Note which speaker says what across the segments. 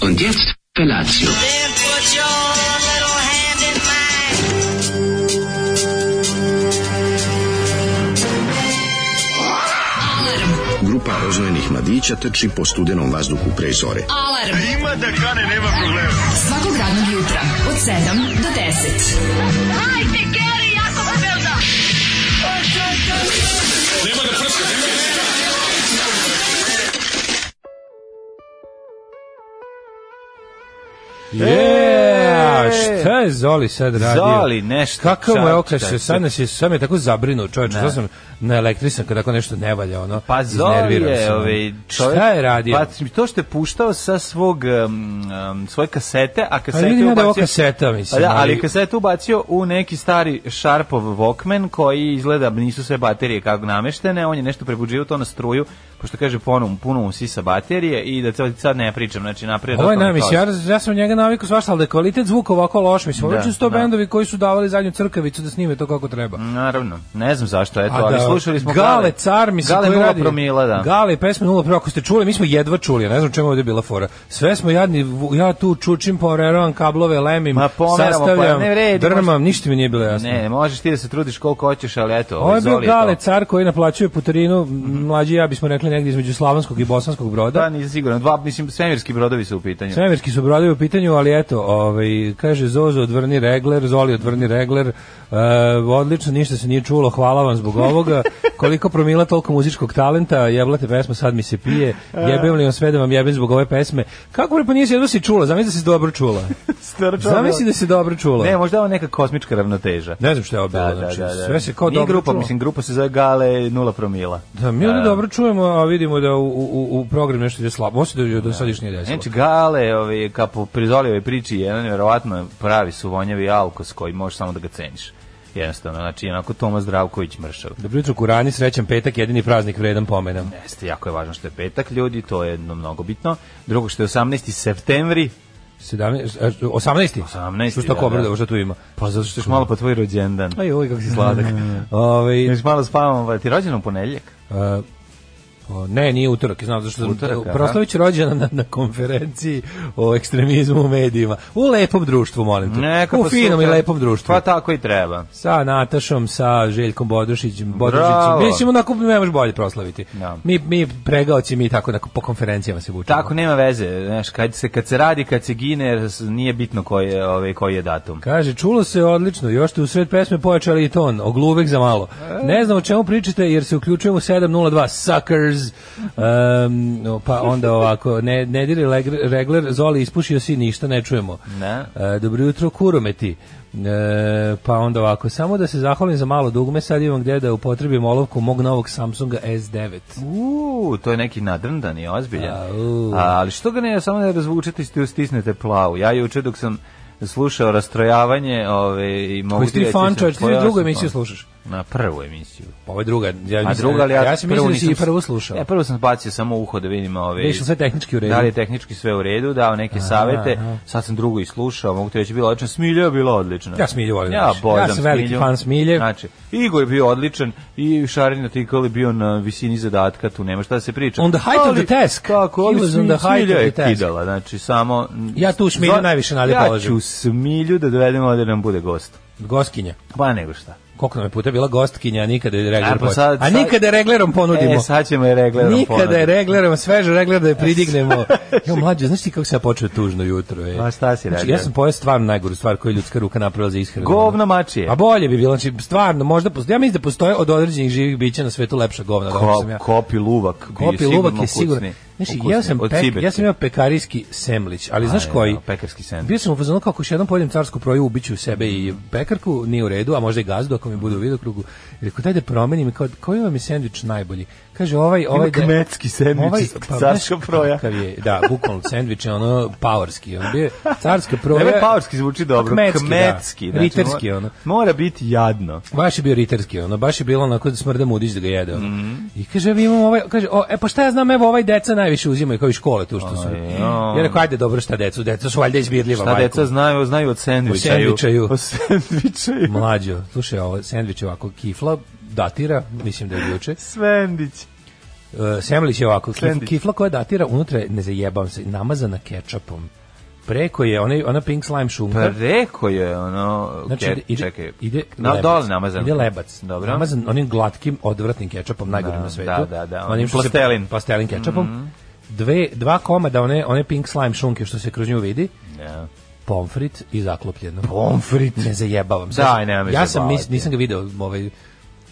Speaker 1: Und jetzt Felatio.
Speaker 2: Then put your little hand in mine.
Speaker 3: Grupa roznojenih mladića trči po studenom vazduhu pre zore.
Speaker 4: Alarm. Ima da kane, nema problema. Svakog radnog jutra, od 7 do 10.
Speaker 5: Yeah,
Speaker 6: E!
Speaker 5: šta je Zoli sad radio?
Speaker 6: Zoli nešto,
Speaker 5: Kakav mu je
Speaker 6: čak,
Speaker 5: okaš,
Speaker 6: čak,
Speaker 5: se, sad nas je, sad me je tako zabrinuo čovječ,
Speaker 6: Da.
Speaker 5: sad sam na elektrisan kada tako nešto ne valja, ono,
Speaker 6: Pa Zoli
Speaker 5: iznervirao
Speaker 6: je,
Speaker 5: sam.
Speaker 6: ovaj, čovjek,
Speaker 5: šta je radio?
Speaker 6: Pa to što je puštao sa svog, um, um, svoje kasete, a
Speaker 5: Pa
Speaker 6: kasete
Speaker 5: vidim ja da je ovo
Speaker 6: ubacio...
Speaker 5: kaseta, mislim.
Speaker 6: Pa da, ali kasetu ubacio u neki stari Sharpov Walkman koji izgleda nisu sve baterije kako nameštene, on je nešto prebuđivao to na struju, pošto kaže ponovno puno mu sisa baterije i da cel- sad ne pričam, znači naprijed.
Speaker 5: Ovo je
Speaker 6: totalni
Speaker 5: najmis,
Speaker 6: kaos.
Speaker 5: ja, ja sam njega navikao svašta, ali da je kvalitet zvuka ovako loš,
Speaker 6: Da,
Speaker 5: mislim, ovo su to
Speaker 6: da. Mm.
Speaker 5: bendovi koji su davali zadnju crkavicu da snime to kako treba.
Speaker 6: Naravno, ne znam zašto, eto,
Speaker 5: A
Speaker 6: ali
Speaker 5: da,
Speaker 6: slušali smo
Speaker 5: Gale Car mi se
Speaker 6: Gale
Speaker 5: koji
Speaker 6: nula
Speaker 5: radi-
Speaker 6: promila, da.
Speaker 5: Gale i pesma nula promila, ako ste čuli, mi smo jedva čuli, ja ne znam čemu je ovdje bila fora. Sve smo jadni, vu- ja tu čučim, poveravam kablove, lemim,
Speaker 6: Ma pomeramo,
Speaker 5: sastavljam,
Speaker 6: pa ne vredi,
Speaker 5: drmam, ništa mi nije bilo jasno.
Speaker 6: Ne, možeš ti da se trudiš koliko hoćeš, ali eto, ovaj
Speaker 5: Ovo je bio
Speaker 6: Zoli to.
Speaker 5: Gale Car koji naplaćuje putarinu, mlađi i ja bismo rekli negdje između Slavonskog i Bosanskog broda.
Speaker 6: Da, nisam siguran. Dva, mislim, svemirski brodovi su u pitanju.
Speaker 5: Svemirski su brodovi u pitanju, ali eto, ovaj, kaže Zozo odvrni regler, Zoli odvrni regler, e, odlično, ništa se nije čulo, hvala vam zbog ovoga, koliko promila toliko muzičkog talenta, jeblate pesma, sad mi se pije,
Speaker 6: E.
Speaker 5: jebem li vam sve da vam jebem zbog ove pesme, kako bre, pa nije se jedno si čula, zamisli da si dobro čula, zamisli da si dobro čula.
Speaker 6: Ne, možda je ovo neka kosmička ravnoteža.
Speaker 5: Ne znam šta je ovo bilo,
Speaker 6: Da, da,
Speaker 5: znači,
Speaker 6: da, da.
Speaker 5: sve se kao
Speaker 6: Nije
Speaker 5: dobro
Speaker 6: grupa,
Speaker 5: čulo.
Speaker 6: mislim, grupa se zove Gale nula promila.
Speaker 5: Da, mi ovdje dobro čujemo, a vidimo da u, u, u program nešto ide slabo. Ovo se do, do sad još nije desilo.
Speaker 6: Znači, Gale, ovaj, kao po prizolijevoj priči, jedan nevjerovatno pravi suvonjavi alkos koji možeš samo da ga ceniš. Jednostavno, znači, onako Tomas Zdravković mršav.
Speaker 5: Dobro jutro, Kurani, srećan petak, jedini praznik vredan pomena.
Speaker 6: Jeste, jako je važno što je petak, ljudi, to je jedno mnogo bitno. Drugo što je 18. septembri,
Speaker 5: 17, e, 18.
Speaker 6: 18.,
Speaker 5: Što tako
Speaker 6: da,
Speaker 5: obrada,
Speaker 6: da.
Speaker 5: šta tu ima?
Speaker 6: pa zato što je malo Pa po tvoj rođendan.
Speaker 5: Aj, oj, kako si sladak. Ovaj
Speaker 6: Još malo spavamo, pa ti je rođen u ponedjeljak?
Speaker 5: e, o, ne, nije utorak, znam zašto sam
Speaker 6: Utorak, aha.
Speaker 5: Proslavić je rođena na, na konferenciji o ekstremizmu u medijima. U lepom društvu, molim te.
Speaker 6: Neka
Speaker 5: u
Speaker 6: pa
Speaker 5: finom i
Speaker 6: super.
Speaker 5: lepom društvu.
Speaker 6: Pa tako i treba.
Speaker 5: sa Natašom, sa Željkom Bodrušićem, Bodrušićem.
Speaker 6: Bravo.
Speaker 5: Mislim, onako ne možeš bolje proslaviti.
Speaker 6: Da.
Speaker 5: Mi, mi pregaoci, mi tako onako po konferencijama se vučemo.
Speaker 6: Tako nema veze, znaš, kad se kad se radi, kad se gine, s- nije bitno koji je ovaj koji je datum.
Speaker 5: Kaže, čulo se odlično, još ste u sred pesme pojačali i ton, ogluvek za malo. Ne znam o čemu pričate, jer se uključujemo u 7.02, suckers. Um, no, pa onda ovako, ne, ne diri legr- regler, Zoli ispušio si, ništa ne čujemo.
Speaker 6: Ne.
Speaker 5: E, dobro jutro, kurometi. E, pa onda ovako, samo da se zahvalim za malo dugme, sad imam gde da upotrebim olovku mog novog Samsunga S9.
Speaker 6: U, to je neki nadrndan i ozbiljan.
Speaker 5: A, u.
Speaker 6: A, ali što ga ne samo ne razvučete i sti- stisnete plavu. Ja juče dok sam slušao rastrojavanje, ove i mogu
Speaker 5: Koji si ti
Speaker 6: reći
Speaker 5: fan,
Speaker 6: sam-
Speaker 5: čovječ, ti
Speaker 6: koja
Speaker 5: drugu
Speaker 6: sam
Speaker 5: emisiju
Speaker 6: fan?
Speaker 5: slušaš?
Speaker 6: Na prvu emisiju.
Speaker 5: Pa Ovo je druga, ja,
Speaker 6: A
Speaker 5: mislim-
Speaker 6: druga, ali ja,
Speaker 5: ja sam mislio da si i
Speaker 6: nisam-
Speaker 5: prvu slušao.
Speaker 6: Ja prvo sam bacio samo uho da vidim ovaj, ove.
Speaker 5: Da je išlo sve tehnički u redu.
Speaker 6: Da li je tehnički sve u redu, dao neke savete, sad sam drugo i slušao, mogu ti reći, bilo odlično, Smilja je bilo odlično.
Speaker 5: Ja Smilju volim
Speaker 6: Ja,
Speaker 5: najviše.
Speaker 6: Boždam
Speaker 5: Ja sam veliki
Speaker 6: Smilju.
Speaker 5: fan Smilje.
Speaker 6: Znači, Igor je bio odličan i Šarin je tikali bio na visini zadatka, tu nema šta da se priča.
Speaker 5: On the height of
Speaker 6: Ali,
Speaker 5: the task.
Speaker 6: Tako,
Speaker 5: He
Speaker 6: ali
Speaker 5: was on the
Speaker 6: Smilja
Speaker 5: height of
Speaker 6: je
Speaker 5: the task.
Speaker 6: kidala, znači samo...
Speaker 5: Ja tu Smilju
Speaker 6: Zva-
Speaker 5: najviše nade
Speaker 6: Ja
Speaker 5: položim.
Speaker 6: ću Smilju da dovedemo da nam bude gost.
Speaker 5: Goskinja.
Speaker 6: Pa nego šta.
Speaker 5: Koliko nam je puta bila gostkinja, a nikada je regler
Speaker 6: E, pa
Speaker 5: poč-
Speaker 6: sad-
Speaker 5: A
Speaker 6: sad-
Speaker 5: nikada je reglerom ponudimo.
Speaker 6: E, sad ćemo je reglerom
Speaker 5: Nikada
Speaker 6: ponuditi.
Speaker 5: je reglerom, sveže regler da je pridignemo. Jo, mlađe, znaš ti kako sam ja počeo tužno jutro? E?
Speaker 6: A Pa šta si
Speaker 5: znači,
Speaker 6: regler?
Speaker 5: ja sam pojao stvarno najgoru stvar koju je ljudska ruka napravila za ishranu.
Speaker 6: Govno mačije.
Speaker 5: A bolje bi bilo, znači stvarno, možda postoje, ja mislim da postoje od određenih živih bića na svetu lepša govna. od onog što
Speaker 6: Ko,
Speaker 5: sam ja.
Speaker 6: kopi luvak. bio
Speaker 5: Kopi luvak je
Speaker 6: kucni.
Speaker 5: sigurno. Znači,
Speaker 6: Ukusni,
Speaker 5: ja sam,
Speaker 6: od
Speaker 5: pek,
Speaker 6: Sibirke.
Speaker 5: ja sam imao pekarijski semlić, ali znaš
Speaker 6: Aj,
Speaker 5: koji?
Speaker 6: da, pekarski sendvič.
Speaker 5: Bio sam u fazonu kako još jednom pojedem carsku proju, ubiću sebe i pekarku, nije u redu, a možda i gazdu ako mi bude u vidokrugu. Rekao, daj da promenim, kao, koji vam je sendvič najbolji? Kaže, ovaj, ovaj... da-
Speaker 6: kmetski sendvič iz
Speaker 5: znaš
Speaker 6: carska proja.
Speaker 5: kakav je, da, bukvalno sendvič je ono pavarski. On bio je carska proja.
Speaker 6: Ove paorski zvuči dobro.
Speaker 5: Kmetski,
Speaker 6: Ovaj pa Kmetski,
Speaker 5: da.
Speaker 6: Znači,
Speaker 5: Riterski,
Speaker 6: mo-
Speaker 5: ono.
Speaker 6: Mora biti jadno.
Speaker 5: Baš je bio riterski, ono, baš je bilo onako da smrda mudić da ga jede. Ono.
Speaker 6: Mhm.
Speaker 5: I kaže, mi imamo ovaj, kaže, o, e pa šta ja znam, evo ovaj deca najviše uzimaju kao i škole tu što su.
Speaker 6: Ajoj.
Speaker 5: Ja rekao, ajde dobro šta decu, deca su valjda izbirljiva.
Speaker 6: Šta
Speaker 5: majko.
Speaker 6: Pa deca znaju, znaju od sendvičaju.
Speaker 5: O sendvičaju.
Speaker 6: O sendvičaju.
Speaker 5: Mlađo, slušaj, ovo sendvič je ovako kifla, datira, mislim da je od juče.
Speaker 6: Svendić.
Speaker 5: Uh, Semlić je ovako, kif,
Speaker 6: Sandwich.
Speaker 5: kifla koja datira unutra, je, ne zajebam se, namazana kečapom. Preko je onaj, ona pink slime šunka.
Speaker 6: Preko Pa je ono,
Speaker 5: Znači,
Speaker 6: ke-
Speaker 5: ide,
Speaker 6: čekaj,
Speaker 5: ide
Speaker 6: na,
Speaker 5: lebac.
Speaker 6: dole namazan.
Speaker 5: Ide lebac.
Speaker 6: Dobro.
Speaker 5: Namazan onim glatkim, odvratnim kečapom, najgorim
Speaker 6: Da,
Speaker 5: na svetu.
Speaker 6: da, da, da,
Speaker 5: Onim što se-
Speaker 6: plastelin. Mhm.
Speaker 5: Plastelin kečapom. Dve, dva komada one, one pink slime šunke što se kroz nju vidi.
Speaker 6: Ja.
Speaker 5: pomfrit i zaklopljeno. Pomfrit? Ne zajebavam se.
Speaker 6: Daj, nemoj me
Speaker 5: Ja sam,
Speaker 6: zajebavati.
Speaker 5: nis, nisam ga video, ovaj,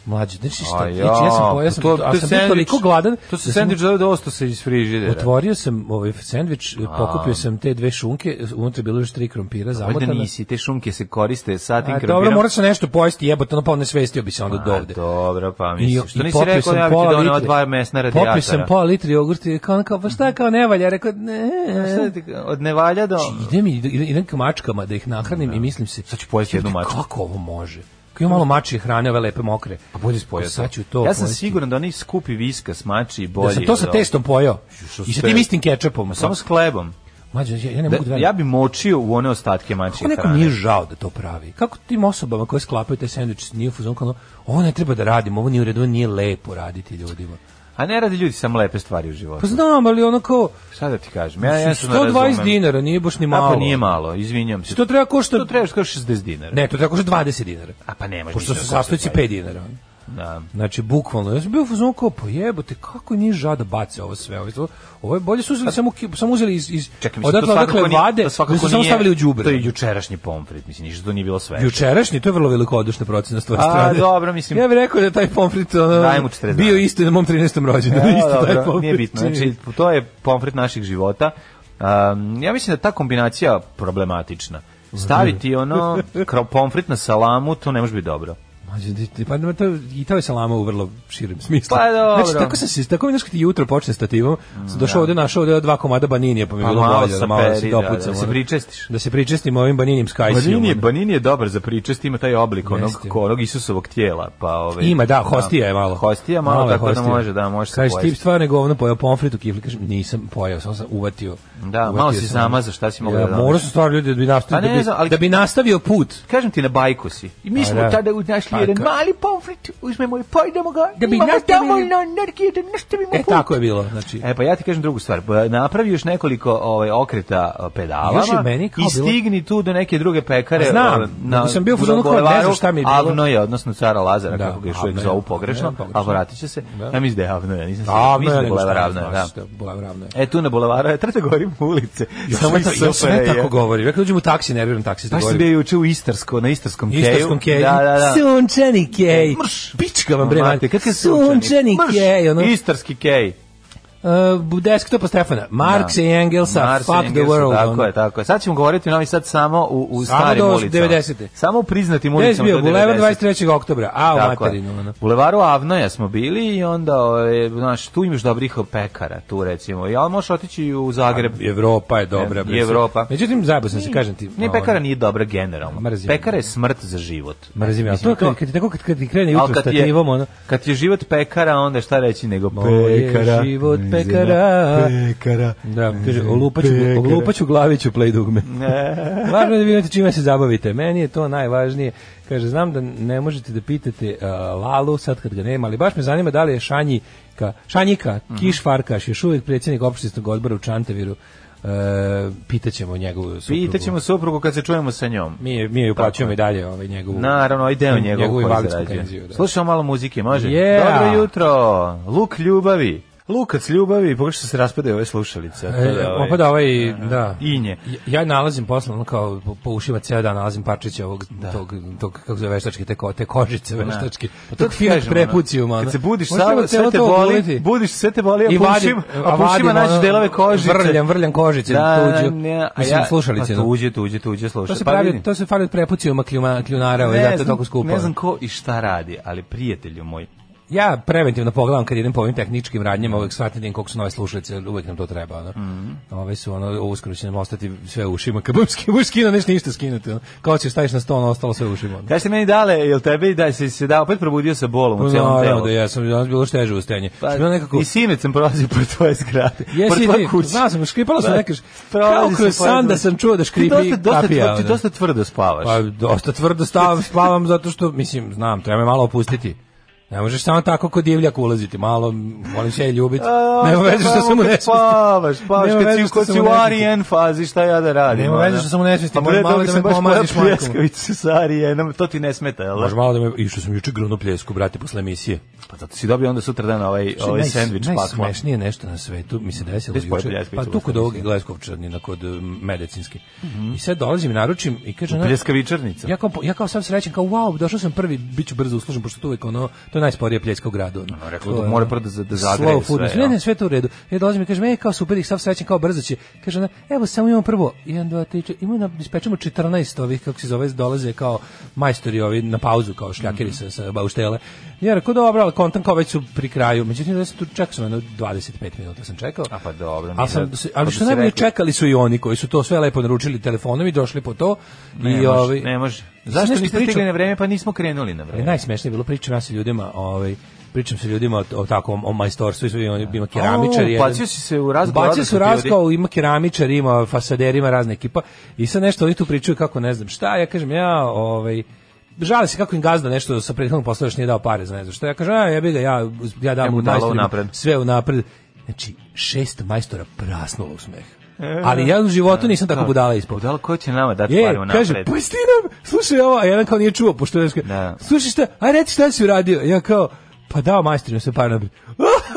Speaker 5: mlađi. Znači šta,
Speaker 6: A pa
Speaker 5: ja, ja sam, pojao sam, to, ali
Speaker 6: je
Speaker 5: sam bio toliko gladan.
Speaker 6: To se
Speaker 5: da sam-
Speaker 6: sandvič zove dosta se iz frižidera.
Speaker 5: Otvorio sam ovaj sendvič, pokupio sam te dve šunke, unutra je bilo još tri krompira
Speaker 6: Ovdje
Speaker 5: zamotana.
Speaker 6: nisi, te šunke se koriste sa tim
Speaker 5: A,
Speaker 6: krompirom.
Speaker 5: dobro, morat sam nešto pojesti, jebote, ono pa ne svestio bi se onda
Speaker 6: A,
Speaker 5: dovde.
Speaker 6: Dobro, pa mislim. Što nisi
Speaker 5: popio
Speaker 6: rekao,
Speaker 5: sam
Speaker 6: ja bih ti
Speaker 5: pola
Speaker 6: donao
Speaker 5: litre.
Speaker 6: dva mesna radijatora.
Speaker 5: Popio sam pola litri jogurta i kao, ono kao, pa šta kao ne valja? Rekao, ne.
Speaker 6: Sad, Od nevalja do...
Speaker 5: Idem, i- idem ka mačkama da ih nahranim i mislim se,
Speaker 6: Sad ću pojesti jednu
Speaker 5: Jebote,
Speaker 6: mačku.
Speaker 5: Kako ovo može? Kao ima malo mačije hrane, ove lepe mokre.
Speaker 6: Pa bolje spojio
Speaker 5: Sad ću to
Speaker 6: Ja sam
Speaker 5: pojesti.
Speaker 6: siguran da oni skupi viska, smači i bolje.
Speaker 5: Da sam to sa
Speaker 6: od ovog.
Speaker 5: testom pojeo.
Speaker 6: Što
Speaker 5: I sa
Speaker 6: ste-
Speaker 5: tim istim kečapom.
Speaker 6: Samo s hlebom.
Speaker 5: Mađo, ja,
Speaker 6: Da,
Speaker 5: ja ne mogu da verujem.
Speaker 6: ja bi močio u one ostatke mačije
Speaker 5: Kako nekom
Speaker 6: hrane.
Speaker 5: nije žao da to pravi? Kako tim osobama koje sklapaju taj sandvič nije u fazonu kao ono, ovo ne treba da radimo, ovo nije u redu, ovo nije lepo raditi ljudima.
Speaker 6: A ne radi ljudi samo lepe stvari u životu.
Speaker 5: Pa znam, ali ono kao,
Speaker 6: Šta da ti kažem? Ja, ja se
Speaker 5: 120
Speaker 6: razumem.
Speaker 5: dinara, nije baš ni malo.
Speaker 6: A pa nije malo, izvinjam se.
Speaker 5: To treba košta...
Speaker 6: To trebaš kao 60 dinara.
Speaker 5: Ne, to treba košta 20 dinara.
Speaker 6: A pa ne može.
Speaker 5: Pošto su sastojci 5 dinara.
Speaker 6: Da.
Speaker 5: Znači, bukvalno, ja sam bio u fazonu kao, pa jebote, kako nije žada bace ovo sve, ovo, je to- ovo je bolje su uzeli, samo, ki- samo uzeli iz, iz
Speaker 6: Pa- Čekaj, mislim,
Speaker 5: odatle
Speaker 6: to svakako
Speaker 5: odakle
Speaker 6: nije-
Speaker 5: vade,
Speaker 6: to
Speaker 5: da
Speaker 6: svakako
Speaker 5: su samo
Speaker 6: nije-
Speaker 5: stavili u
Speaker 6: To je
Speaker 5: džubre.
Speaker 6: jučerašnji pomfrit, mislim, ništa to nije bilo sve.
Speaker 5: Jučerašnji, to je vrlo velikodušna procena s tvoje
Speaker 6: A,
Speaker 5: strane.
Speaker 6: dobro, mislim-
Speaker 5: Ja bih rekao da je taj pomfrit ono,
Speaker 6: Daj mu 40
Speaker 5: bio
Speaker 6: dana.
Speaker 5: isto na mom 13. rođendu.
Speaker 6: Ja,
Speaker 5: isto taj
Speaker 6: dobro,
Speaker 5: pomfrit.
Speaker 6: nije bitno. Znači, to je pomfrit naših života. Um, ja mislim da je ta kombinacija problematična. Staviti ono kro- pomfrit na salamu, to ne može biti dobro.
Speaker 5: Mađo, di- di- pa to, i to je salama u vrlo širem smislu.
Speaker 6: Pa, dobro. Mm,
Speaker 5: Znači, tako sam se, tako mi znaš kad ti jutro počne stativom, sam došao ovde, našao ovde dva komada baninija, pa mi je
Speaker 6: Pa
Speaker 5: bilo
Speaker 6: malo
Speaker 5: bolje da malo
Speaker 6: saperi,
Speaker 5: se
Speaker 6: da, da,
Speaker 5: dopucam.
Speaker 6: da se
Speaker 5: ono.
Speaker 6: pričestiš.
Speaker 5: Da se pričestim ovim baninijim skajsijom.
Speaker 6: Banini je,
Speaker 5: ono.
Speaker 6: banini je dobar za pričest, ima taj oblik onog,
Speaker 5: Jeste.
Speaker 6: ko- onog Isusovog tijela. Pa, ovaj,
Speaker 5: Ima, da, hostija je malo.
Speaker 6: Hostija malo,
Speaker 5: je
Speaker 6: tako da
Speaker 5: hostija.
Speaker 6: može, da, može se
Speaker 5: Kažeš, ti
Speaker 6: pojesti.
Speaker 5: stvarno je govno pojao pomfrit u kifli, kažem, nisam pojao, samo sam uvatio.
Speaker 6: Da,
Speaker 5: uvatio
Speaker 6: malo si
Speaker 5: sam.
Speaker 6: zamazao, šta si mogao
Speaker 5: Ja,
Speaker 6: da dobiješ?
Speaker 5: Morao sam stvarno ljudi da bi nastavio,
Speaker 6: Pa ne
Speaker 5: da, bi,
Speaker 6: znam, ali- E,
Speaker 5: da bi nastavio put.
Speaker 6: Kažem ti na bajku si. I mi
Speaker 5: Pa
Speaker 6: smo
Speaker 5: da.
Speaker 6: tada našli
Speaker 5: Pa
Speaker 6: jedan
Speaker 5: ka-
Speaker 6: mali pomfrit, uzmemo i pojedemo ga,
Speaker 5: Da bi
Speaker 6: imamo
Speaker 5: nastavili-
Speaker 6: dovoljno energije da nastavimo
Speaker 5: E,
Speaker 6: put.
Speaker 5: tako je bilo, znači.
Speaker 6: E pa ja ti kažem drugu stvar. Pa, Napravi još nekoliko ovaj okreta e, pedalama
Speaker 5: Još je meni kao
Speaker 6: i stigni tu do neke druge pekare.
Speaker 5: A znam,
Speaker 6: e,
Speaker 5: nego sam bio u fazonu
Speaker 6: na
Speaker 5: kao, ne znam
Speaker 6: Bulevaru
Speaker 5: šta mi je bilo.
Speaker 6: Avno je, odnosno cara Lazara,
Speaker 5: Da,
Speaker 6: kako ga još uvijek
Speaker 5: Avno je.
Speaker 6: zovu pogrešno,
Speaker 5: Ne, pogrešno.
Speaker 6: a vratit će se.
Speaker 5: Da.
Speaker 6: Ja mislim da je Avno, ja nisam
Speaker 5: A,
Speaker 6: siguran. Mislim da je
Speaker 5: nego
Speaker 6: Bulevar
Speaker 5: šta,
Speaker 6: Avno, da.
Speaker 5: znaš, Bulevar ravno je.
Speaker 6: E tu na Bulevaru je Trte Gorim ulice.
Speaker 5: Ja
Speaker 6: Samo
Speaker 5: sve,
Speaker 6: i
Speaker 5: ta- ja sve
Speaker 6: SFRJ.
Speaker 5: tako govorim. Ja kad uđem u taksi, nerviram taksi.
Speaker 6: Baš sam bio juče u Istarsko, na Istarskom keju.
Speaker 5: Istarskom keju.
Speaker 6: Da, da, da. E,
Speaker 5: Sunčani kej.
Speaker 6: Mrš.
Speaker 5: Pička vam bre.
Speaker 6: Mate,
Speaker 5: mate.
Speaker 6: kad kad
Speaker 5: Sunčani kej. Ono,
Speaker 6: Istarski kej.
Speaker 5: uh, desktopa Stefana. Marksa i Engelsa.
Speaker 6: Marx i
Speaker 5: fuck the
Speaker 6: Engelsa,
Speaker 5: world.
Speaker 6: Tako
Speaker 5: ono.
Speaker 6: je, tako je. Sad ćemo govoriti o Novi Sad samo u, u
Speaker 5: Samo
Speaker 6: starim
Speaker 5: do
Speaker 6: ulicama.
Speaker 5: 90-te.
Speaker 6: Samo u priznatim
Speaker 5: Gde si
Speaker 6: ulicama
Speaker 5: bio?
Speaker 6: do
Speaker 5: Bulevar
Speaker 6: 90.
Speaker 5: 23. oktobra. A, u
Speaker 6: Tako je.
Speaker 5: materinu. ono.
Speaker 6: U Levaru Avnoja smo bili i onda, ovaj, znaš, tu imaš dobrih pekara, tu recimo. I ali možeš otići i u Zagreb.
Speaker 5: Evropa je dobra.
Speaker 6: E,
Speaker 5: bre.
Speaker 6: Evropa.
Speaker 5: Međutim, zajebao sam se, kažem ti.
Speaker 6: Ne,
Speaker 5: ono,
Speaker 6: pekara nije dobra generalno.
Speaker 5: Mrzim.
Speaker 6: Pekara je smrt za život.
Speaker 5: Mrzim, ja. To
Speaker 6: Mislim,
Speaker 5: je kad, kad, ti tako kad, kad ti krene jutro
Speaker 6: Ali kad je-
Speaker 5: stativom, ono,
Speaker 6: Kad je život pekara, onda šta reći nego
Speaker 5: Moj je
Speaker 6: pekara.
Speaker 5: život
Speaker 6: mizera,
Speaker 5: pekara.
Speaker 6: Pekara.
Speaker 5: Da, kaže, olupaću, olupaću glaviću play dugme. Važno je da vi imate čime se zabavite. Meni je to najvažnije. Kaže, znam da ne možete da pitate uh, Lalu sad kad ga nema, ali baš me zanima da li je Šanjika, Šanjika,
Speaker 6: Mhm.
Speaker 5: Kiš Farkaš, još uvijek predsjednik opštinskog odbora u Čanteviru. Uh, pitaćemo njegovu suprugu.
Speaker 6: Pitaćemo suprugu kad se čujemo sa njom.
Speaker 5: Mi je, mi je
Speaker 6: Tako
Speaker 5: uplaćujemo i dalje ovaj, njegovu.
Speaker 6: Naravno, i deo njegovog
Speaker 5: njegovu
Speaker 6: koji
Speaker 5: invalidsku
Speaker 6: zarađuje.
Speaker 5: penziju, da.
Speaker 6: Slušamo malo muzike, može?
Speaker 5: Yeah.
Speaker 6: Dobro jutro, Luk ljubavi. Lukac ljubavi, pogledaj što se raspadaju ove slušalice.
Speaker 5: E, opada ovaj, da.
Speaker 6: Inje.
Speaker 5: Ja, ja nalazim posle, ono kao po- poušiva cijel dan, nalazim parčiće ovog, tog, tog, kako se zove, veštačke, te, ko, te kožice veštačke.
Speaker 6: Pa to
Speaker 5: tog
Speaker 6: ti
Speaker 5: Fiat
Speaker 6: kažem,
Speaker 5: prepucijuma. ono.
Speaker 6: Kad se budiš,
Speaker 5: Možda
Speaker 6: sav,
Speaker 5: treba
Speaker 6: sve
Speaker 5: celo
Speaker 6: te
Speaker 5: to
Speaker 6: boli,
Speaker 5: oguliti.
Speaker 6: budiš, sve te boli,
Speaker 5: I
Speaker 6: a
Speaker 5: vadim,
Speaker 6: pušima, a pušima
Speaker 5: vadim, ono,
Speaker 6: naći delove kožice.
Speaker 5: Vrljam, vrljam kožice,
Speaker 6: da,
Speaker 5: tuđu,
Speaker 6: ne, a
Speaker 5: mislim,
Speaker 6: ja,
Speaker 5: slušalice.
Speaker 6: Pa
Speaker 5: no.
Speaker 6: tuđe, tuđe, tuđe, slušalice.
Speaker 5: to se
Speaker 6: Pa
Speaker 5: pravi,
Speaker 6: vidi.
Speaker 5: to se fali od prepucijuma kljuma, kljunara, ovaj, zato je
Speaker 6: znam-
Speaker 5: toliko skupo.
Speaker 6: Ne znam ko i šta radi, ali prijatelju moj,
Speaker 5: Ja preventivno pogledam kad idem po ovim tehničkim radnjama, uvek shvatim koliko su nove slušalice, uvek nam to treba. Ono.
Speaker 6: Mhm.
Speaker 5: Ove su, ono, uskoro će nam ostati sve u ušima. Kad budem skinuo, budem skinuo, nešto ništa skinuti. Ono. Kao ćeš staviš na sto, ono, ostalo sve u ušima. Ono.
Speaker 6: Kaj se meni dale, jel tebe i da si se da opet probudio sa bolom u celom
Speaker 5: Pa Naravno
Speaker 6: telu?
Speaker 5: da ja sam danas bilo šteže u stenje. Pa, bilo nekako...
Speaker 6: I sinoć sam prolazio po tvoje zgrade. po
Speaker 5: Jesi
Speaker 6: tvoje
Speaker 5: ti,
Speaker 6: kući.
Speaker 5: znao sam, škripala sam
Speaker 6: Da.
Speaker 5: nekaš,
Speaker 6: Prolazi
Speaker 5: kao
Speaker 6: se
Speaker 5: kroz
Speaker 6: pored
Speaker 5: san da
Speaker 6: mene.
Speaker 5: sam čuo da škripi
Speaker 6: Ti dosta, dosta,
Speaker 5: kapija.
Speaker 6: tvrdo, ti
Speaker 5: ono.
Speaker 6: dosta tvrdo spavaš.
Speaker 5: Pa dosta tvrdo stavam, spavam zato što, mislim, znam, treba me malo opustiti. Ne možeš samo tako kod divljak ulaziti, malo, molim se je ljubiti.
Speaker 6: A,
Speaker 5: Nema
Speaker 6: Pa, šta
Speaker 5: veze što
Speaker 6: tamo
Speaker 5: sam mu
Speaker 6: kad
Speaker 5: nesvestan.
Speaker 6: Spavaš, spavaš,
Speaker 5: Nema
Speaker 6: kad
Speaker 5: veze
Speaker 6: si,
Speaker 5: što
Speaker 6: kad
Speaker 5: sam
Speaker 6: si
Speaker 5: u
Speaker 6: u
Speaker 5: nesvesti.
Speaker 6: Arijen fazi, šta ja da radim?
Speaker 5: Nema
Speaker 6: ono?
Speaker 5: veze što sam u nesvesti,
Speaker 6: Pa
Speaker 5: može
Speaker 6: bre,
Speaker 5: malo
Speaker 6: dobio
Speaker 5: da
Speaker 6: sam
Speaker 5: me
Speaker 6: baš
Speaker 5: pomaziš
Speaker 6: par
Speaker 5: majkom.
Speaker 6: pljeskavice sa Arijenom, to ti ne smeta, jel? da?
Speaker 5: Može malo da me, i što sam juče igrao na pljesku, brate, posle emisije.
Speaker 6: Pa zato si dobio onda sutra dan ovaj, ovaj
Speaker 5: Znači, Naj-
Speaker 6: sandvič pakla.
Speaker 5: Najsmešnije nešto na svetu mi se desilo
Speaker 6: Gde si pojeo
Speaker 5: juče. Pa
Speaker 6: pljeskavicu
Speaker 5: tu kod
Speaker 6: posle
Speaker 5: ovog
Speaker 6: emisije?
Speaker 5: Gleskovčanina, kod um, medicinske.
Speaker 6: Mhm.
Speaker 5: I sad dolazim i naručim i kaže... ona-
Speaker 6: Pljeskavičarnica.
Speaker 5: Ja kao, po- ja kao sam srećan, kao wow, došao sam prvi, bit ću brzo uslužen, pošto tu uvijek ono, to je najsporija pljeska u gradu. Ono,
Speaker 6: rekao
Speaker 5: To
Speaker 6: da
Speaker 5: je,
Speaker 6: mora
Speaker 5: ono,
Speaker 6: prvo da za- da
Speaker 5: slow
Speaker 6: zagreje
Speaker 5: food,
Speaker 6: sve,
Speaker 5: Ne,
Speaker 6: ja.
Speaker 5: ne, sve to u redu. Ja dolazim i kažem, e, kao super, ih sam srećan, kao brzo će. Kaže ona, evo samo imamo prvo, 1, 2, 3, 4, imamo na, ispečemo 14 ovih, kako se zove, dolaze kao majstori ovi na pauzu, kao šljakeri
Speaker 6: Mhm.
Speaker 5: sa, sa bauštele. Ja rekao, dobro, ali kontam kao već su pri kraju. Međutim, da sam tu čekao sam, jedno 25 minuta sam čekao.
Speaker 6: A pa dobro,
Speaker 5: Ali,
Speaker 6: nije
Speaker 5: sam,
Speaker 6: da- pa
Speaker 5: ali
Speaker 6: da
Speaker 5: što
Speaker 6: si
Speaker 5: najbolje
Speaker 6: rekao.
Speaker 5: čekali su i oni koji su to sve lepo naručili telefonom i došli po to.
Speaker 6: Ne
Speaker 5: i,
Speaker 6: može,
Speaker 5: ovaj,
Speaker 6: ne može.
Speaker 5: Znaš
Speaker 6: Zašto
Speaker 5: nešto
Speaker 6: niste
Speaker 5: pričao-
Speaker 6: stigli na vreme, pa nismo krenuli na
Speaker 5: Ali
Speaker 6: vreme?
Speaker 5: najsmešnije je bilo pričam ja sa ljudima, ovaj pričam sa ljudima o, o takom o majstorstvu i sve ima ima keramičar
Speaker 6: O,
Speaker 5: jedan.
Speaker 6: ubacio si se u razgovor
Speaker 5: Ubacio se u
Speaker 6: različitih
Speaker 5: razgovor, ima keramičar, ima fasader, ima razne ekipa i sad nešto oni tu pričaju kako ne znam šta, ja kažem ja, ovaj Žale se kako im gazda nešto sa prethodnog posla još nije dao pare za ne znam šta. Ja kažem, a jebi ga, ja, ja dam
Speaker 6: Ja mu
Speaker 5: u
Speaker 6: dala
Speaker 5: majstorima
Speaker 6: unapred.
Speaker 5: sve unapred. Znači, šest majstora prasnulo u smeh.
Speaker 6: E.
Speaker 5: Ali ja u životu nisam tako budala ispod.
Speaker 6: Budala Pa, ko će nama dati
Speaker 5: Je,
Speaker 6: pare u
Speaker 5: E, kaže,
Speaker 6: napred?
Speaker 5: pusti nam, slušaj ovo, a jedan kao nije čuo, pošto je
Speaker 6: Da.
Speaker 5: slušaj šta, aj reci šta si uradio, ja kao, pa dao majstorima sve par napred.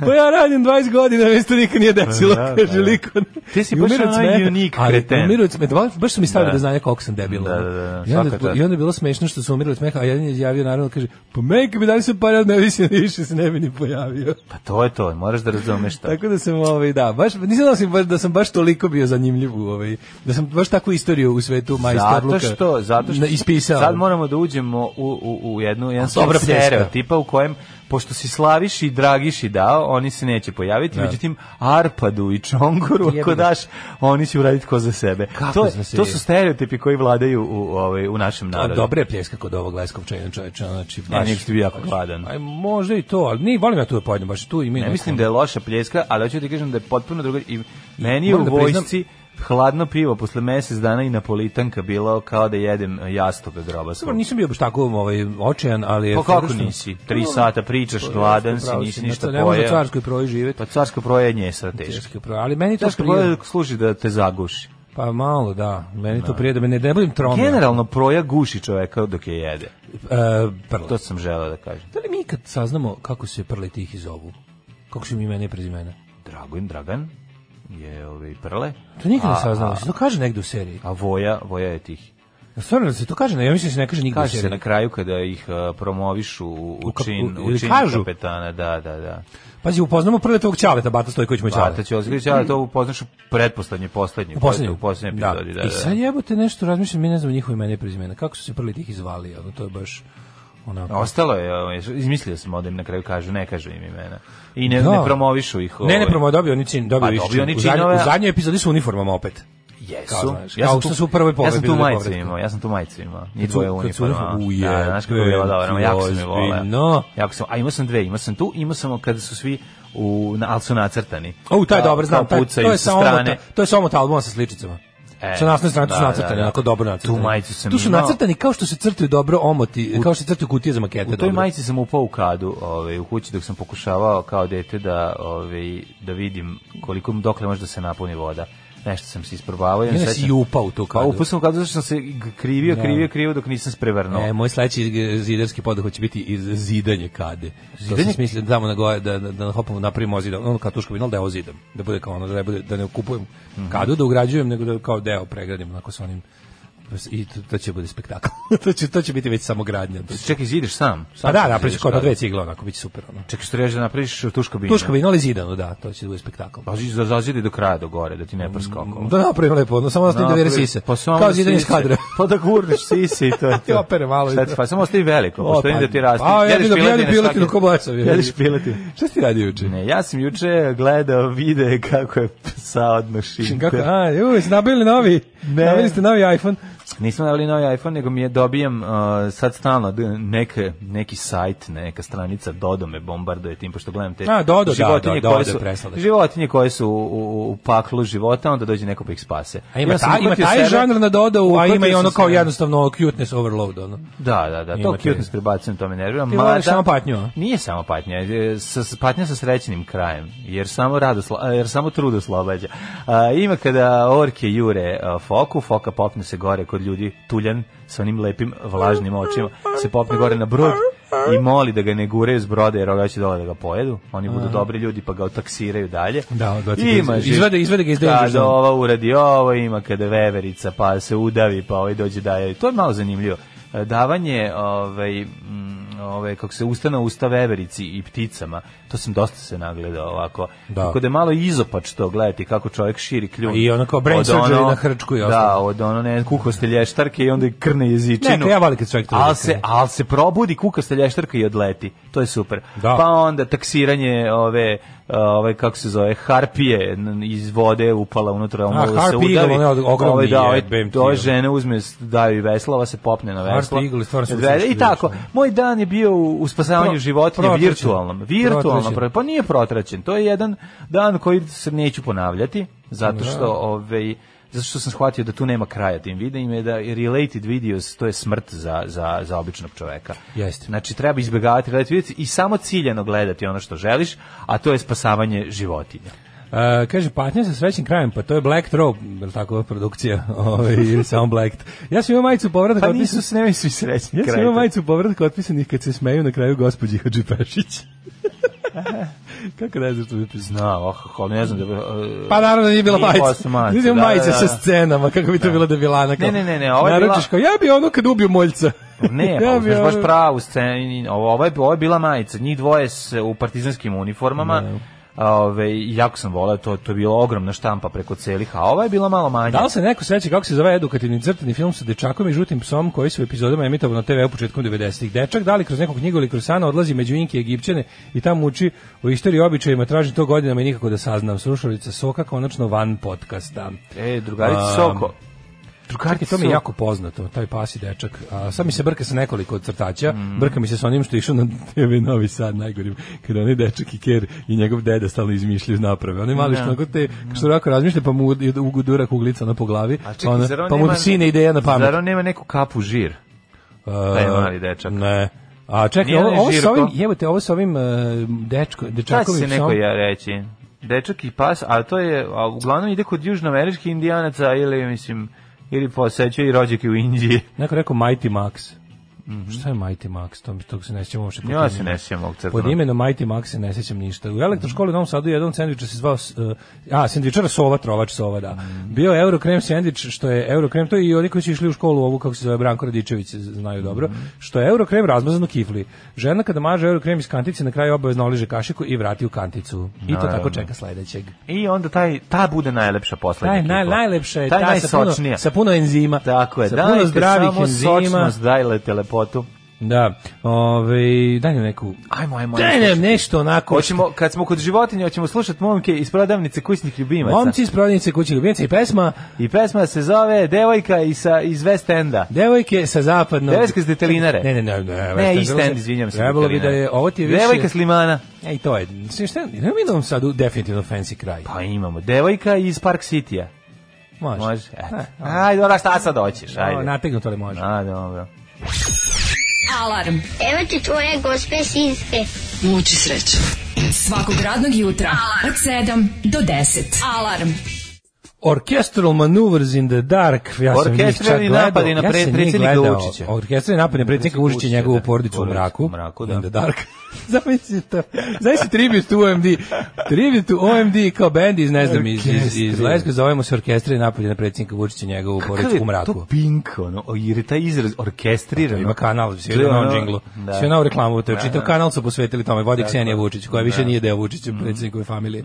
Speaker 5: pa ja radim 20 godina, meni se to nikad nije desilo,
Speaker 6: Da, da.
Speaker 5: kaže liko.
Speaker 6: Ti si
Speaker 5: I
Speaker 6: baš
Speaker 5: umiru od
Speaker 6: onaj
Speaker 5: smeha,
Speaker 6: unik
Speaker 5: ali
Speaker 6: kreten.
Speaker 5: umiru od smeha, dva- baš su mi stavili
Speaker 6: Da.
Speaker 5: da, znanje koliko sam debil.
Speaker 6: Da,
Speaker 5: ono.
Speaker 6: da, da,
Speaker 5: I, onda,
Speaker 6: svaka čast.
Speaker 5: I onda je bilo smešno što su umirali od smeha, a jedan je izjavio naravno, kaže, pa meni kad bi dali sve pare, ne bi se više se ne bi ni pojavio.
Speaker 6: Pa to je to, moraš da razumeš to.
Speaker 5: Tako da sam ovaj da, baš nisam da sam baš da sam baš toliko bio zanimljiv u ovaj da sam baš takvu istoriju u svetu majstorluka.
Speaker 6: Zato što, zato što
Speaker 5: na- ispisao.
Speaker 6: sad moramo da uđemo u, u, u jednu, jedan
Speaker 5: dobra
Speaker 6: sort
Speaker 5: pljeska.
Speaker 6: stereotipa u kojem pošto si Slaviš i Dragiš i dao, oni se neće pojaviti, međutim Arpadu i Čonguru
Speaker 5: Jebe
Speaker 6: ako
Speaker 5: ga.
Speaker 6: daš, oni će uraditi ko za sebe.
Speaker 5: Kako
Speaker 6: to,
Speaker 5: za sebe?
Speaker 6: to su stereotipi koji vladaju u, ovaj, u našem
Speaker 5: A
Speaker 6: narodu.
Speaker 5: dobre pljeska kod ovog leskog čajna čoveča, znači
Speaker 6: Ja
Speaker 5: baš.
Speaker 6: nek ti bi jako gladan.
Speaker 5: Aj možda i to, ali ni volim ja tu da pojedem, baš tu i mi.
Speaker 6: Ne mislim da je loša pljeska, ali hoću ti kažem da je potpuno druga. I meni je u
Speaker 5: moram da priznam-
Speaker 6: vojsci hladno pivo posle mesec dana i napolitanka bilo kao da jedem jastoga groba. svog.
Speaker 5: Dobro, nisam bio baš tako ovaj, očajan, ali... je
Speaker 6: Pa kako
Speaker 5: fora što-
Speaker 6: nisi? Tri sata pričaš,
Speaker 5: Pa
Speaker 6: gladan si,
Speaker 5: Pravo
Speaker 6: nisi
Speaker 5: na
Speaker 6: ništa
Speaker 5: to, Pa Ne možeš na
Speaker 6: pojeo.
Speaker 5: carskoj proji živeti.
Speaker 6: Pa carska projenje je sad teška.
Speaker 5: Teško, Pa ali meni to
Speaker 6: Carska
Speaker 5: prije,
Speaker 6: proja služi da te zaguši.
Speaker 5: pa malo da, meni to prije da me Pa ne debelim tromio.
Speaker 6: Generalno proja guši čoveka dok je jede.
Speaker 5: E, prle.
Speaker 6: To sam želeo da kažem.
Speaker 5: Da li mi ikad saznamo kako se prle tihi zovu? Kako su im imena i prezimena?
Speaker 6: Dragoin Dragan je ovaj prle,
Speaker 5: To nikad ne
Speaker 6: A,
Speaker 5: saznamo,
Speaker 6: a-
Speaker 5: se to kaže negde u seriji.
Speaker 6: a Voja, Voja je tih.
Speaker 5: Stvarno da se to kaže, ja mislim da se ne kaže nigde u
Speaker 6: Kaže se
Speaker 5: seriji.
Speaker 6: na kraju kada ih a, promovišu u, u
Speaker 5: kap-
Speaker 6: čin,
Speaker 5: u-
Speaker 6: u
Speaker 5: ili
Speaker 6: čin
Speaker 5: kažu?
Speaker 6: kapetana, da, da, da.
Speaker 5: Pazi, upoznamo prle tvog Ćaleta, Bata Stojković moj Ćale.
Speaker 6: Bata će ozgledati, ali to upoznaš u pretposlednje, poslednje.
Speaker 5: U poslednjem.
Speaker 6: U poslednje epizodi, da, da.
Speaker 5: I sad jebote nešto razmišljam, mi ne znamo njihove imena i prezimena. Kako su se prli tih izvali, ono, to je baš ono- onako...
Speaker 6: Ostalo je, ovaj, izmislio sam ovdje na kraju kažu, ne kažu im imena. I ne,
Speaker 5: Da.
Speaker 6: ne promovišu ih.
Speaker 5: Ne, ne,
Speaker 6: ovaj.
Speaker 5: promo, dobio oni čin, dobio
Speaker 6: Pa,
Speaker 5: više
Speaker 6: dobio
Speaker 5: čin.
Speaker 6: oni
Speaker 5: U zadnj-
Speaker 6: činove,
Speaker 5: U
Speaker 6: a-
Speaker 5: zadnjoj epizodi su u uniformama opet. Kao,
Speaker 6: Jesu.
Speaker 5: znaš, kao što su u prvoj
Speaker 6: Ja sam
Speaker 5: povredi
Speaker 6: tu
Speaker 5: bili
Speaker 6: majicu
Speaker 5: povredni.
Speaker 6: imao, ja sam tu majicu imao. I
Speaker 5: Kad su-
Speaker 6: dvoje
Speaker 5: kad su
Speaker 6: uniforma.
Speaker 5: uniform-
Speaker 6: Da,
Speaker 5: Ujebem
Speaker 6: znaš kako je bilo dobro, ono,
Speaker 5: ti,
Speaker 6: jako sam je volao.
Speaker 5: ozbiljno.
Speaker 6: Jako sam, a imao sam dve, imao sam tu, imao sam kada su svi u, na, ali su nacrtani.
Speaker 5: O, taj je
Speaker 6: Kao-
Speaker 5: dobar, znam,
Speaker 6: kao
Speaker 5: taj,
Speaker 6: pucaju
Speaker 5: to je ono
Speaker 6: sa
Speaker 5: sa omota,
Speaker 6: strane.
Speaker 5: to je sa omota albuma sa sličicama.
Speaker 6: E,
Speaker 5: sa nasne strane
Speaker 6: da,
Speaker 5: su nacrtani,
Speaker 6: da, da.
Speaker 5: onako dobro nacrtani.
Speaker 6: Tu majicu sam
Speaker 5: Tu su
Speaker 6: imao.
Speaker 5: nacrtani kao što se crtaju dobro omoti, kao što se crtaju kutije za makete.
Speaker 6: U toj
Speaker 5: dobro.
Speaker 6: majici sam upao u kadu, ovaj, u kući dok sam pokušavao kao dete da, ovaj, da vidim koliko dokle može da se napuni voda. Nešto sam se isprobavao. ja
Speaker 5: I onda
Speaker 6: sećam-
Speaker 5: si i upao u tu
Speaker 6: Pa
Speaker 5: kadu.
Speaker 6: upao sam u kadu zato što sam se g- krivio,
Speaker 5: Da.
Speaker 6: krivio, krivio dok nisam sprevrnuo.
Speaker 5: E, moj sledeći g- zidarski poduhvat će biti iz zidanje kade. Zidanje? To sam
Speaker 6: Zidanje?
Speaker 5: smislio da tamo na gore, da, da, da hopamo napravimo zidam, ono kao tuška vinal, da je ozidam, da bude kao ono, da ne, bude, da ne kupujem
Speaker 6: Mhm.
Speaker 5: kadu, da ugrađujem, nego da kao deo pregradim, onako sa onim, i to, to će bude spektakl. to, će, to će biti već samo gradnja. To će-
Speaker 6: Čekaj, zidiš sam? sam
Speaker 5: Pa da,
Speaker 6: ćeš
Speaker 5: napraviš
Speaker 6: zidiš
Speaker 5: kao na
Speaker 6: kadu.
Speaker 5: dve cigle, onako, bit će super. Ono.
Speaker 6: Čekaj, što reži da napraviš tuško binu?
Speaker 5: Tuška vinal i zidano, da, to će da bude spektakl.
Speaker 6: Pa zi- za- zazidi do kraja do gore, da ti ne prska okolo.
Speaker 5: Da napravim lepo, no, samo ostavim da vere
Speaker 6: Napravi-
Speaker 5: sise.
Speaker 6: Pa samo
Speaker 5: kao
Speaker 6: da
Speaker 5: zidanje iz
Speaker 6: sise.
Speaker 5: kadra.
Speaker 6: Pa da gurneš sise i to je
Speaker 5: Ti
Speaker 6: to.
Speaker 5: opere malo i
Speaker 6: Šta ti-
Speaker 5: to.
Speaker 6: Pa samo ostavi veliko,
Speaker 5: O,
Speaker 6: pošto
Speaker 5: pa-
Speaker 6: da ti raste.
Speaker 5: A, ja
Speaker 6: Jedeš
Speaker 5: bi dobio
Speaker 6: piletine
Speaker 5: piletinu
Speaker 6: svake-
Speaker 5: ko bojacovi.
Speaker 6: Jedeš piletinu.
Speaker 5: Šta si ti radio juče?
Speaker 6: Ne, ja sam juče gledao vide kako je psa odno šinte.
Speaker 5: Kako? A, juj, ste nabili novi.
Speaker 6: Ne.
Speaker 5: Nabili ste novi iPhone.
Speaker 6: Nisam nabavili novi iPhone, nego mi je dobijam uh, sad stalno d- neke, neki sajt, neka stranica Dodo me bombarduje tim, pošto gledam te
Speaker 5: A, Dodo, da,
Speaker 6: životinje,
Speaker 5: da,
Speaker 6: koje
Speaker 5: Dodo je
Speaker 6: su,
Speaker 5: presladak.
Speaker 6: životinje koje su u, u, u paklu života, onda dođe neko pa ih spase.
Speaker 5: A ima,
Speaker 6: Ja sam
Speaker 5: taj, ima
Speaker 6: uhvatio
Speaker 5: taj
Speaker 6: sebe-
Speaker 5: žanr na dodao, a
Speaker 6: uhvatio
Speaker 5: ima i
Speaker 6: sam
Speaker 5: ono kao
Speaker 6: sebe.
Speaker 5: jednostavno cuteness overload. Ono.
Speaker 6: Da, da, da, to
Speaker 5: Imate-
Speaker 6: cuteness prebacujem, to me nervira.
Speaker 5: Ti voliš samo patnju, a?
Speaker 6: Nije samo patnja, e, sa, sa- patnja sa srećnim krajem, jer samo, radosla, a, jer samo trud oslobađa. A, ima kada orke jure a, foku, foka popne se gore kod ljudi tuljan sa onim lepim vlažnim očima, se popne gore na brod i moli da ga ne gure s broda jer ovoga će dole da ga pojedu. Oni budu dobri ljudi pa ga otaksiraju dalje.
Speaker 5: Da, odbaci ga iz-
Speaker 6: ima, živ-
Speaker 5: izvede- izvede ga iz danger
Speaker 6: Kada
Speaker 5: zone.
Speaker 6: ova uradi ovo, ima kada veverica pa se udavi, pa ovaj dođe daje. To je malo zanimljivo. E, Davanje, ovaj, mm, ovaj, kako se usta na usta veverici i pticama, to sam dosta se nagledao ovako.
Speaker 5: Da.
Speaker 6: Tako da je malo izopač to gledati kako čovjek širi kljun.
Speaker 5: I ono kao brain
Speaker 6: Od
Speaker 5: surgery
Speaker 6: ono-
Speaker 5: na hrčku i
Speaker 6: Da,
Speaker 5: ostalo.
Speaker 6: od ono ne, kukoste lještarke i onda krne jezičinu.
Speaker 5: Ne, ja volim kad čovjek to
Speaker 6: ali
Speaker 5: uradi.
Speaker 6: se, ali se probudi kukaste lještarka i odleti. To je super.
Speaker 5: Da.
Speaker 6: Pa onda taksiranje ove ove kako se zove harpije n- iz vode upala unutra ono da se
Speaker 5: Harpy Eagle,
Speaker 6: udavi.
Speaker 5: one od- ogromni
Speaker 6: Ovaj, da,
Speaker 5: je,
Speaker 6: ovaj,
Speaker 5: bem ti,
Speaker 6: ove
Speaker 5: ono.
Speaker 6: žene uzme s- daju i vesla, ova se popne na veslo.
Speaker 5: Eagle, stvarno su
Speaker 6: Odvede-
Speaker 5: ucrčili,
Speaker 6: I tako.
Speaker 5: znaš, ono.
Speaker 6: Moj dan je bio u, u spasavanju
Speaker 5: Pro-
Speaker 6: životinja
Speaker 5: protraćen.
Speaker 6: virtualnom. Virtualnom,
Speaker 5: Protraćen.
Speaker 6: pro- pa nije protraćen. To je jedan dan koji se neću ponavljati zato što ovaj zato što sam shvatio da tu nema kraja tim videima i da related videos to je smrt za, za, za običnog čoveka.
Speaker 5: Jeste.
Speaker 6: Znači treba izbjegavati related videos i samo ciljano gledati ono što želiš, a to je spasavanje životinja.
Speaker 5: E, kaže, patnja sa srećnim krajem, pa to je Black Trope, je li tako produkcija? Ovaj, ili samo Black. Ja sam imao majicu povratak
Speaker 6: Pa
Speaker 5: otpisan-
Speaker 6: nisu se nemoj svi srećni.
Speaker 5: Ja sam
Speaker 6: kraj
Speaker 5: imao
Speaker 6: toga.
Speaker 5: majicu povratka otpisanih kad se smeju na kraju gospođi Hadži Pešić. Kako ne znaš što bi pisao?
Speaker 6: Znam, oh, oh, ne znam da bi... eh,
Speaker 5: Pa naravno nije bila
Speaker 6: nije
Speaker 5: majica.
Speaker 6: posle majice,
Speaker 5: Nije
Speaker 6: da,
Speaker 5: majica
Speaker 6: da,
Speaker 5: sa
Speaker 6: da.
Speaker 5: scenama, kako bi to bilo da bilana.
Speaker 6: Ne, ne, ne, ne, ovo je bila-
Speaker 5: Naručiš kao, ja bi ono kad ubio moljca.
Speaker 6: Ne,
Speaker 5: Ja
Speaker 6: pa
Speaker 5: bi
Speaker 6: uzmeš baš
Speaker 5: ono-
Speaker 6: pravu scenu. Ovo, ovo, je, ovo je bila majica. Njih dvoje s, u partizanskim uniformama. Ove, jako sam volao, to, to je bila ogromna štampa preko celih, a ova je bila malo manja.
Speaker 5: Da li se neko seća kako se zove edukativni crtani film sa dečakom i žutim psom koji su u epizodama emitovali na TV u početkom 90-ih? Dečak da li kroz neku knjigu ili kroz sana odlazi među Inke i Egipćane i tamo uči o istoriji i običajima, traži to godinama i nikako da saznam. Slušalica Soka konačno van podcasta.
Speaker 6: E, drugarici
Speaker 5: A,
Speaker 6: Soko.
Speaker 5: Čekaj, to mi je jako poznato, taj pasi dečak. A, sad mi se brka sa nekoliko crtaća,
Speaker 6: Mm.
Speaker 5: brka mi se sa onim što je išao na TV Novi Sad, najgorim, kada onaj dečak i ker i njegov deda stalno izmišljaju naprave. Oni mali što onako te, što ovako razmišlja, pa mu ud- ugudura kuglica na po glavi,
Speaker 6: A
Speaker 5: pa,
Speaker 6: čekaj,
Speaker 5: ona,
Speaker 6: zar on
Speaker 5: pa mu
Speaker 6: nema-
Speaker 5: sine ideja na pamet.
Speaker 6: Zar on nema neku kapu žir? taj mali dečak?
Speaker 5: Ne. A čekaj,
Speaker 6: Nije
Speaker 5: ovo,
Speaker 6: onaj
Speaker 5: ovo sa
Speaker 6: Žirko?
Speaker 5: ovim, jebote, ovo sa ovim e, dečko,
Speaker 6: Šta će
Speaker 5: dečakovim
Speaker 6: se neko
Speaker 5: psom-
Speaker 6: ja reći? Dečak i pas, a to je, a uglavnom ide kod južnoameričkih indijanaca ili, mislim, ili posećuje i rođake u Indiji.
Speaker 5: Neko je rekao Mighty Max. Šta je Mighty Max? To mi tog se ne sjećam uopšte. pod
Speaker 6: Ja
Speaker 5: tim
Speaker 6: Mhm. se
Speaker 5: imenom.
Speaker 6: ne sjećam ovog crtanog.
Speaker 5: Pod imenom Mighty Max se ne sjećam ništa. U elektroškoli u Novom Sadu jedan sendvič se zvao uh, a sendvičara Sova Trovač Sova da.
Speaker 6: Mhm.
Speaker 5: Bio je euro krem sendvič što je euro krem to je i oni koji su išli u školu ovu kako se zove Branko Radičević se znaju dobro
Speaker 6: Mhm.
Speaker 5: što je euro krem razmazan u kifli. Žena kada maže euro krem iz kantice na kraju obavezno oliže kašiku i vrati u kanticu. I to tako
Speaker 6: Naravno.
Speaker 5: čeka sledećeg.
Speaker 6: I onda taj, ta bude najlepša poslednja
Speaker 5: Taj naj,
Speaker 6: kifla.
Speaker 5: najlepša je
Speaker 6: taj
Speaker 5: ta sa puno,
Speaker 6: najsočnija.
Speaker 5: sa puno enzima.
Speaker 6: Tako je,
Speaker 5: sa puno
Speaker 6: dajte
Speaker 5: zdravih
Speaker 6: samo
Speaker 5: enzima.
Speaker 6: sočnost, dajte lepotu.
Speaker 5: Da. Ovaj daj nam neku.
Speaker 6: Ajmo, ajmo.
Speaker 5: Daj nam nešto onako.
Speaker 6: Hoćemo, kad smo kod životinja, hoćemo slušati momke iz prodavnice kućnih ljubimaca.
Speaker 5: Momci iz prodavnice kuće ljubimaca i pesma
Speaker 6: I pesma se zove Devojka i sa, iz West Enda.
Speaker 5: Devojke sa zapadnog...
Speaker 6: Devojke s detelinare.
Speaker 5: Ne, ne, ne. Ne,
Speaker 6: Ne,
Speaker 5: West
Speaker 6: East
Speaker 5: End,
Speaker 6: End, izvinjam se.
Speaker 5: Trebalo bi da
Speaker 6: Katarina.
Speaker 5: je, ovo ti je više...
Speaker 6: Devojka s limana.
Speaker 5: E, i to je. Mislim, šta, ne mi nam sad u definitivno fancy kraj.
Speaker 6: Pa imamo. Devojka iz Park City-a.
Speaker 5: Može.
Speaker 6: Može. eto. Ajde, ona šta sad hoćeš?
Speaker 5: Ajde.
Speaker 6: Ajde.
Speaker 5: Nategnuto ali može.
Speaker 6: A, dobro.
Speaker 2: Alarm.
Speaker 7: Evo ti tvoje gospe sinske.
Speaker 2: Muči sreće. Svakog radnog jutra od 7 do 10. Alarm.
Speaker 5: Orchestral Maneuvers in the Dark. Ja sam njih
Speaker 6: Orkestralni
Speaker 5: čak gledao.
Speaker 6: napadi na
Speaker 5: Ja sam
Speaker 6: pre-
Speaker 5: njih
Speaker 6: predsjednika
Speaker 5: gledao.
Speaker 6: Vučića.
Speaker 5: Orkestralni napad na predsjednika Vučića i
Speaker 6: Vučića,
Speaker 5: njegovu
Speaker 6: da.
Speaker 5: porodicu u
Speaker 6: Porodicu
Speaker 5: mraku.
Speaker 6: u mraku, da.
Speaker 5: In the Dark. Zamisli to. Zamisli tribute to OMD. Tribute to OMD kao band iz, ne znam, iz, iz, iz
Speaker 6: Orkestri.
Speaker 5: Leska. Zovemo se Orkestralni napadi na predsjednika Vučića i njegovu porodicu u mraku.
Speaker 6: to pink, ono, o, jer je taj izraz orkestrirano.
Speaker 5: Ima kanal, svi
Speaker 6: To je
Speaker 5: na ovom
Speaker 6: ono-
Speaker 5: džinglu.
Speaker 6: Da.
Speaker 5: Svi na ovu reklamu, to je čitav
Speaker 6: da.
Speaker 5: kanal su posvetili tome, vodi Ksenija Vučić, koja više nije deo Vučića,
Speaker 6: Mhm.
Speaker 5: predsjednikove familije.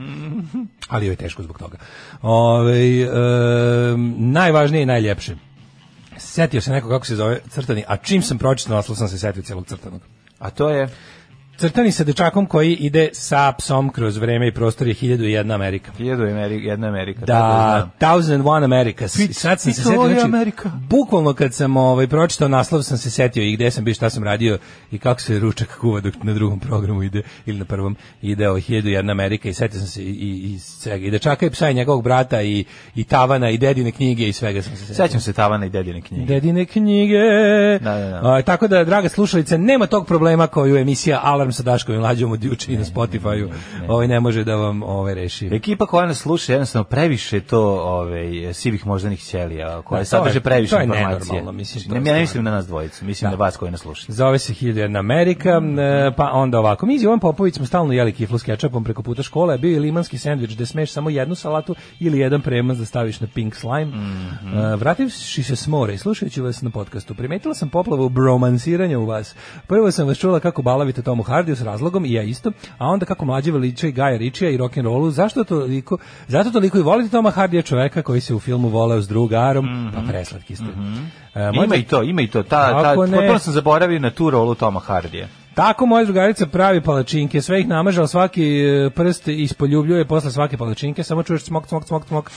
Speaker 5: Ali joj je teško zbog toga. Ovaj em, najvažnije i najljepše. Setio se neko kako se zove crtani, a čim sam pročitao naslov sam se setio celog crtanog.
Speaker 6: A to je...
Speaker 5: Crtani sa dečakom koji ide sa psom kroz vreme i prostor je 1001 Amerika.
Speaker 6: Hiljadu Ameri- jedna Amerika. tako
Speaker 5: Da,
Speaker 6: znam.
Speaker 5: 1001 America.
Speaker 6: Pit-
Speaker 5: Sad sam se
Speaker 6: Pitola
Speaker 5: setio,
Speaker 6: je
Speaker 5: znači,
Speaker 6: Amerika.
Speaker 5: bukvalno kad sam ovaj, pročitao naslov, sam se setio i gde sam bio, šta sam radio i kako se ručak kuva dok na drugom programu ide, ili na prvom, ide o 1001 Amerika i setio sam se i, i, i svega. I da čaka i psa i njegovog brata i, i tavana i dedine knjige i svega sam se setio.
Speaker 6: Sećam se Tavana i Dedine knjige.
Speaker 5: Dedine knjige.
Speaker 6: Da, da, da.
Speaker 5: A, tako da, draga slušalice, nema tog problema koju emisija Alarm sa Daškom i Mlađom od juče i na Spotify-u. Ovaj ne može da vam ovaj reši.
Speaker 6: Ekipa koja nas sluša jednostavno previše je to ovaj sivih moždanih ćelija koja
Speaker 5: Da, to
Speaker 6: sadrže
Speaker 5: je-
Speaker 6: previše
Speaker 5: to je
Speaker 6: informacije.
Speaker 5: nenormalno, mislim, to
Speaker 6: ne,
Speaker 5: je
Speaker 6: ja ne
Speaker 5: stvarno.
Speaker 6: mislim na nas dvojicu, mislim na vas koji nas slušate.
Speaker 5: Zove se 1001 Amerika, e, pa onda ovako. Mi s Jovan Popović smo stalno jeli kiflu s kečapom preko puta škole. Bio je limanski sandvič da smeš samo jednu salatu ili jedan premaz da staviš na pink slime. E, Vrativši se s more i slušajući vas na podcastu, primetila sam poplavu bromansiranja u vas. Prvo sam vas čula kako balavite Tomu Hardiju s razlogom i ja isto, a onda kako mlađe veliče i Gaja Ričija i rock'n'rollu. Zašto toliko, zato toliko i volite Toma Hardija čoveka koji se u filmu voleo s drugarom, pa preslatki ste. E, moja
Speaker 6: Ima i to, ima i to. Ta, ta,
Speaker 5: Kako ne?
Speaker 6: potpuno sam zaboravio na tu rolu Toma Hardija.
Speaker 5: Tako moja drugarica pravi palačinke, sve ih namaže, ali svaki e, prst ispoljubljuje posle svake palačinke, samo čuješ smok, smok, smok, smok.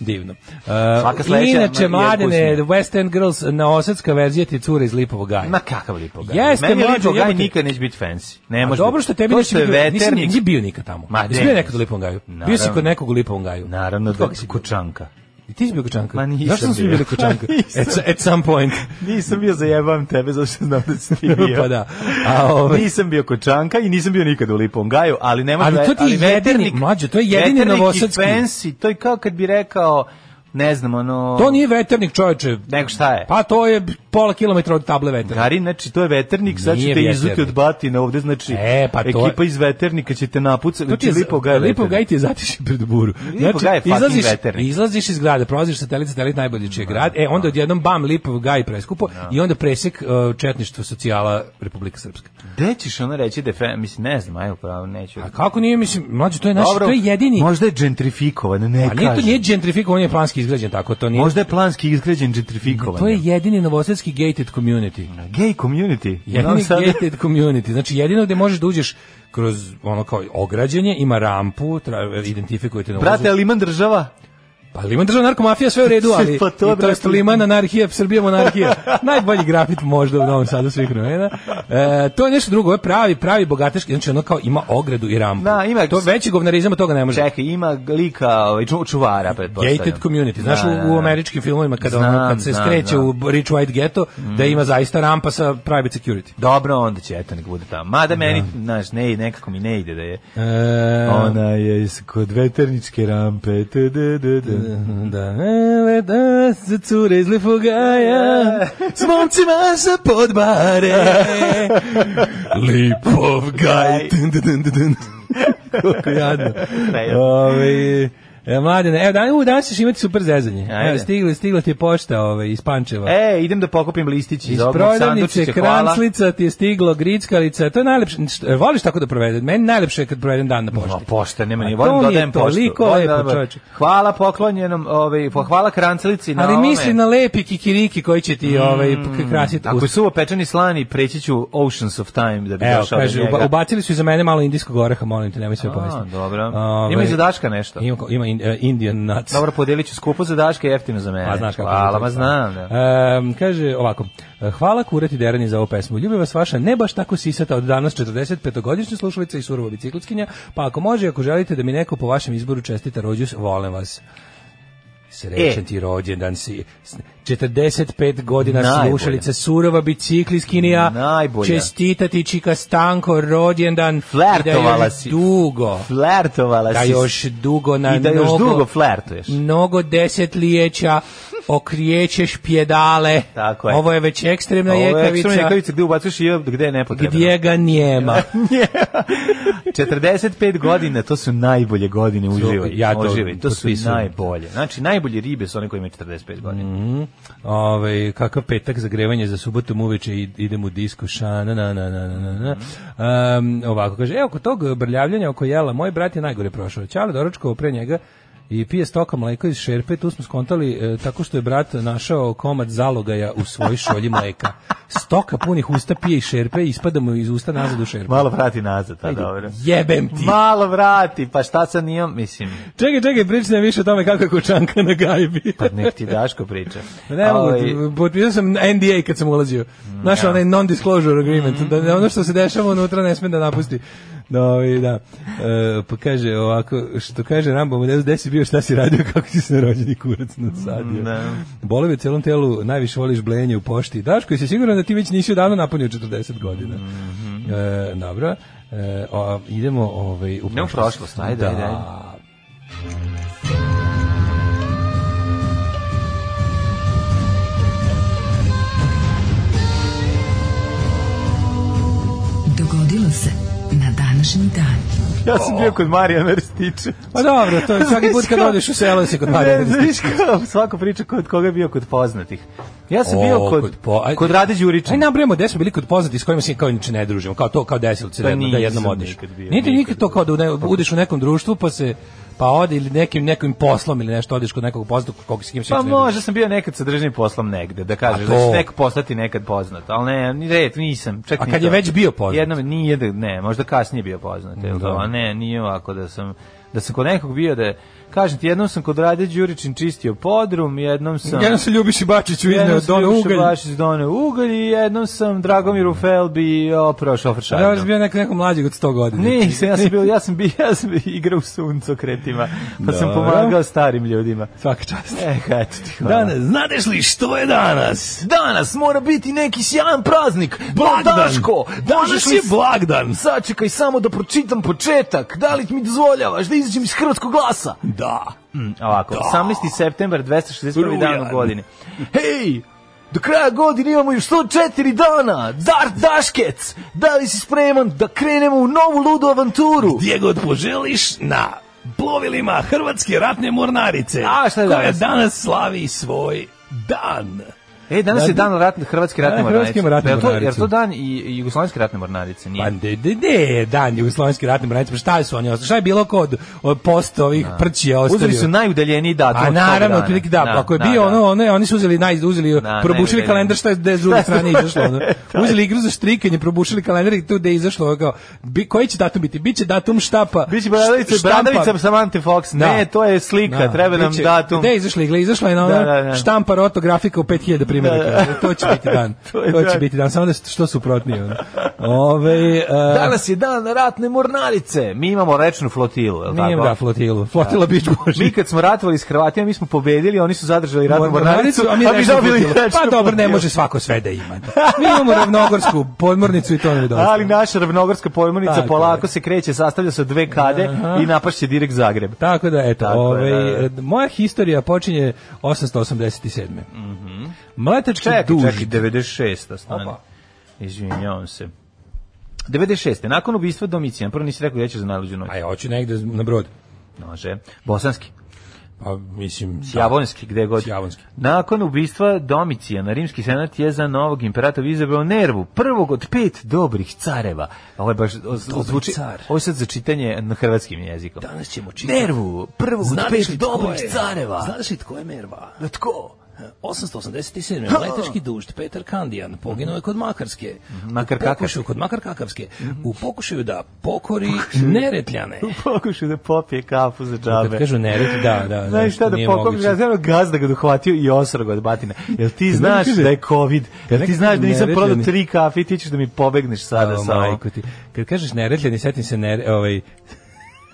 Speaker 5: Divno. Uh,
Speaker 6: Svaka sledeća je
Speaker 5: inače, mladene,
Speaker 6: vkusnija.
Speaker 5: West End Girls na osetska verzija ti cure iz Lipovog gaja.
Speaker 6: Ma kakav lipo gaj.
Speaker 5: Jeste,
Speaker 6: Meni
Speaker 5: mlađe,
Speaker 6: lipo gaj
Speaker 5: jebote.
Speaker 6: nikad neće biti fancy. Ne
Speaker 5: A
Speaker 6: može.
Speaker 5: dobro
Speaker 6: biti.
Speaker 5: što tebi
Speaker 6: to
Speaker 5: nisi
Speaker 6: što je
Speaker 5: bio, nisi,
Speaker 6: veternik.
Speaker 5: nisi bio nikad tamo.
Speaker 6: Ma,
Speaker 5: Jesi
Speaker 6: de,
Speaker 5: bio nekad u Lipovom gaju? Bio si
Speaker 6: Naravno.
Speaker 5: kod nekog u Lipovom gaju.
Speaker 6: Naravno da
Speaker 5: Kako si
Speaker 6: kod čanka.
Speaker 5: I ti si bio kočanka?
Speaker 6: Ma, nisam
Speaker 5: Zašto
Speaker 6: bio.
Speaker 5: bili kočanka?
Speaker 6: Ma, nisam.
Speaker 5: at, at some point.
Speaker 6: Nisam bio zajebam tebe, zato što znam da si ti bio.
Speaker 5: pa da. A, ovaj,
Speaker 6: Nisam bio kod Čanka i nisam bio nikad u Lipom Gaju, ali ne može
Speaker 5: Ali to ti je jedini,
Speaker 6: veternik-
Speaker 5: mlađe, to je jedini
Speaker 6: veternik i
Speaker 5: novosadski.
Speaker 6: fancy, to je kao kad bi rekao, ne znam, ono...
Speaker 5: to nije veternik čoveče.
Speaker 6: Nego šta je?
Speaker 5: Pa to je pola kilometra od table veternika.
Speaker 6: Garin, znači to je veternik, sad
Speaker 5: Nije
Speaker 6: ćete izuti
Speaker 5: veternik.
Speaker 6: od batina ovde, znači
Speaker 5: E, pa to je-
Speaker 6: ekipa iz veternika će te napucati,
Speaker 5: To ti
Speaker 6: znači
Speaker 5: je
Speaker 6: Lipo Gaj je
Speaker 5: Lipov
Speaker 6: veternik.
Speaker 5: gaj ti je zatiši pred buru. Znači,
Speaker 6: Gaj je fucking
Speaker 5: izlaziš,
Speaker 6: veternik.
Speaker 5: izlaziš iz grada, prolaziš satelit, satelit najbolji čiji je grad, e, onda odjednom bam, Lipov gaj preskupo i onda presjek uh, četništvo socijala Republika Srpska.
Speaker 6: Gde ćeš ono reći da je fe- mislim, ne znam, ajde, pravo, neću.
Speaker 5: A kako nije, mislim, mlađe, to je naš,
Speaker 6: Dobro,
Speaker 5: to je jedini...
Speaker 6: Možda je gentrifikovan, ne
Speaker 5: a nije to
Speaker 6: kažem.
Speaker 5: nije gentrifikovan, on je planski izgrađen tako, to nije...
Speaker 6: Možda je planski izgrađen gentrifikovan.
Speaker 5: To je jedini novosadski gated community.
Speaker 6: gay community. U Novom
Speaker 5: Jedini
Speaker 6: Sadu-
Speaker 5: gated community. Znači jedino gde možeš da uđeš kroz ono kao ograđenje, ima rampu, tra, identifikujete na ulazu.
Speaker 6: Brate, ali imam država?
Speaker 5: Pa Liman država narkomafija sve u redu, ali
Speaker 6: Pa
Speaker 5: pa
Speaker 6: to,
Speaker 5: to, to je
Speaker 6: brate.
Speaker 5: Liman anarhija, Srbija monarhija. Najbolji grafit možda u Novom Sadu svih vremena. E, to je nešto drugo, ovo je pravi, pravi bogateški, znači ono kao ima ogradu i rampu.
Speaker 6: Da, ima-
Speaker 5: To veći govnarizam od toga ne može.
Speaker 6: Čekaj, ima lika ovaj, ču- čuvara, pretpostavljam.
Speaker 5: Gated community. Znaš,
Speaker 6: Da, da,
Speaker 5: u, u
Speaker 6: da.
Speaker 5: američkim filmovima kada, ono,
Speaker 6: Znam,
Speaker 5: kad se
Speaker 6: znam,
Speaker 5: skreće
Speaker 6: znam. Mm.
Speaker 5: u Rich White Ghetto, da ima zaista rampa sa private security.
Speaker 6: Dobro, onda će, eto, nek bude tamo. Mada meni, znaš, ne, nekako mi ne ide da je.
Speaker 5: E,
Speaker 6: Ona je iz- kod veterničke rampe. tu, du, du, du.
Speaker 5: Da, evo da se cure iz Lipogaja S momcima sa podbare Lipov gaj Dun, dun, dun, dun, dun. Koliko jadno
Speaker 6: Ne.
Speaker 5: Ove, E, mladine, evo, dan, u, danas ćeš imati super zezanje.
Speaker 6: Ajde.
Speaker 5: Evo, stigla, stigla ti je pošta ove, iz Pančeva.
Speaker 6: E, idem da pokupim listić iz
Speaker 5: iz
Speaker 6: ovog
Speaker 5: prodavnice,
Speaker 6: sandučića, hvala.
Speaker 5: kranclica ti je stiglo, grickalica, to je najlepše. Što- e, Voliš tako da provedem? Meni najlepše je kad provedem dan na
Speaker 6: Ma
Speaker 5: pošti.
Speaker 6: pošta, nema ni,
Speaker 5: A
Speaker 6: volim
Speaker 5: to mi je
Speaker 6: dodajem poštu.
Speaker 5: toliko
Speaker 6: Volim
Speaker 5: lepo,
Speaker 6: dodajem-
Speaker 5: čoveče.
Speaker 6: Hvala poklonjenom, ovaj, po- hvala krancelici na
Speaker 5: Ali
Speaker 6: ovome.
Speaker 5: misli na lepi kikiriki koji će ti ovaj, p-
Speaker 6: Mm,
Speaker 5: krasiti
Speaker 6: Ako
Speaker 5: usta.
Speaker 6: je suvo pečeni slani, preći ću Oceans of Time da bi
Speaker 5: Evo,
Speaker 6: došao
Speaker 5: kaže,
Speaker 6: do njega.
Speaker 5: uba- ubacili su i za mene malo indijskog oreha, molim te, nemoj sve
Speaker 6: A,
Speaker 5: povesti.
Speaker 6: dobro.
Speaker 5: Ovaj,
Speaker 6: Ima i za Daška nešto.
Speaker 5: Ima, ko- ima in- e, Indian nuts.
Speaker 6: Dobro, podelit ću skupo za Daška i jeftino za mene.
Speaker 5: A Pa znaš kako
Speaker 6: E, Hvala,
Speaker 5: je to
Speaker 6: ma
Speaker 5: stvarno.
Speaker 6: znam. Da.
Speaker 5: Em, kaže ovako, hvala kurati derani za ovu pesmu. Ljubi vas vaša ne baš tako sisata od danas 45-godišnja slušalica i surova biciklistkinja, pa ako može, ako želite da mi neko po vašem izboru čestita rođus, volim vas. Srećan
Speaker 6: E.
Speaker 5: ti rođendan si. S- 45 godina
Speaker 6: Najbolja.
Speaker 5: slušalice surova biciklistkinja.
Speaker 6: Najbolja.
Speaker 5: Čestitati Čika Stanko rođendan. i da
Speaker 6: Flertovala
Speaker 5: još
Speaker 6: si.
Speaker 5: dugo.
Speaker 6: Flertovala
Speaker 5: Da
Speaker 6: si.
Speaker 5: još dugo na
Speaker 6: I da još
Speaker 5: mnogo-
Speaker 6: dugo flertuješ.
Speaker 5: mnogo desetljeća okrijećeš pjedale.
Speaker 6: Tako je.
Speaker 5: Ovo je već ekstremna
Speaker 6: Ovo je
Speaker 5: jekavica,
Speaker 6: ekstremna jekavica gde ubacuješ i gde je nepotrebno.
Speaker 5: gdje ga njema.
Speaker 6: 45 godina, to su najbolje godine uživaj.
Speaker 5: ja to
Speaker 6: uživaj. to su
Speaker 5: potpisujem. Mm.
Speaker 6: najbolje. Znači, najbolje ribe su one koje imaju 45 godina.
Speaker 5: Ove, Ovaj, kakav petak zagrevanje za subotom uveče i- idem u disku ša, na, na, na, na, na, na, na. "E, Um, ovako kaže, evo, kod tog brljavljanja oko jela, moj brat je najgore prošao. Ćale doručkovo pre njega i pije stoka mleka iz šerpe, tu smo skontali e, tako što je brat našao komad zalogaja u svojoj šolji mleka. Stoka punih usta pije iz šerpe i ispada mu iz usta nazad u šerpe.
Speaker 6: Malo vrati nazad, a dobro.
Speaker 5: Jebem ti!
Speaker 6: Malo vrati, pa šta sad nije, mislim,
Speaker 5: Čekaj, čekaj, pričaj nam više o tome kako je kočanka na gajbi.
Speaker 6: pa nek ti Daško priča.
Speaker 5: Ne mogu,
Speaker 6: Ovaj,
Speaker 5: ti, potpisao sam NDA kad sam ulazio.
Speaker 6: Mm,
Speaker 5: Znaš, onaj non-disclosure agreement, da ono što se dešava unutra ne sme da napusti. No, i da. E, pa kaže ovako, što kaže Rambo, ne znam gde si bio, šta si radio, kako ti se na rođeni kurac nasadio.
Speaker 6: Mm, Da.
Speaker 5: Bolovi u celom telu, najviše voliš blenje u pošti. Daško, jesi siguran da ti već nisi odavno napunio 40 godina? E, dobro. E, o, idemo ovaj, u
Speaker 6: Ne Mhm. u prošlost, ajde,
Speaker 5: Da.
Speaker 6: ajde, ajde.
Speaker 8: Dogodilo se na današnji dan.
Speaker 6: Ja sam bio kod Marijana Ristića.
Speaker 5: Pa dobro, to je svaki put kad odeš u selo se kod Marijana
Speaker 6: Ne,
Speaker 5: Ristića.
Speaker 6: znaš kao, svako priča kod koga je bio kod poznatih. Ja sam
Speaker 5: O,
Speaker 6: bio kod,
Speaker 5: kod
Speaker 6: kod,
Speaker 5: po- aj-
Speaker 6: Rade
Speaker 5: Aj
Speaker 6: Đurića.
Speaker 5: nabrojamo gde smo bili kod poznati s kojima se kao inače ne družimo, kao to kao desilo
Speaker 6: Pa
Speaker 5: se da, jedno, da jednom
Speaker 6: nisam
Speaker 5: odeš.
Speaker 6: nikad bio,
Speaker 5: Nije ti
Speaker 6: nikad
Speaker 5: nikad to kao da u ne- budeš u nekom društvu pa se pa ode ili nekim nekim poslom ili nešto odeš kod nekog poznatog kog s kim se
Speaker 6: Pa
Speaker 5: inače ne družiš.
Speaker 6: možda sam bio nekad sa državnim poslom negde, da kažeš,
Speaker 5: A to-
Speaker 6: da ćeš tek postati nekad poznat, ali ne, ni red, nisam. Čak
Speaker 5: A
Speaker 6: ni
Speaker 5: kad
Speaker 6: to.
Speaker 5: je već bio poznat?
Speaker 6: Jednom, nije, da, ne, možda kasnije bio poznat, jel
Speaker 5: Da.
Speaker 6: to, a ne, nije ovako da sam, da sam kod nekog bio da, kažem ti, jednom sam kod Rade Đurićin čistio podrum, jednom sam...
Speaker 5: Jednom se Ljubiši Bačiću izneo
Speaker 6: Jednom sam
Speaker 5: dono
Speaker 6: Ljubiša
Speaker 5: ugalj.
Speaker 6: Bašić doneo ugalj i jednom sam Dragomiru Felbi oprao
Speaker 5: Da ja
Speaker 6: šofer
Speaker 5: sam bio neko, neko mlađeg od 100 godina.
Speaker 6: Nisam, ja sam bio, ja sam bio, ja sam igrao u suncokretima, pa sam
Speaker 5: Dobro.
Speaker 6: pomagao starim ljudima.
Speaker 5: Svaka čast.
Speaker 6: E, eto ti hvala.
Speaker 5: Danas, znadeš li što je danas?
Speaker 6: Danas mora biti neki sjajan praznik.
Speaker 5: Blagdan.
Speaker 6: Daško,
Speaker 5: Danas
Speaker 6: možeš
Speaker 5: je
Speaker 6: li-
Speaker 5: blagdan.
Speaker 6: Sačekaj samo da pročitam početak. Da li mi dozvoljavaš da izađem iz hrvatskog glasa?
Speaker 5: Da.
Speaker 6: Mm, Ovako, 18. septembar, 261. dan
Speaker 5: Rujan.
Speaker 6: u godini. Hej, do kraja godine imamo još 104 dana. Dar Daškec, da li si spreman da krenemo u novu ludu avanturu?
Speaker 5: Gdje god poželiš na plovilima Hrvatske ratne mornarice.
Speaker 6: A, šta je koja danas?
Speaker 5: slavi svoj dan.
Speaker 6: E, danas
Speaker 5: Da,
Speaker 6: je dan ratne, Hrvatske ratne
Speaker 5: Da,
Speaker 6: mornarice.
Speaker 5: Hrvatske ratne
Speaker 6: Jel to- Jel
Speaker 5: mornarice.
Speaker 6: to dan i, i Jugoslovenske ratne mornarice? Nije.
Speaker 5: Pa de, de, de, dan jugoslovenski ratni branici, pa šta su oni ostali? Šta je bilo kod od post ovih prćija ostavio?
Speaker 6: Uzeli su najudaljeniji datum.
Speaker 5: A
Speaker 6: od tog
Speaker 5: naravno,
Speaker 6: dana.
Speaker 5: otprilike da,
Speaker 6: Da,
Speaker 5: ako je
Speaker 6: da,
Speaker 5: bio
Speaker 6: da.
Speaker 5: ono, one, oni su uzeli naj uzeli
Speaker 6: Da,
Speaker 5: probušili
Speaker 6: najbolje.
Speaker 5: kalendar šta je gde s druge strane izašlo. Ono. Uzeli igru za štrikanje, probušili kalendar i tu gde je izašlo ono kao bi, koji će datum biti? Biće datum štapa.
Speaker 6: Biće bradavica,
Speaker 5: štampa-
Speaker 6: bradavica Samantha Fox.
Speaker 5: Da.
Speaker 6: Ne, to je slika, treba nam
Speaker 5: biće-
Speaker 6: datum.
Speaker 5: Gde je izašla igla? Izašla je na ono
Speaker 6: Da, da, da.
Speaker 5: štampar autografika u 5000 primjeraka. To će biti dan.
Speaker 6: To je
Speaker 5: to, će
Speaker 6: dan.
Speaker 5: biti dan. Samo da s- što suprotnije. Ono. Ove, e,
Speaker 6: Danas je dan ratne mornarice. Mi imamo rečnu flotilu, je li
Speaker 5: Nije
Speaker 6: tako?
Speaker 5: da flotilu. Flotila bić
Speaker 6: Mi
Speaker 5: može.
Speaker 6: kad smo ratovali s Hrvatima, mi smo pobedili, oni su zadržali ratnu mornaricu,
Speaker 5: a mi rečnu flotilu. Pa dobro, ne
Speaker 6: flotilu.
Speaker 5: može svako sve da ima. Mi imamo ravnogorsku podmornicu i to ne dosta.
Speaker 6: Ali naša ravnogorska pojmovnica
Speaker 5: Tako
Speaker 6: polako se kreće, sastavlja se od dve kade
Speaker 5: Aha.
Speaker 6: i napašće direkt Zagreb.
Speaker 5: Tako da, eto,
Speaker 6: Tako je,
Speaker 5: ovaj,
Speaker 6: da, da.
Speaker 5: e, moja historija počinje 887. Mm Mletački
Speaker 6: Mhm. Čekaj,
Speaker 5: duž.
Speaker 6: čekaj, 96. stani.
Speaker 5: Opa.
Speaker 6: Izvinjavam se. 96. Nakon ubistva Domicijan, prvo nisi rekao gdje ćeš za najluđu noć.
Speaker 5: Aj, hoću negde na brod.
Speaker 6: Može. Bosanski.
Speaker 5: Pa, mislim... da.
Speaker 6: Sjavonski, gde god.
Speaker 5: Sjavonski.
Speaker 6: Nakon ubistva Domicijana, rimski senat je za novog imperatora izabrao Nervu, prvog od pet dobrih careva. Ovo je baš o- zvuči,
Speaker 5: car.
Speaker 6: ovo je sad za čitanje na hrvatskim jezikom.
Speaker 5: Danas ćemo čitati.
Speaker 6: Nervu, prvog od pet dobrih careva.
Speaker 5: Znaš li tko je Merva?
Speaker 6: Da tko?
Speaker 5: 887.
Speaker 6: Ha!
Speaker 5: Letački dužd Petar Kandijan poginuo je kod Makarske.
Speaker 6: Mhm. Makar Mhm.
Speaker 5: U pokušaju, kod Makar Kakavske. U pokušaju da pokori Neretljane.
Speaker 6: Pokušao da popije kafu za
Speaker 5: Kad
Speaker 6: džabe.
Speaker 5: kažu Neret, da, da. da,
Speaker 6: Znaš šta da
Speaker 5: nije
Speaker 6: pokom
Speaker 5: moguće.
Speaker 6: ja znam gazda ga dohvatio i osro ga od batine. Jel ti
Speaker 5: neko
Speaker 6: znaš
Speaker 5: kaže-
Speaker 6: da je covid?
Speaker 5: kad
Speaker 6: Jel ti
Speaker 5: neko
Speaker 6: znaš da
Speaker 5: kaže
Speaker 6: nisam prodao
Speaker 5: neretljani-
Speaker 6: tri kafe i ti ćeš da mi pobegneš sada
Speaker 5: O,
Speaker 6: sa ovom?
Speaker 5: majko ti. Kad kažeš Neretljani, setim se nere, ovaj,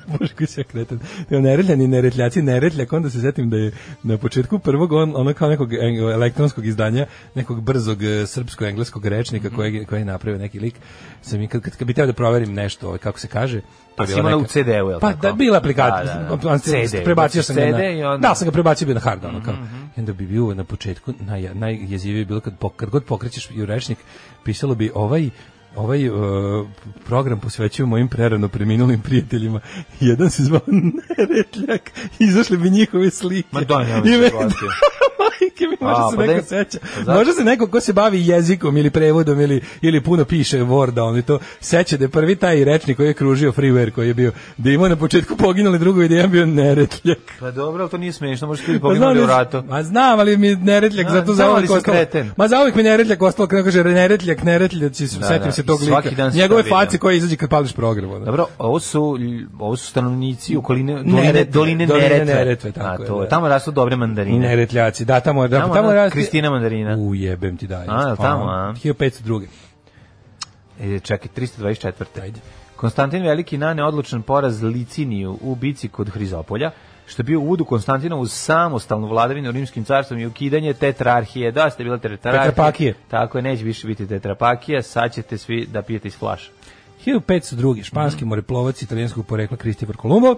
Speaker 5: Bože, kako si ja kretan. Evo, Neretljani, neretljaci, neretljak, onda se setim da je na početku prvog on, ono kao nekog eng- elektronskog izdanja, nekog brzog e, srpsko-engleskog rečnika kojeg, koji je napravio neki lik, sam i kad, kad, kad bi teo da proverim nešto, ovaj, kako se kaže,
Speaker 6: Pa
Speaker 5: je
Speaker 6: si
Speaker 5: bila
Speaker 6: imala u
Speaker 5: neka-
Speaker 6: CD-u, jel
Speaker 5: Pa
Speaker 6: tako?
Speaker 5: da, bila aplikacija,
Speaker 6: Da, da, da. CD,
Speaker 5: prebacio sam ga na,
Speaker 6: CD i onda- Mhm.
Speaker 5: da, sam ga prebacio bio na hard, ono kao. I onda bi bio na početku, naj, najjezivije je bilo kad, pok- kad god pokrećeš i u rečnik, pisalo bi ovaj ovaj e, program posvećuju mojim prerano preminulim prijateljima. Jedan se zvao Neretljak, izašli bi njihove slike.
Speaker 6: Ma daj, nemoj
Speaker 5: I
Speaker 6: se
Speaker 5: me-
Speaker 6: hvatio.
Speaker 9: slike, mi možda
Speaker 6: A,
Speaker 9: se
Speaker 6: pa
Speaker 9: neko
Speaker 6: da je-
Speaker 9: seća.
Speaker 6: zato-
Speaker 9: Možda se neko ko se bavi jezikom ili prevodom ili, ili puno piše Worda, on i to seća da je prvi taj rečnik koji je kružio freeware koji je bio, da je imao na početku poginuli drugo i da je jedan bio neretljak.
Speaker 6: Pa dobro, ali to nije smiješno, možeš ti
Speaker 9: Pa
Speaker 6: poginuli u
Speaker 9: ali-
Speaker 6: ratu.
Speaker 9: Ma znam, ali mi je neretljak,
Speaker 6: A,
Speaker 9: zato
Speaker 6: znam,
Speaker 9: za
Speaker 6: ali
Speaker 9: uvijek
Speaker 6: sam
Speaker 9: ostalo.
Speaker 6: kreten.
Speaker 9: Ma za uvijek mi je neretljak ostalo, kada kaže neretljak, neretljak, si, da, setim
Speaker 6: da,
Speaker 9: se tog
Speaker 6: svaki
Speaker 9: lika.
Speaker 6: dan se
Speaker 9: Njegove
Speaker 6: to vidim.
Speaker 9: face koje izađe kad pališ program. ono.
Speaker 6: Dobro, ovo su, lj- ovo su stanovnici okoline, doline,
Speaker 9: Neretve,
Speaker 6: doline,
Speaker 9: doline
Speaker 6: Neretve.
Speaker 9: Neretve, tako
Speaker 6: A,
Speaker 9: je,
Speaker 6: to,
Speaker 9: da.
Speaker 6: Tamo rastu dobre mandarine.
Speaker 9: Neretljaci, da, tamo, da,
Speaker 6: Tamo,
Speaker 9: tamo,
Speaker 6: ono,
Speaker 9: rasti-
Speaker 6: Kristina mandarina.
Speaker 9: Ujebem ti da. ono.
Speaker 6: A, tamo, a?
Speaker 9: 1502.
Speaker 6: E, čekaj, 324.
Speaker 9: Ajde.
Speaker 6: Konstantin Veliki nane odlučan poraz Liciniju u bici kod Hrizopolja, što je bio uvod u Konstantinovu samostalnu vladavinu u Rimskim carstvom i ukidanje tetrarhije. Da, ste bila tetrarhije.
Speaker 9: Tetrapakije.
Speaker 6: Tako je, neće više biti tetrapakija, sad ćete svi da pijete iz flaša.
Speaker 9: 1502. Španski moreplovac italijanskog porekla Kristifor Kolumbo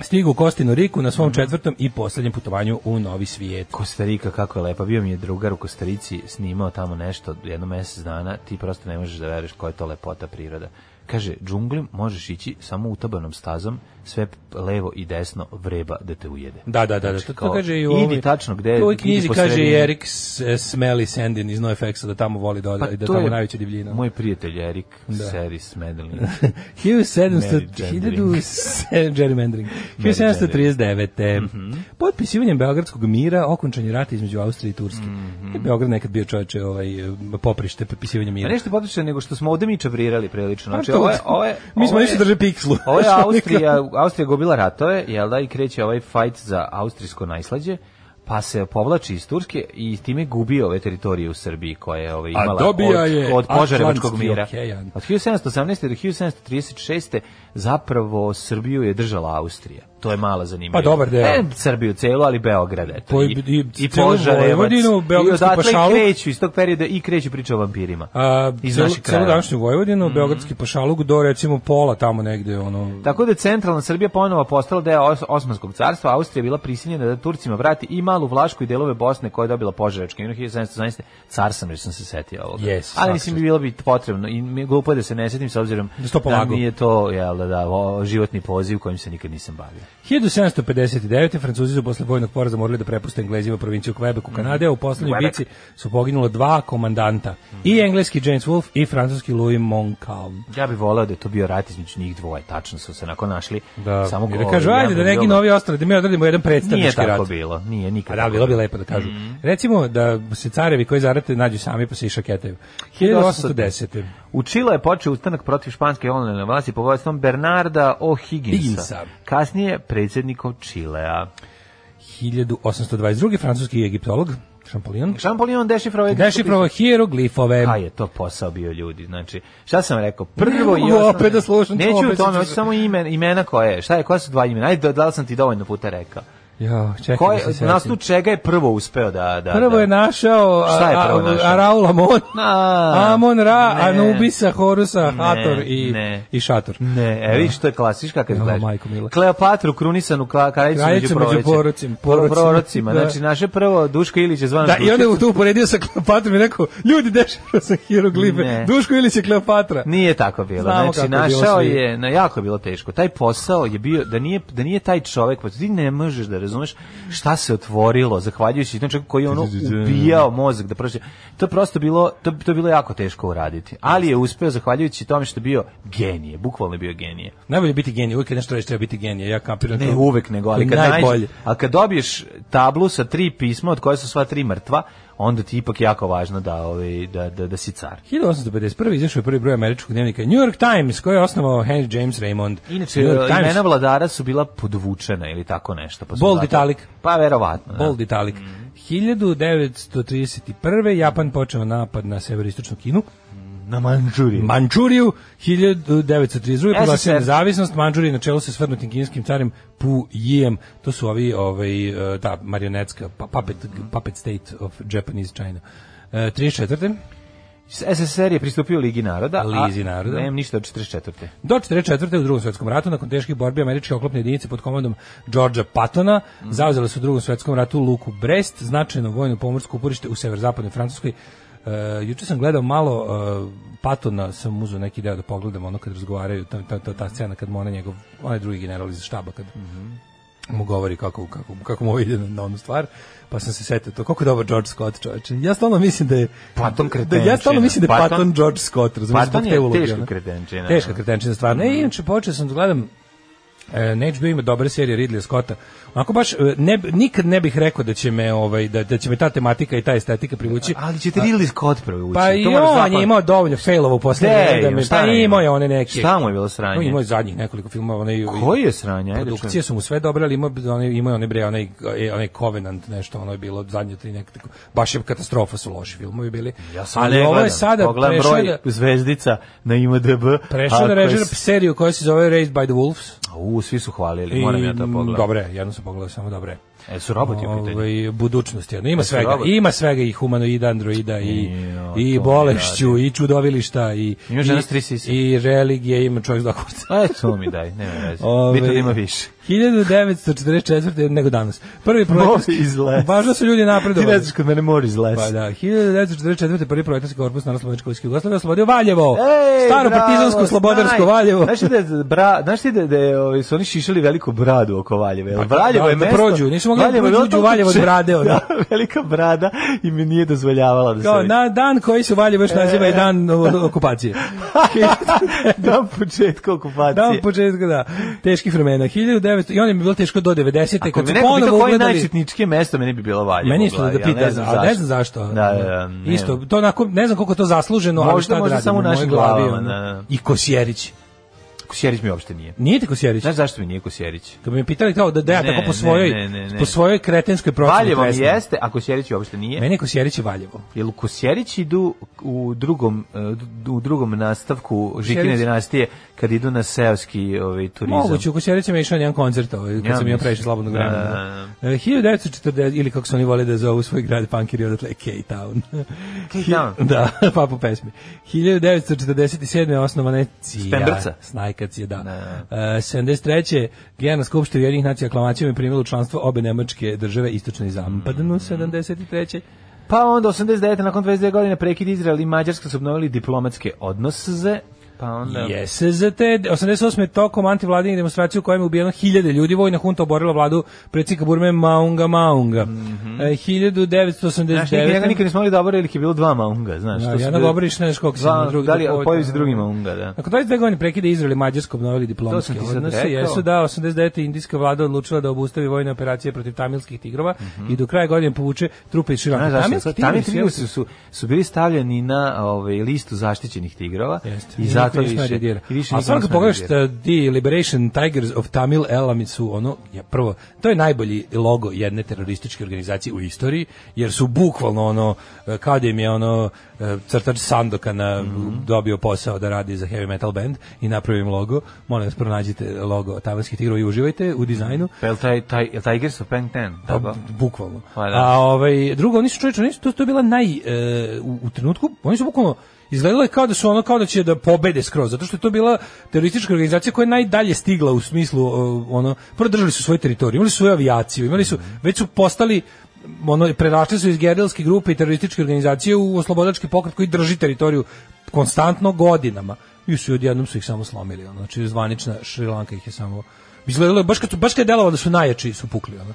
Speaker 9: stigao u Kostinu Riku na
Speaker 6: Mhm.
Speaker 9: svom četvrtom i poslednjem putovanju u Novi svijet.
Speaker 6: Kostarika, kako je lepa. Bio mi je drugar u Kostarici, snimao tamo nešto, jedno mesec dana, ti prosto ne možeš da veruješ koja je to lepota priroda. Kaže, džunglim možeš ići samo utabanom stazom, sve levo i desno vreba da te ujede.
Speaker 9: Da, da, da, da.
Speaker 6: Znači,
Speaker 9: To, to
Speaker 6: kao,
Speaker 9: kaže i u
Speaker 6: idi
Speaker 9: ovoj-
Speaker 6: tačno gde-
Speaker 9: u ovoj
Speaker 6: idi
Speaker 9: knjizi
Speaker 6: po
Speaker 9: kaže
Speaker 6: sredini.
Speaker 9: i Erik S- Smelly Sandin iz NoFX-a da tamo voli da,
Speaker 6: Pa
Speaker 9: ode- i da tamo najveća divljina.
Speaker 6: Moj prijatelj Erik, Seris Medellin.
Speaker 9: 1700
Speaker 6: Gerrymandering.
Speaker 9: 1700 gerrymandering. 1739.
Speaker 6: Mhm.
Speaker 9: Potpisivanjem Beogradskog mira okončan je rat između Austrije i Turske.
Speaker 6: Mhm.
Speaker 9: Beograd nekad bio čovječe ovaj, poprište potpisivanja
Speaker 6: A
Speaker 9: mira.
Speaker 6: Pa nešto potiče nego što smo ovde mi čavrirali prilično. Znači,
Speaker 9: Pa to-
Speaker 6: ovo je, ovo je,
Speaker 9: mi smo
Speaker 6: ovo je-
Speaker 9: išli drže pikslu.
Speaker 6: Ovo je
Speaker 9: Znaš, ono
Speaker 6: Austrija, Austrija gubila ratove, jel da, i kreće ovaj fajt za austrijsko najslađe, pa se povlači iz Turske i time gubi ove teritorije u Srbiji koje je ovaj, imala
Speaker 9: dobija
Speaker 6: od,
Speaker 9: je
Speaker 6: od požarevačkog
Speaker 9: Atlantski
Speaker 6: mira.
Speaker 9: okean.
Speaker 6: Od 1718. do 1736. zapravo Srbiju je držala Austrija. To je mala zanimljiva.
Speaker 9: Pa dobar deo.
Speaker 6: Ne Srbiju celu, ali Beograd. Eto,
Speaker 9: Po-
Speaker 6: i,
Speaker 9: i-
Speaker 6: i,
Speaker 9: celu
Speaker 6: Požarevac.
Speaker 9: Vojvodinu,
Speaker 6: I
Speaker 9: Beogradsku
Speaker 6: odatle i
Speaker 9: pašaluk.
Speaker 6: kreću iz tog perioda i kreće priča o vampirima.
Speaker 9: A,
Speaker 6: iz
Speaker 9: celu,
Speaker 6: naših
Speaker 9: celu
Speaker 6: krajeva. Mhm.
Speaker 9: današnju Vojvodinu, Beogradski pašaluk do recimo pola tamo negde ono
Speaker 6: Tako da je centralna Srbija ponovo postala deo Os- Osmanskog carstva, a Austrija je bila prisiljena da Turcima vrati i malu Vlašku i delove Bosne koje je dobila Požarevačka. I ono 1717. car sam, jer sam se setio ovoga.
Speaker 9: Yes,
Speaker 6: Ali
Speaker 9: svaka
Speaker 6: mislim,
Speaker 9: čast.
Speaker 6: bilo bi potrebno i mi- glupo je da se ne setim s obzirom
Speaker 9: Da se to polagalo.
Speaker 6: nije to jel, da, da, o, životni poziv kojim se nikad nisam bavio.
Speaker 9: 1759. Francuzi su posle vojnog poraza morali da prepuste Englezima provinciju Quebec u Kanade, a u poslednjoj
Speaker 6: Quebec.
Speaker 9: bici su poginulo dva komandanta, i engleski James Wolfe i francuski Louis Montcalm.
Speaker 6: Ja bih voleo da je to bio rat između njih dvoje, tačno su se nakon našli.
Speaker 9: Da,
Speaker 6: Samo
Speaker 9: Samo
Speaker 6: ko-
Speaker 9: da kažu, ajde,
Speaker 6: jedan
Speaker 9: da neki
Speaker 6: drugog-
Speaker 9: novi ostali, da mi odradimo jedan
Speaker 6: Nije
Speaker 9: predstavnički
Speaker 6: tako Mhm.
Speaker 9: rat.
Speaker 6: bilo, nije
Speaker 9: A
Speaker 6: nikad.
Speaker 9: da, bilo bi lepo da kažu. Recimo da se carevi koji zarate nađu sami pa se išaketaju. 1810.
Speaker 6: U Čile je počeo ustanak protiv španske kolonijalne vlasti pod vojstvom Bernarda O'Higginsa,
Speaker 9: Higginsa.
Speaker 6: kasnije predsjednikom Čilea.
Speaker 9: 1822. Francuski egiptolog, Champollion,
Speaker 6: Champollion dešifrovao je...
Speaker 9: dešifrovao hieroglifove.
Speaker 6: Kaj je to posao bio ljudi, znači, šta sam rekao, prvo i
Speaker 9: mogu
Speaker 6: osnovno-
Speaker 9: opet da slušam to,
Speaker 6: Neću
Speaker 9: opet
Speaker 6: o tome,
Speaker 9: sam-
Speaker 6: hoću samo ime, imena koje, je, šta je, koja su dva imena, ajde, da li sam ti dovoljno puta rekao.
Speaker 9: Jo, čekaj
Speaker 6: Koje,
Speaker 9: da se
Speaker 6: na
Speaker 9: setim.
Speaker 6: osnovu čega je prvo uspeo da... da
Speaker 9: Prvo
Speaker 6: da-
Speaker 9: je našao
Speaker 6: Šta je prvo
Speaker 9: A- A-
Speaker 6: našao?
Speaker 9: Araul Amon,
Speaker 6: A,
Speaker 9: Amon Ra,
Speaker 6: ne.
Speaker 9: Anubisa, Horusa, Hator i,
Speaker 6: ne.
Speaker 9: i Šator.
Speaker 6: Ne, e, vidiš, to je klasička kad
Speaker 9: Jo,
Speaker 6: gledaš.
Speaker 9: majko mila.
Speaker 6: Kleopatru krunisanu kla, kraljicu
Speaker 9: Kraljicu
Speaker 6: među
Speaker 9: među
Speaker 6: prorocima.
Speaker 9: porocima,
Speaker 6: Pro-
Speaker 9: porocima.
Speaker 6: Prorocima.
Speaker 9: Da.
Speaker 6: Znači, naše prvo Duško Ilić je zvano
Speaker 9: Da, i
Speaker 6: Dušica.
Speaker 9: onda je tu uporedio sa Kleopatrom i rekao, ljudi, dešava sam hieroglife,
Speaker 6: Ne.
Speaker 9: Duško Ilić je Kleopatra.
Speaker 6: Nije tako bilo.
Speaker 9: Znamo
Speaker 6: znači,
Speaker 9: kako je bilo
Speaker 6: našao
Speaker 9: svi.
Speaker 6: je, na jako je bilo teško. Taj posao je bio, da nije, da nije taj čovek, pa ti ne možeš da razumeš šta se otvorilo, zahvaljujući tom čovjeku koji je ono ubijao mozak. Da prođe. to je prosto bilo, to, to je bilo jako teško uraditi. Ali je uspeo, zahvaljujući tome što je bio genije, bukvalno je bio genije.
Speaker 9: Najbolje je biti genije, uvijek kad nešto reći treba biti genije, ja kapiram
Speaker 6: Ne
Speaker 9: to.
Speaker 6: uvek nego, ali
Speaker 9: To
Speaker 6: kad
Speaker 9: je najbolje.
Speaker 6: nađeš, a kad dobiješ tablu sa tri pisma od koje su sva tri mrtva, onda ti je ipak jako važno da ovaj da da da si car.
Speaker 9: 1851. izašao je prvi broj američkog dnevnika New York Times, koji je osnovao Henry James Raymond.
Speaker 6: Inače, e,
Speaker 9: New York Times,
Speaker 6: imena vladara su bila podvučena ili tako nešto. Pa su
Speaker 9: Bold
Speaker 6: zato-
Speaker 9: italic.
Speaker 6: Pa verovatno. da. Mm.
Speaker 9: bold italic. 1931. Japan počeo napad na severoistočnu Kinu.
Speaker 6: Na Manđuriju.
Speaker 9: Mančuriju 1932. proglasio
Speaker 6: SSR.
Speaker 9: nezavisnost Mančurije na čelu sa svrnutim kineskim carem Pu Yijem. To su ovi ovaj e, da marionetska pa- puppet puppet state of Japanese China. E, 34.
Speaker 6: SSR je pristupio Ligi naroda. a
Speaker 9: Lizi naroda.
Speaker 6: Nemam ništa od 44.
Speaker 9: Do 44. u drugom svetskom ratu, nakon teških borbi, američke oklopne jedinice pod komandom Georgea Pattona zauzele su u drugom svetskom ratu luku Brest, značajno vojno pomorsko uporište u severozapadnoj Francuskoj. Uh, juče sam gledao malo e, Patona, sam uzeo neki deo da pogledam ono kad razgovaraju, ta, ta, ta, ta scena kad mu onaj njegov, onaj drugi general iz štaba kad mu govori kako, kako, kako mu ovo ide na, na onu stvar, pa sam se setio to. Koliko je dobar George Scott, čoveče. Ja stalno mislim da je...
Speaker 6: Patton
Speaker 9: da,
Speaker 6: kretenčina.
Speaker 9: ja stalno mislim da je
Speaker 6: Patton-
Speaker 9: Patton George Scott, razumiješ,
Speaker 6: Patton
Speaker 9: zbog
Speaker 6: je
Speaker 9: te uloge.
Speaker 6: teška
Speaker 9: ono.
Speaker 6: kretenčina,
Speaker 9: Teška
Speaker 6: da. Mhm.
Speaker 9: kretenčina, stvarno. E, inače, počeo sam da gledam E, na HBO ima dobre serije Ridley Scotta. Onako baš e, ne, nikad ne bih rekao da će me ovaj da, da će me ta tematika i ta estetika privući.
Speaker 6: Ali će ti Ridley Scott prevući.
Speaker 9: Pa i
Speaker 6: to moraš
Speaker 9: on
Speaker 6: zapamtiti.
Speaker 9: je imao dovoljno failova u
Speaker 6: Gde
Speaker 9: poslednje
Speaker 6: je
Speaker 9: da
Speaker 6: on?
Speaker 9: me
Speaker 6: Šta
Speaker 9: šta
Speaker 6: je
Speaker 9: pa imao je
Speaker 6: imao?
Speaker 9: one neke.
Speaker 6: Šta mu je bilo sranje?
Speaker 9: No, imao je zadnjih nekoliko filmova one
Speaker 6: Koji je sranje? Ajde,
Speaker 9: Produkcije su mu sve dobre, ali imao onaj imao je one bre onaj e, onaj Covenant nešto, ono je bilo zadnje tri neka tako. Baš je katastrofa su loši filmovi bili.
Speaker 6: Ja sam
Speaker 9: ali
Speaker 6: ne
Speaker 9: ovo je
Speaker 6: gledam.
Speaker 9: sada
Speaker 6: Pogledam
Speaker 9: prešao
Speaker 6: broj
Speaker 9: da
Speaker 6: zvezdica na IMDb.
Speaker 9: prešao
Speaker 6: a
Speaker 9: da
Speaker 6: koje
Speaker 9: režira
Speaker 6: s-
Speaker 9: seriju koja se zove Raised by the Wolves.
Speaker 6: U, svi su hvalili,
Speaker 9: I,
Speaker 6: moram ja to
Speaker 9: m,
Speaker 6: pogledati.
Speaker 9: Dobre, jedno sam pogledao samo dobre.
Speaker 6: E, su roboti u pitanju.
Speaker 9: Ovaj budućnost jedno. Ima
Speaker 6: Jesu
Speaker 9: svega,
Speaker 6: roboti?
Speaker 9: ima svega i humanoida, androida i
Speaker 6: Jo, to mi
Speaker 9: i bolešću i čudovilišta i
Speaker 6: Ima žena s tri sise.
Speaker 9: i, i religije, ima čovjek s dva kurca.
Speaker 6: E, to mi daj, nema veze.
Speaker 9: Ovaj,
Speaker 6: Bitno da ima više.
Speaker 9: 1944. nego danas. Prvi projekt
Speaker 6: Mor iz lesa.
Speaker 9: Važno su ljudi
Speaker 6: Ti ne
Speaker 9: napredovali.
Speaker 6: znaš kod mene mora iz lesa.
Speaker 9: Pa da, 1944. prvi projektarski korpus Narodno Slovenčko-Vojske Jugoslavije oslobodio Valjevo.
Speaker 6: Ej,
Speaker 9: Staro
Speaker 6: bravo,
Speaker 9: partizansko slobodarsko
Speaker 6: znaj.
Speaker 9: Valjevo.
Speaker 6: Znaš ti da, je bra, znaš ti da, da je, ovaj, su oni šišali veliku bradu oko Valjeva? Jel
Speaker 9: Pa,
Speaker 6: Valjevo
Speaker 9: da,
Speaker 6: je
Speaker 9: da
Speaker 6: mesto...
Speaker 9: prođu, nisu mogli da
Speaker 6: Valjevo je
Speaker 9: prođu,
Speaker 6: bilo
Speaker 9: uđu u
Speaker 6: toliko
Speaker 9: Valjevo od
Speaker 6: če-
Speaker 9: brade, ono.
Speaker 6: Da, velika brada i mi nije dozvoljavala da se...
Speaker 9: Kao,
Speaker 6: vidi.
Speaker 9: na dan koji se u Valjevo još naziva i dan o- okupacije.
Speaker 6: dan početka okupacije.
Speaker 9: Dan početka, da. Teških vremena. 1900, I onda mi je bilo teško do 90.
Speaker 6: Ako
Speaker 9: Kad
Speaker 6: me
Speaker 9: su
Speaker 6: neko pita
Speaker 9: ponovo
Speaker 6: koje je
Speaker 9: ugledali...
Speaker 6: najčetničkije mesto, meni bi bilo Valjevo.
Speaker 9: Meni
Speaker 6: u
Speaker 9: isto
Speaker 6: glavi,
Speaker 9: da
Speaker 6: ali
Speaker 9: pita, a ne znam zašto.
Speaker 6: Da,
Speaker 9: Mm,
Speaker 6: da, da, ne
Speaker 9: Isto,
Speaker 6: znam.
Speaker 9: to onako, ne znam koliko je to zasluženo, ali
Speaker 6: Možda-
Speaker 9: šta da
Speaker 6: možda
Speaker 9: radim,
Speaker 6: samo u
Speaker 9: mojoj
Speaker 6: našim
Speaker 9: glavi,
Speaker 6: glavama,
Speaker 9: ono.
Speaker 6: da, da.
Speaker 9: I Kosjerić.
Speaker 6: Kosjerić mi uopšte nije.
Speaker 9: Nije ti Kosjerić?
Speaker 6: Znaš zašto mi nije Kosjerić?
Speaker 9: Kad bi me pitali kao da, da ja
Speaker 6: Ne,
Speaker 9: tako po
Speaker 6: ne,
Speaker 9: svojoj,
Speaker 6: ne, ne, ne.
Speaker 9: po svojoj kretenskoj proceni
Speaker 6: Valjevo mi
Speaker 9: tresnem.
Speaker 6: jeste, a Kosjerić uopšte nije.
Speaker 9: Meni je Kosjerić i Valjevo.
Speaker 6: Jel Kosjerić idu u drugom e, d- u drugom nastavku Žikine
Speaker 9: Kosjerić-
Speaker 6: dinastije kad idu na seoski ovaj turizam.
Speaker 9: Moguće, u Kosjeriću mi je išao na jedan koncert ovaj,
Speaker 6: Ja
Speaker 9: kad sam imao
Speaker 6: mislim.
Speaker 9: previše slobodnog
Speaker 6: Da,
Speaker 9: vremena.
Speaker 6: da,
Speaker 9: da. E, 1940, ili kako su oni vole da zovu svoj grad, punkiri odatle je K-Town.
Speaker 6: K-Town?
Speaker 9: da, pa po pesmi. 1947. je osnovana je CIA.
Speaker 6: Stembrca.
Speaker 9: Snajkac je, da.
Speaker 6: Da.
Speaker 9: E, 73. Generalna skupština Ujedinih nacija aklamacijom je primila u članstvo obe nemačke države, istočno i
Speaker 6: Mm.
Speaker 9: zapadno, 73.
Speaker 6: Pa onda 89. nakon 22 godine prekid Izrael i Mađarska su obnovili diplomatske odnose. Pa onda...
Speaker 9: Jese za te 88. tokom antivladinih demonstracija u kojem je ubijeno hiljade ljudi, vojna hunta oborila vladu predsjednika Burme Maunga Maunga.
Speaker 6: Mhm.
Speaker 9: E,
Speaker 6: Znaš, nikad, njega
Speaker 9: 1989.
Speaker 6: nikad nismo mogli da obore, ili ih je bilo dva maunga, znaš.
Speaker 9: Da,
Speaker 6: to su
Speaker 9: jedan
Speaker 6: bili-
Speaker 9: obriš, ne znaš koliko se
Speaker 6: Dva-
Speaker 9: na drugi
Speaker 6: Da li,
Speaker 9: tako-
Speaker 6: pojavi se drugi maunga, da.
Speaker 9: Nakon 22 godine prekide Izrael i Mađarsko obnovili
Speaker 6: To sam
Speaker 9: diplomatske
Speaker 6: ti sad
Speaker 9: odnose.
Speaker 6: rekao.
Speaker 9: Jesu da, 89. indijska vlada odlučila da obustavi vojne operacije protiv tamilskih tigrova i do kraja godine povuče trupe iz
Speaker 6: Mhm. Znaš
Speaker 9: Širaka.
Speaker 6: zašto?
Speaker 9: Tamilski
Speaker 6: Tamilski
Speaker 9: tigrovi
Speaker 6: tigrovi
Speaker 9: su-
Speaker 6: su, su, su bili stavljeni na ovaj, listu zaštićenih tigrova
Speaker 9: Jeste.
Speaker 6: i zato
Speaker 9: Niko
Speaker 6: više.
Speaker 9: ništa ne reagira.
Speaker 6: I više
Speaker 9: A
Speaker 6: niko
Speaker 9: stvarno
Speaker 6: ništa
Speaker 9: kad
Speaker 6: ne
Speaker 9: pogledaš
Speaker 6: reagira.
Speaker 9: da The Liberation Tigers of Tamil Elami su ono, ja, prvo, to je najbolji logo jedne terorističke organizacije u istoriji, jer su bukvalno ono, eh, kao da im je ono eh, crtač Sandokana
Speaker 6: Mhm.
Speaker 9: dobio posao da radi za heavy metal band i napravio im logo. Molim vas, pronađite logo Tavanskih tigrova i uživajte u dizajnu.
Speaker 6: Pa jel taj, taj, jel Tigers of Peng Ten?
Speaker 9: Pa,
Speaker 6: Tako?
Speaker 9: bukvalno.
Speaker 6: Pa da.
Speaker 9: A ovaj drugo oni su čoveče, oni su to, to je bila naj e, u, u trenutku, oni su bukvalno izgledalo je kao da su ono kao da će da pobede skroz, zato što je to bila teroristička organizacija koja je najdalje stigla u smislu e, ono prvo držali su svoje teritorije, imali su svoju avijaciju, imali su
Speaker 6: Mhm.
Speaker 9: već su postali ono prerašli su iz gerilske grupe i terorističke organizacije u oslobodački pokret koji drži teritoriju konstantno godinama. I su odjednom su ih samo slomili, ono, znači zvanična Šrilanka ih je samo izgledalo je baš kad su baš kad je delovalo da su najjači su pukli ono.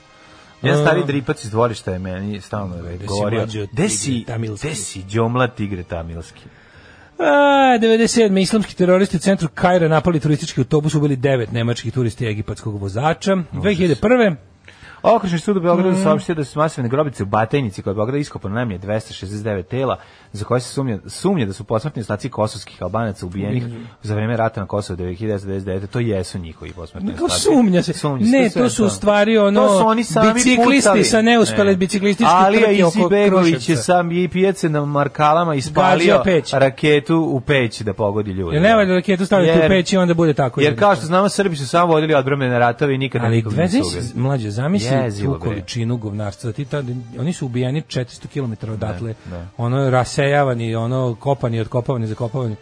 Speaker 6: Jedan stari dripac iz dvorišta je meni stalno je
Speaker 9: si
Speaker 6: govorio.
Speaker 9: mlađi od
Speaker 6: Gde
Speaker 9: tigre
Speaker 6: si,
Speaker 9: tamilske?"
Speaker 6: gde si djomla tigre tamilski?
Speaker 9: A, 97. islamski teroristi u centru Kajra napali turistički autobus, ubili devet nemačkih turisti i egipatskog vozača. 2001.
Speaker 6: Okrižni sud u Beogradu saopštio da su masovne grobice u Batajnici koja je Beograda iskopano najmanje 269 tela za koje se sumnja, sumnja da su posmrtni ostaci kosovskih albanaca ubijenih za vreme rata na Kosovo 1999. To jesu njihovi posmrtni
Speaker 9: To
Speaker 6: ostaci.
Speaker 9: sumnja se.
Speaker 6: se,
Speaker 9: Ne,
Speaker 6: sve
Speaker 9: to su
Speaker 6: je
Speaker 9: u stvari ono
Speaker 6: To su oni sami
Speaker 9: biciklisti
Speaker 6: pucali.
Speaker 9: sa neuspele
Speaker 6: Ne.
Speaker 9: biciklističke trke
Speaker 6: Alija
Speaker 9: oko
Speaker 6: Isibegović je
Speaker 9: Kruševca.
Speaker 6: sam i pijace na markalama ispalio
Speaker 9: Gađao peć.
Speaker 6: raketu u peć da pogodi ljude.
Speaker 9: Jer ne valja raketu staviti
Speaker 6: Jer-
Speaker 9: u peć i onda bude tako.
Speaker 6: Jer kao što znamo, Srbi su samo vodili odbrambene ratove i nikada
Speaker 9: Ali
Speaker 6: nikog nisu
Speaker 9: dveziš,
Speaker 6: ubili.
Speaker 9: mlađe, zamisli
Speaker 6: Jezivo,
Speaker 9: tu
Speaker 6: bre.
Speaker 9: količinu govnarstva. Ti tad, oni su ubijeni 400 km odatle.
Speaker 6: ne.
Speaker 9: Ono rasejavani, ono kopani, odkopavani, zakopavani.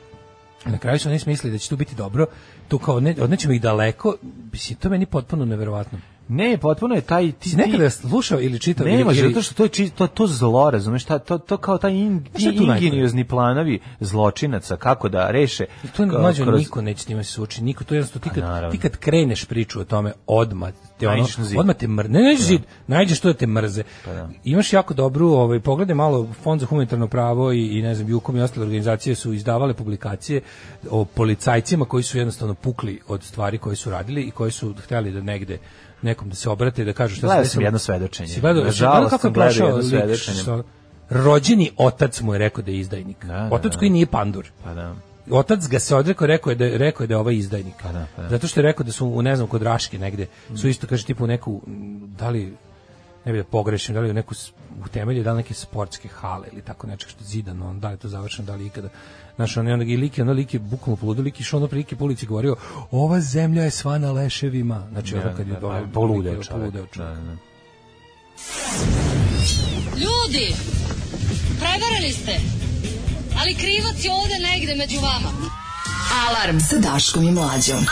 Speaker 9: Na kraju su oni smislili da će tu biti dobro. Tu kao, ne, odnećemo ih daleko. Mislim, to je meni potpuno neverovatno.
Speaker 6: Ne, potpuno je taj... Ti,
Speaker 9: Si
Speaker 6: ti-
Speaker 9: nekada slušao ili čitao?
Speaker 6: Ne
Speaker 9: ili-
Speaker 6: može,
Speaker 9: ili-
Speaker 6: zato što to je čisto, to, to zlo, razumeš, ta, to, to kao taj in,
Speaker 9: Znaš šta je tu najgore?
Speaker 6: ingeniozni planovi zločinaca, kako da reše.
Speaker 9: Pa To je
Speaker 6: k-
Speaker 9: mlađe,
Speaker 6: kroz- Pa
Speaker 9: niko neće s njima se suočiti, niko, to je jednostavno, ti
Speaker 6: naravno.
Speaker 9: kad, ti kad kreneš priču o tome, odmah te ono,
Speaker 6: Naiđeš na zid. Pa
Speaker 9: odmah te mrze. Ne, nađeš zid, nađeš to da te mrze.
Speaker 6: da.
Speaker 9: Imaš jako dobru, ovaj, pogledaj malo, Fond za humanitarno pravo i, i ne znam, Jukom i ostale organizacije su izdavale publikacije o policajcima koji su jednostavno pukli od stvari koje su radili i koji su hteli da negde nekom da se obrate i da kažu šta
Speaker 6: Gledao
Speaker 9: desilo.
Speaker 6: sam jedno svedočenje.
Speaker 9: Si gledao, si gledao
Speaker 6: Nažalost
Speaker 9: kako je
Speaker 6: sam gledao
Speaker 9: prošao
Speaker 6: jedno
Speaker 9: lik
Speaker 6: svedočenje.
Speaker 9: što- Rođeni otac mu je rekao da je izdajnik.
Speaker 6: Da, da,
Speaker 9: otac
Speaker 6: da.
Speaker 9: koji nije pandur
Speaker 6: Pa da.
Speaker 9: otac ga se odrekao, rekao je da rekao je da je ovaj izdajnik.
Speaker 6: da, pa da. Mm.
Speaker 9: Zato što je rekao da su u ne znam kod Raške negde su isto kaže tipu neku m, da li ne bih da pogrešim, da li u neku s- u temelju da li neke sportske hale ili tako nečeg što je zidano, on da li je to završeno, da li ikada Znaš, on je onda i lik, je- ono lik je bukvalno poludio, lik je išao ono prilike po ulici i govorio ova zemlja je sva na leševima. Znači, ono kad je
Speaker 6: Da, da,
Speaker 9: ono,
Speaker 6: poludeo
Speaker 9: lik je
Speaker 6: čovek.
Speaker 9: poludeo čovek.
Speaker 6: Da, da, da.
Speaker 10: Ljudi, prevarili E, ste. Ali krivac je ovde negde među vama.
Speaker 4: Alarm sa Daškom i Mlađom.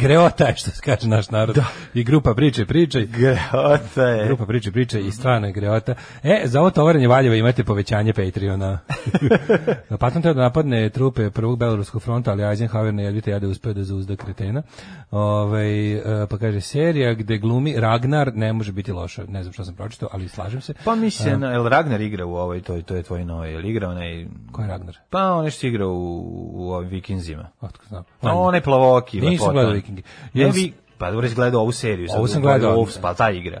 Speaker 9: Greota je, što kaže naš narod. I grupa priče, pričaj.
Speaker 6: Greota je.
Speaker 9: Grupa priče priče i strana je greota. E, za ovo tovaranje Valjeva imate povećanje Patreona. Patron teo da napadne trupe prvog Beloruskog fronta, ali Eisenhower ne jedvite jade uspeo da zauzda kretena. Ove, pa kaže, serija gde glumi Ragnar ne može biti loša. Ne znam što sam pročitao, ali slažem se.
Speaker 6: Pa mi se, na- jel Ragnar igra u ovoj, to, to je tvoj novi, jel igra onaj...
Speaker 9: Ko je Ragnar?
Speaker 6: Pa on nešto igra u, u ovim vikinzima.
Speaker 9: Otko znam.
Speaker 6: No, onaj plavoki.
Speaker 9: Pa Nisam
Speaker 6: lepota.
Speaker 9: gledao Vikinge.
Speaker 6: Ne
Speaker 9: Jel-
Speaker 6: vi, pa dobro si gledao ovu seriju. sad,
Speaker 9: Ovu sam
Speaker 6: u kojoj
Speaker 9: gledao.
Speaker 6: Wolves, pa ta igra.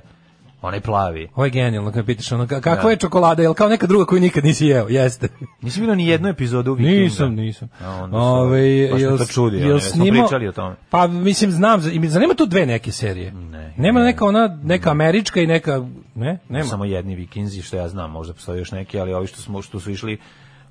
Speaker 6: Onaj plavi.
Speaker 9: Ovo je genijalno kad me pitaš ono, ka- kakva je čokolada, jel kao neka druga koju nikad nisi jeo, jeste.
Speaker 6: Nisi bilo ni jednu epizodu Vikinga.
Speaker 9: Nisam, nisam.
Speaker 6: A onda su-
Speaker 9: Ove,
Speaker 6: baš me
Speaker 9: jel,
Speaker 6: to čudi, ono,
Speaker 9: jel
Speaker 6: jel smo
Speaker 9: snimao-
Speaker 6: pričali o tome?
Speaker 9: Pa mislim znam, za- i mi- zanima tu dve neke serije.
Speaker 6: Ne.
Speaker 9: nema neka ona neka američka i neka ne, nema.
Speaker 6: Samo jedni vikinzi što ja znam, možda postoje još neki, ali ovi što smo što su išli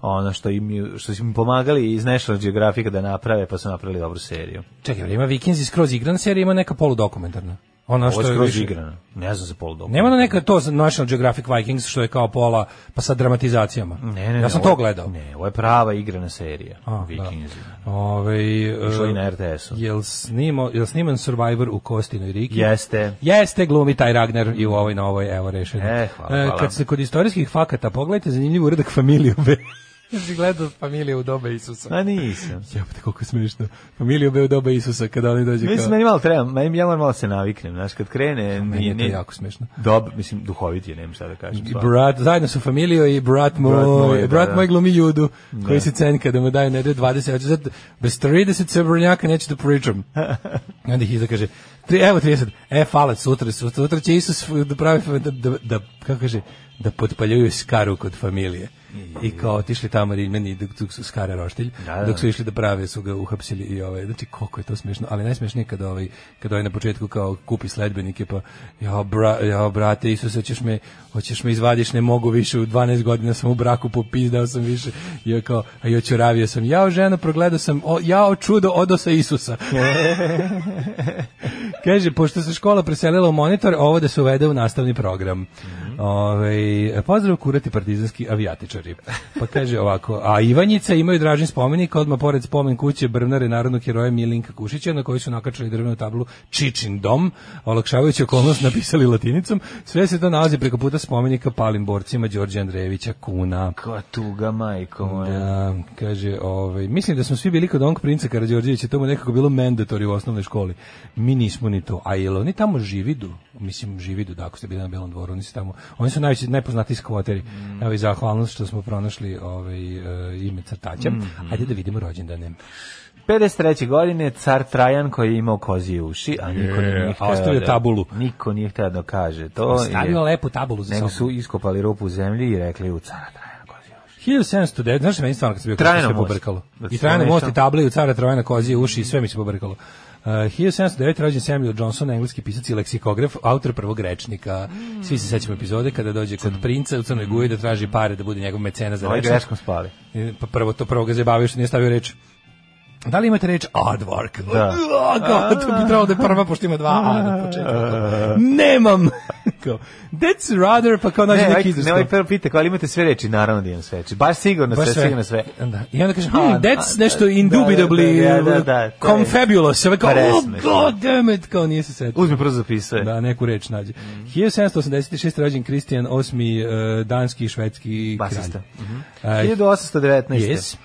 Speaker 6: ono što im što su im pomagali iz National Geographic da naprave, pa su napravili dobru seriju.
Speaker 9: Čekaj, bre, ima Vikings skroz igrana serija, ima neka poludokumentarna. Ona
Speaker 6: Ovo
Speaker 9: što
Speaker 6: je
Speaker 9: je
Speaker 6: skroz
Speaker 9: više-
Speaker 6: igrana. Ne znam za pol dobro.
Speaker 9: Nema ona neka to za National Geographic Vikings što je kao pola pa sa dramatizacijama.
Speaker 6: Ne, ne,
Speaker 9: ja sam
Speaker 6: ne, ovo-
Speaker 9: to gledao.
Speaker 6: Ne, ovo je prava igrana serija.
Speaker 9: A,
Speaker 6: Vikinzi.
Speaker 9: Ovaj
Speaker 6: Išlo
Speaker 9: e,
Speaker 6: i na RTS-u.
Speaker 9: Jel snimo, jel sniman Survivor u Kostinoj Riki?
Speaker 6: Jeste.
Speaker 9: Jeste, glumi taj Ragnar i u ovoj novoj, evo rešeno.
Speaker 6: E, hvala, hvala.
Speaker 9: Kad ste kod istorijskih fakata, pogledajte zanimljiv uradak familiju B. Jesi gledao familiju u doba Isusa?
Speaker 6: A nisam.
Speaker 9: Jebote, koliko je smešno. Familiju B u doba Isusa, kada oni dođe
Speaker 6: Mislim,
Speaker 9: kao...
Speaker 6: meni malo treba, meni ja moram malo se naviknem, znaš, kad krene...
Speaker 9: Meni je to
Speaker 6: ne-
Speaker 9: jako smešno.
Speaker 6: Dob, mislim, duhovit je, nemam šta da kažem.
Speaker 9: I
Speaker 6: stvarno.
Speaker 9: Brat, zajedno su familijo i brat moj, brat moj,
Speaker 6: moj, da, da.
Speaker 9: glumi judu, koji se cenka da mu daju nedelje 20, hoće sad, bez 30 srebrnjaka neću da pričam. I onda ih izda kaže, tri, evo 30, e, fala, sutra, sutra, sutra će Isus da pravi, da, da, da kako kaže, da potpaljuju skaru kod familije. I kao otišli tamo rimeni dok, dok su skara roštilj,
Speaker 6: Mm. Da, da.
Speaker 9: dok su išli da prave su ga uhapsili i ovaj znači koliko je to smešno ali najsmešnije je kada ovaj kada ovaj na početku kao kupi sledbenike pa ja bra ja brate Isuse ćeš me hoćeš me izvadiš ne mogu više u 12 godina sam u braku popizdao sam više i ja kao a ja čuravio sam ja ženo progledao sam o, ja čudo odo sa Isusa Kaže, pošto se škola preselila u monitor, ovo da se uvede u nastavni program. Ovaj, pozdrav kurati partizanski avijatičari. Pa kaže ovako, a Ivanjica imaju dražin spomenik, odmah pored spomen kuće Brvnare narodnog heroja Milinka Kušića, na kojoj su nakačali drvenu tablu Čičin dom, olakšavajući okolnost napisali latinicom. Sve se to nalazi preko puta spomenika palim borcima Đorđe Andrejevića Kuna.
Speaker 6: Koja tuga, majko moja.
Speaker 9: Da, kaže, ovaj, mislim da smo svi bili kod onog princa Karađorđevića, to mu je nekako bilo mandatory u osnovnoj školi. Mi nismo ni to. A jel oni tamo žividu? Mislim, žividu, da, ako ste bili na Belom dvoru, oni su tamo, oni su najveći, najpoznatiji skvoteri.
Speaker 5: Mhm.
Speaker 9: Evo i zahvalnost što smo pronašli ovaj, e, ime crtaća.
Speaker 5: Mhm.
Speaker 6: Mhm.
Speaker 9: Ajde da vidimo rođendane.
Speaker 6: 53. godine car Trajan koji je imao kozije uši, a niko
Speaker 9: Je,
Speaker 6: nije
Speaker 9: a
Speaker 6: htio.
Speaker 9: ostavio
Speaker 6: da-
Speaker 9: tabulu.
Speaker 6: Niko nije htio da kaže. To
Speaker 9: Stavio
Speaker 6: je-
Speaker 9: lepu tabulu za
Speaker 6: Nego
Speaker 9: sobom.
Speaker 6: su iskopali rupu u zemlji i rekli u cara Trajana kozije uši.
Speaker 9: 1709, znaš meni stvarno kad sam bio
Speaker 6: Trajno
Speaker 9: kod sve
Speaker 6: most.
Speaker 9: pobrkalo.
Speaker 6: Da
Speaker 9: I
Speaker 6: se
Speaker 9: trajno
Speaker 6: nešto-
Speaker 9: most i table i u cara Trojana kozije uši i sve mi se pobrkalo. Uh, 1709 rođen Samuel Johnson, engleski pisac i leksikograf, autor prvog rečnika. Svi se sećamo epizode kada dođe kod
Speaker 6: Mm.
Speaker 9: princa u Crnoj Guji da traži pare da bude njegov mecena za
Speaker 6: Ovaj
Speaker 9: rečnik.
Speaker 6: greškom spali.
Speaker 9: I Pa prvo to prvo ga zabavio što nije stavio reč. Da li imate reč aardvark?
Speaker 6: Da.
Speaker 9: A, kao, to bi trebalo da je prva, pošto ima dva A na početku. Kao, Nemam! Kao, That's rather, pa kao nađe
Speaker 6: Ne, ovaj,
Speaker 9: neki izraz.
Speaker 6: ne,
Speaker 9: kao-
Speaker 6: ovaj prvo pita, kao, ali imate sve reči? Naravno da imam sve reči. Baš sigurno
Speaker 9: Baš
Speaker 6: sve,
Speaker 9: sve.
Speaker 6: sigurno sve.
Speaker 9: Da. I onda kaže,
Speaker 6: A,
Speaker 9: hmm,
Speaker 6: da,
Speaker 9: that's
Speaker 6: da,
Speaker 9: nešto
Speaker 6: da,
Speaker 9: indubitably
Speaker 6: da, da, da, da, to je-
Speaker 9: confabulous. Sve kao, oh
Speaker 6: Presmešno.
Speaker 9: god damn it, kao nije se setio.
Speaker 6: Uzmi prvo zapisuje.
Speaker 9: Da, neku reč nađe.
Speaker 6: Mhm.
Speaker 9: 1786. rođen Kristijan VIII, eh, danski i švedski
Speaker 6: Basista. Mhm.
Speaker 9: kralj. Eh,
Speaker 6: 1819.
Speaker 9: Yes.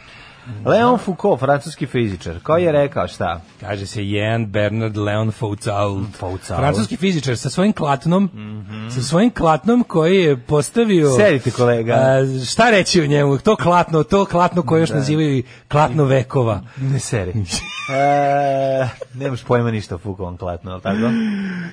Speaker 6: Leon Foucault, francuski fizičar, koji je rekao šta?
Speaker 9: Kaže se Jean Bernard Leon
Speaker 6: Mm,
Speaker 9: Foucault.
Speaker 6: Foucault.
Speaker 9: Francuski fizičar sa svojim klatnom,
Speaker 6: Mhm.
Speaker 9: sa svojim klatnom koji je postavio...
Speaker 6: Sedite, kolega.
Speaker 9: A, šta reći o njemu? To klatno, to klatno koje još nazivaju i klatno vekova.
Speaker 6: Ne seri. e, nemaš pojma ništa o Foucault klatno, ali tako?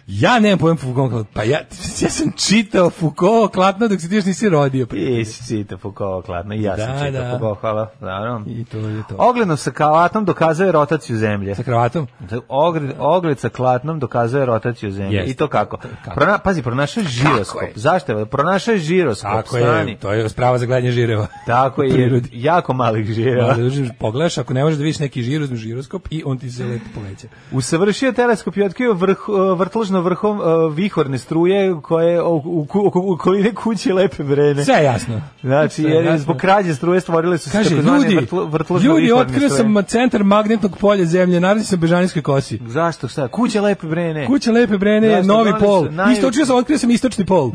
Speaker 9: Ja nemam pojem Foucault klatno. Pa ja, ja sam čitao Foucault klatno dok se ti još nisi rodio. pa
Speaker 6: Ti si čitao Foucault klatno, i ja sam
Speaker 9: Da,
Speaker 6: čitao
Speaker 9: da.
Speaker 6: Foucault, hvala. Naravno.
Speaker 9: I to je to.
Speaker 6: Ogledom sa kalatom dokazuje rotaciju zemlje.
Speaker 9: Sa kravatom?
Speaker 6: Ogled, ogled sa klatnom dokazuje rotaciju zemlje.
Speaker 9: Jeste.
Speaker 6: I to kako?
Speaker 9: Kako?
Speaker 6: Prona, pazi, pronašao je žiroskop.
Speaker 9: je?
Speaker 6: Zašto? je? Pronašao je žiroskop.
Speaker 9: Tako
Speaker 6: strani.
Speaker 9: je, to je sprava za gledanje žireva.
Speaker 6: Tako
Speaker 9: U
Speaker 6: je,
Speaker 9: prirodi.
Speaker 6: jako malih žireva.
Speaker 9: Da, uzmeš, pogledaš, ako ne možeš da vidiš neki žir, uzmeš žiroskop i on ti se lepo poveća.
Speaker 6: Usavršio teleskop i otkrio vrh, vrtložno vrhom e, vihorne struje koje u, u, u, u koline kuće lepe vrene.
Speaker 9: Sve je jasno.
Speaker 6: Znači,
Speaker 9: Sve je
Speaker 6: jer je
Speaker 9: jasno.
Speaker 6: zbog krađe struje stvorile su se
Speaker 9: Kaže,
Speaker 6: takozvane
Speaker 9: ljudi,
Speaker 6: vrtlo- vrtložno
Speaker 9: ljudi,
Speaker 6: vihorne
Speaker 9: otkrio
Speaker 6: struje.
Speaker 9: sam ma- centar magnetnog polja zemlje, nalazi se u Bežanijskoj kosi.
Speaker 6: Zašto šta? Kuće lepe brene.
Speaker 9: Kuća Lepe Brene je
Speaker 6: Znaš šta,
Speaker 9: novi
Speaker 6: doneli
Speaker 9: pol.
Speaker 6: su naj-
Speaker 9: Istočio sam, otkrio sam istočni pol.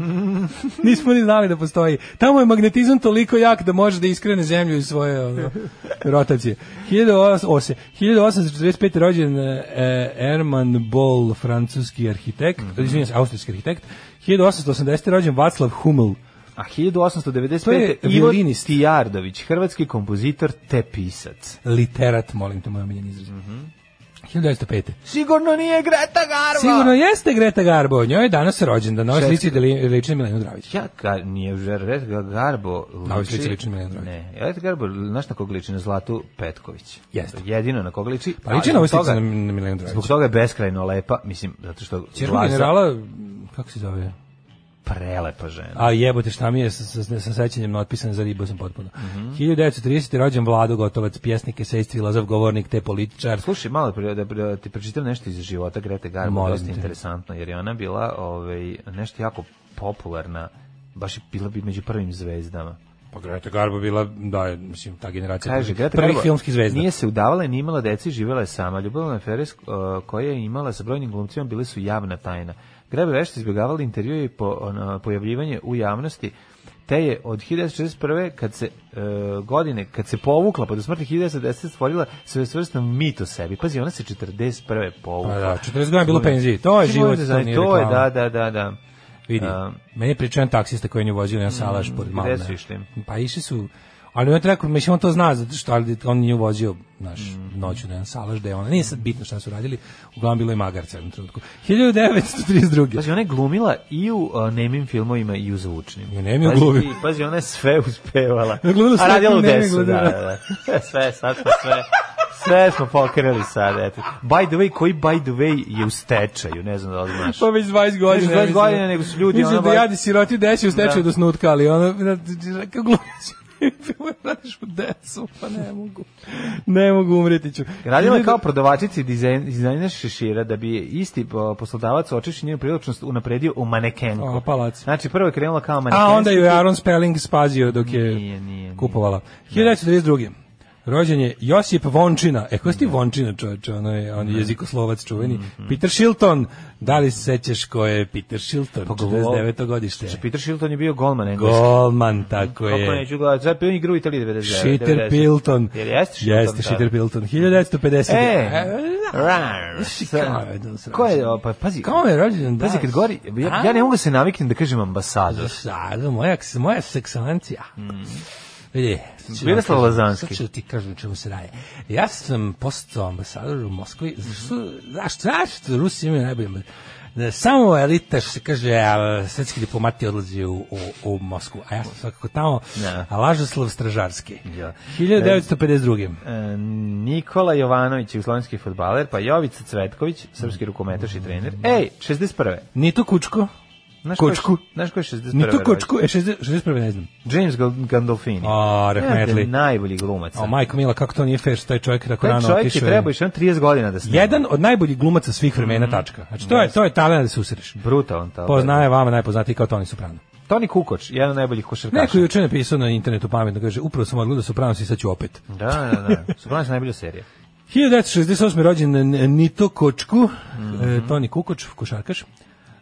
Speaker 9: Nismo ni znali da postoji. Tamo je magnetizam toliko jak da može da iskrene zemlju iz svoje ono, rotacije. 1848 1845. rođen e, Erman Boll, francuski arhitekt,
Speaker 6: Mhm.
Speaker 9: mm se, austrijski arhitekt. 1880. rođen Vaclav Hummel.
Speaker 6: A
Speaker 9: To je
Speaker 6: 1895. Ivo
Speaker 9: violinist.
Speaker 6: Stijardović, hrvatski kompozitor te pisac.
Speaker 9: Literat, molim te, moj omiljen izraz.
Speaker 6: Mhm.
Speaker 9: 1905.
Speaker 6: Sigurno nije Greta Garbo!
Speaker 9: Sigurno jeste Greta Garbo, njoj je danas rođendan, na ovoj slici deli- liči na Milenu Dravić.
Speaker 6: Ja ka, nije že Greta Garbo
Speaker 9: ovoj slici liči na Milenu Dragić.
Speaker 6: Ne, Greta Garbo, znaš na kog liči? Na Zlatu Petković.
Speaker 9: Jeste.
Speaker 6: Jedino na kog liči.
Speaker 9: Pa liči
Speaker 6: ali
Speaker 9: na ovoj
Speaker 6: zbog
Speaker 9: slici
Speaker 6: toga-
Speaker 9: na, na Milenu Dravić.
Speaker 6: Zbog toga je beskrajno lepa, mislim, zato što
Speaker 9: Červa
Speaker 6: Glaza
Speaker 9: generala, m, kako se zove?
Speaker 6: prelepa žena.
Speaker 9: A jebote, šta mi je sa, sa, sa sećanjem otpisan za ribu sam potpuno. 1930. rođen Vlado Gotovac, pjesnik, esejstvi, lazav govornik, te političar.
Speaker 6: Slušaj, malo pre, da, da ti pročitam nešto iz života Grete Garbo,
Speaker 9: Molim
Speaker 6: dosta
Speaker 9: te.
Speaker 6: interesantno, jer je ona bila ovaj, nešto jako popularna, baš je bila bi među prvim zvezdama.
Speaker 9: Pa Greta Garbo bila, da, je, mislim, ta generacija
Speaker 6: Kaže,
Speaker 9: prvih,
Speaker 6: Greta
Speaker 9: prvih
Speaker 6: Garbo
Speaker 9: filmskih zvezda.
Speaker 6: Nije se udavala i nije imala dece i živela je sama. Ljubavna afere uh, koja je imala sa brojnim glumcima bile su javna tajna. Grebe vešta izbjegavala intervjue i po, ono, pojavljivanje u javnosti te je od 1961. kad se e, godine, kad se povukla pa do smrti 1910 stvorila svesvrstan mit o sebi. Pazi, ona se 41. povukla.
Speaker 9: Pa da, 40 godina je bilo u penziji. To je
Speaker 6: Ti
Speaker 9: Pa, život,
Speaker 6: možeš da
Speaker 9: to
Speaker 6: znaš,
Speaker 9: nije
Speaker 6: To je,
Speaker 9: reklama.
Speaker 6: da, da, da, da.
Speaker 9: Vidi,
Speaker 6: A. Mm,
Speaker 9: meni je pričan taksista koji je nju vozio na salaš pored Malme.
Speaker 6: su išli?
Speaker 9: Pa išli su, ali on je rekao, mislim, on to zna, zato što ali on nju vozio naš noću na jedan salaš, da je ona, nije sad bitno šta su radili, uglavnom bilo je magarca u jednom trenutku. 1932.
Speaker 6: Pazi, ona je glumila i u uh, nemim filmovima i u zvučnim.
Speaker 9: I u nemim
Speaker 6: Pazi
Speaker 9: glumi.
Speaker 6: ti, Pazi, ona je sve uspevala.
Speaker 9: Na glumilu
Speaker 6: A
Speaker 9: sve
Speaker 6: radila u
Speaker 9: nemim
Speaker 6: desu, da,
Speaker 9: glumila.
Speaker 6: da, da. Sve, sad smo sve. Sve smo pokrili sad, eto. By the way, koji by the way je u stečaju, ne znam da li znaš.
Speaker 9: Pa već 20
Speaker 6: Već
Speaker 9: godina.
Speaker 6: 20
Speaker 9: mislim.
Speaker 6: godina, nego su ljudi, ono,
Speaker 9: Mislim da
Speaker 6: baš-
Speaker 9: jadi siroti desi u
Speaker 6: Da.
Speaker 9: stečaju do snutka, ali ono, znači, kako glumiš, radiš u desu, pa ne mogu. Ne mogu umreti ću.
Speaker 6: Radila je kao
Speaker 9: 1000
Speaker 6: prodavačica i dizajn, dizajner šešira da bi je isti o, poslodavac očeši njenu priličnost unapredio u manekenku.
Speaker 9: O, palac.
Speaker 6: Znači, prvo je krenula kao manekenka.
Speaker 9: A onda ju je Aaron Spelling spazio dok je
Speaker 6: Nije, nije, nije.
Speaker 9: kupovala. 1932. Rođen je Josip Vončina. E, ko si ti Vončina, čoveče? Ono je, on je jezikoslovac čuveni.
Speaker 6: Mhm.
Speaker 9: Peter Shilton. Da li se sećaš ko je Peter
Speaker 6: Pa
Speaker 9: Shilton? 49. godište.
Speaker 6: Znači, Peter Shilton je bio golman engleski.
Speaker 9: Golman, tako je.
Speaker 6: Kako neću gledati, sad je on igra u Italiji 99.
Speaker 9: Šiter
Speaker 6: 90.
Speaker 9: Pilton.
Speaker 6: Jer jeste Šiter
Speaker 9: Jeste Šiter Pilton. 1950.
Speaker 6: E,
Speaker 9: da.
Speaker 6: rar.
Speaker 9: Kao je da se
Speaker 6: Ko je,
Speaker 9: rođen.
Speaker 6: o, pa pazi,
Speaker 9: Kao je rođen, da.
Speaker 6: pazi kad govori, ja, ja ne mogu da se naviknem da kažem ambasador.
Speaker 9: Sada, moja, moja seksancija. Vidi, sad ću
Speaker 6: Miroslav
Speaker 9: vam kažem-
Speaker 6: Mm. Lazanski.
Speaker 9: Sad ću ti kažem o čemu se radi. Ja sam postao ambasador u Moskvi. Zašto, zašto, zašto Rusi imaju najbolje ambas- Da, samo elita, što se kaže, a, svetski diplomati odlazi u, u, u Moskvu, a ja sam svakako tamo,
Speaker 6: Da.
Speaker 9: a Lažoslav Stražarski.
Speaker 6: Ja.
Speaker 9: 1952.
Speaker 6: E, Nikola Jovanović, jugoslovenski fudbaler, pa Jovica Cvetković, srpski rukometaš i trener. Ej, 61.
Speaker 9: Nito Kučko,
Speaker 6: Znaš
Speaker 9: Mm. Kočku.
Speaker 6: Ko je, znaš ko je 61.
Speaker 9: Nito
Speaker 6: rođen?
Speaker 9: Kučko, e, 60 61. ne znam.
Speaker 6: James Gal- Gandolfini.
Speaker 9: A, rahmetli.
Speaker 6: Jedan najbolji glumac.
Speaker 9: O, majko Mila, kako to nije fair što taj čovjek tako
Speaker 6: Taj
Speaker 9: rano
Speaker 6: čovjek je
Speaker 9: otišao. je.
Speaker 6: trebao još jedno 30 godina da snima.
Speaker 9: Jedan od najboljih glumaca svih vremena, tačka. Znači, to je, to je talent da se usreš.
Speaker 6: Brutalan ta.
Speaker 9: Poznaje vama najpoznatiji kao Toni Soprano.
Speaker 6: Toni Kukoč, jedan od najboljih košarkaša.
Speaker 9: Neko je juče napisao na internetu pametno, kaže, upravo sam odgledao Soprano i sad ću opet.
Speaker 6: Da, da, da. Sopranos je najbolja serija.
Speaker 9: 1968. rođen N- Nito Kočku, e, Toni Kukoč, košarkaš.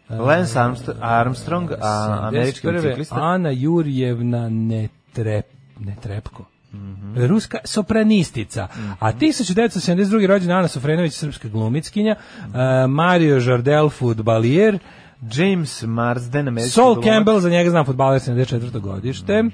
Speaker 6: Lance Armstrong, Armstrong a, američki
Speaker 9: 71.
Speaker 6: biciklista.
Speaker 9: Ana Jurjevna Netrep, Netrepko. ruska sopranistica. A 1972. rođena Ana Sofrenović, srpska glumitkinja, e, Mario Jardel, futbalijer,
Speaker 6: James Marsden, američki
Speaker 9: Sol
Speaker 6: glumac.
Speaker 9: Campbell, za njega znam, futbaler 74. godište.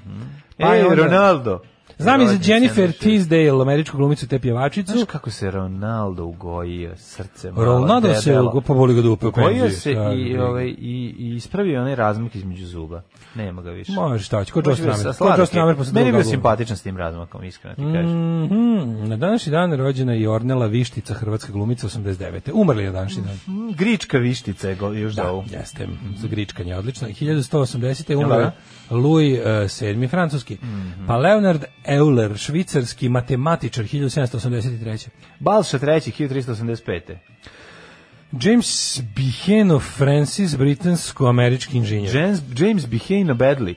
Speaker 9: Pa
Speaker 6: Ej,
Speaker 9: je onda-
Speaker 6: Mhm. E, Ronaldo.
Speaker 9: Znam i za
Speaker 6: Rođen
Speaker 9: Jennifer
Speaker 6: 76.
Speaker 9: Teasdale, američku glumicu te pjevačicu.
Speaker 6: Znaš kako se Ronaldo ugojio srce malo
Speaker 9: Ronaldo se
Speaker 6: debelo.
Speaker 9: ugo- poboli ga dupe u
Speaker 6: Ugojio
Speaker 9: penziji,
Speaker 6: se
Speaker 9: šta
Speaker 6: i,
Speaker 9: je.
Speaker 6: ovaj, i, i ispravio onaj razmak između zuba. Nema ga više.
Speaker 9: Može šta će, ko
Speaker 6: Može
Speaker 9: Joe
Speaker 6: bio sa-
Speaker 9: Stramer. Ko
Speaker 6: sladak
Speaker 9: Joe
Speaker 6: je.
Speaker 9: Stramer posle Mm.
Speaker 6: Meni je
Speaker 9: druga
Speaker 6: bio
Speaker 9: gluma.
Speaker 6: simpatičan s tim razmakom, iskreno ti kažem.
Speaker 9: Mhm, Na današnji dan rođena je i Ornela Vištica, hrvatska glumica 89. Umrli je na današnji dan.
Speaker 6: Mm, Grička vištica je go, još da, zovu.
Speaker 9: Jeste, mhm, za gričkanje, odlično. 1180. je umro
Speaker 6: Aha.
Speaker 9: Louis eh, VII, francuski.
Speaker 6: Mhm.
Speaker 9: Pa Leonard Euler, švicarski matematičar, 1783.
Speaker 6: Balša III. 1385.
Speaker 9: James Biheno Francis, britansko-američki inženjer.
Speaker 6: James, James Behane Bedley.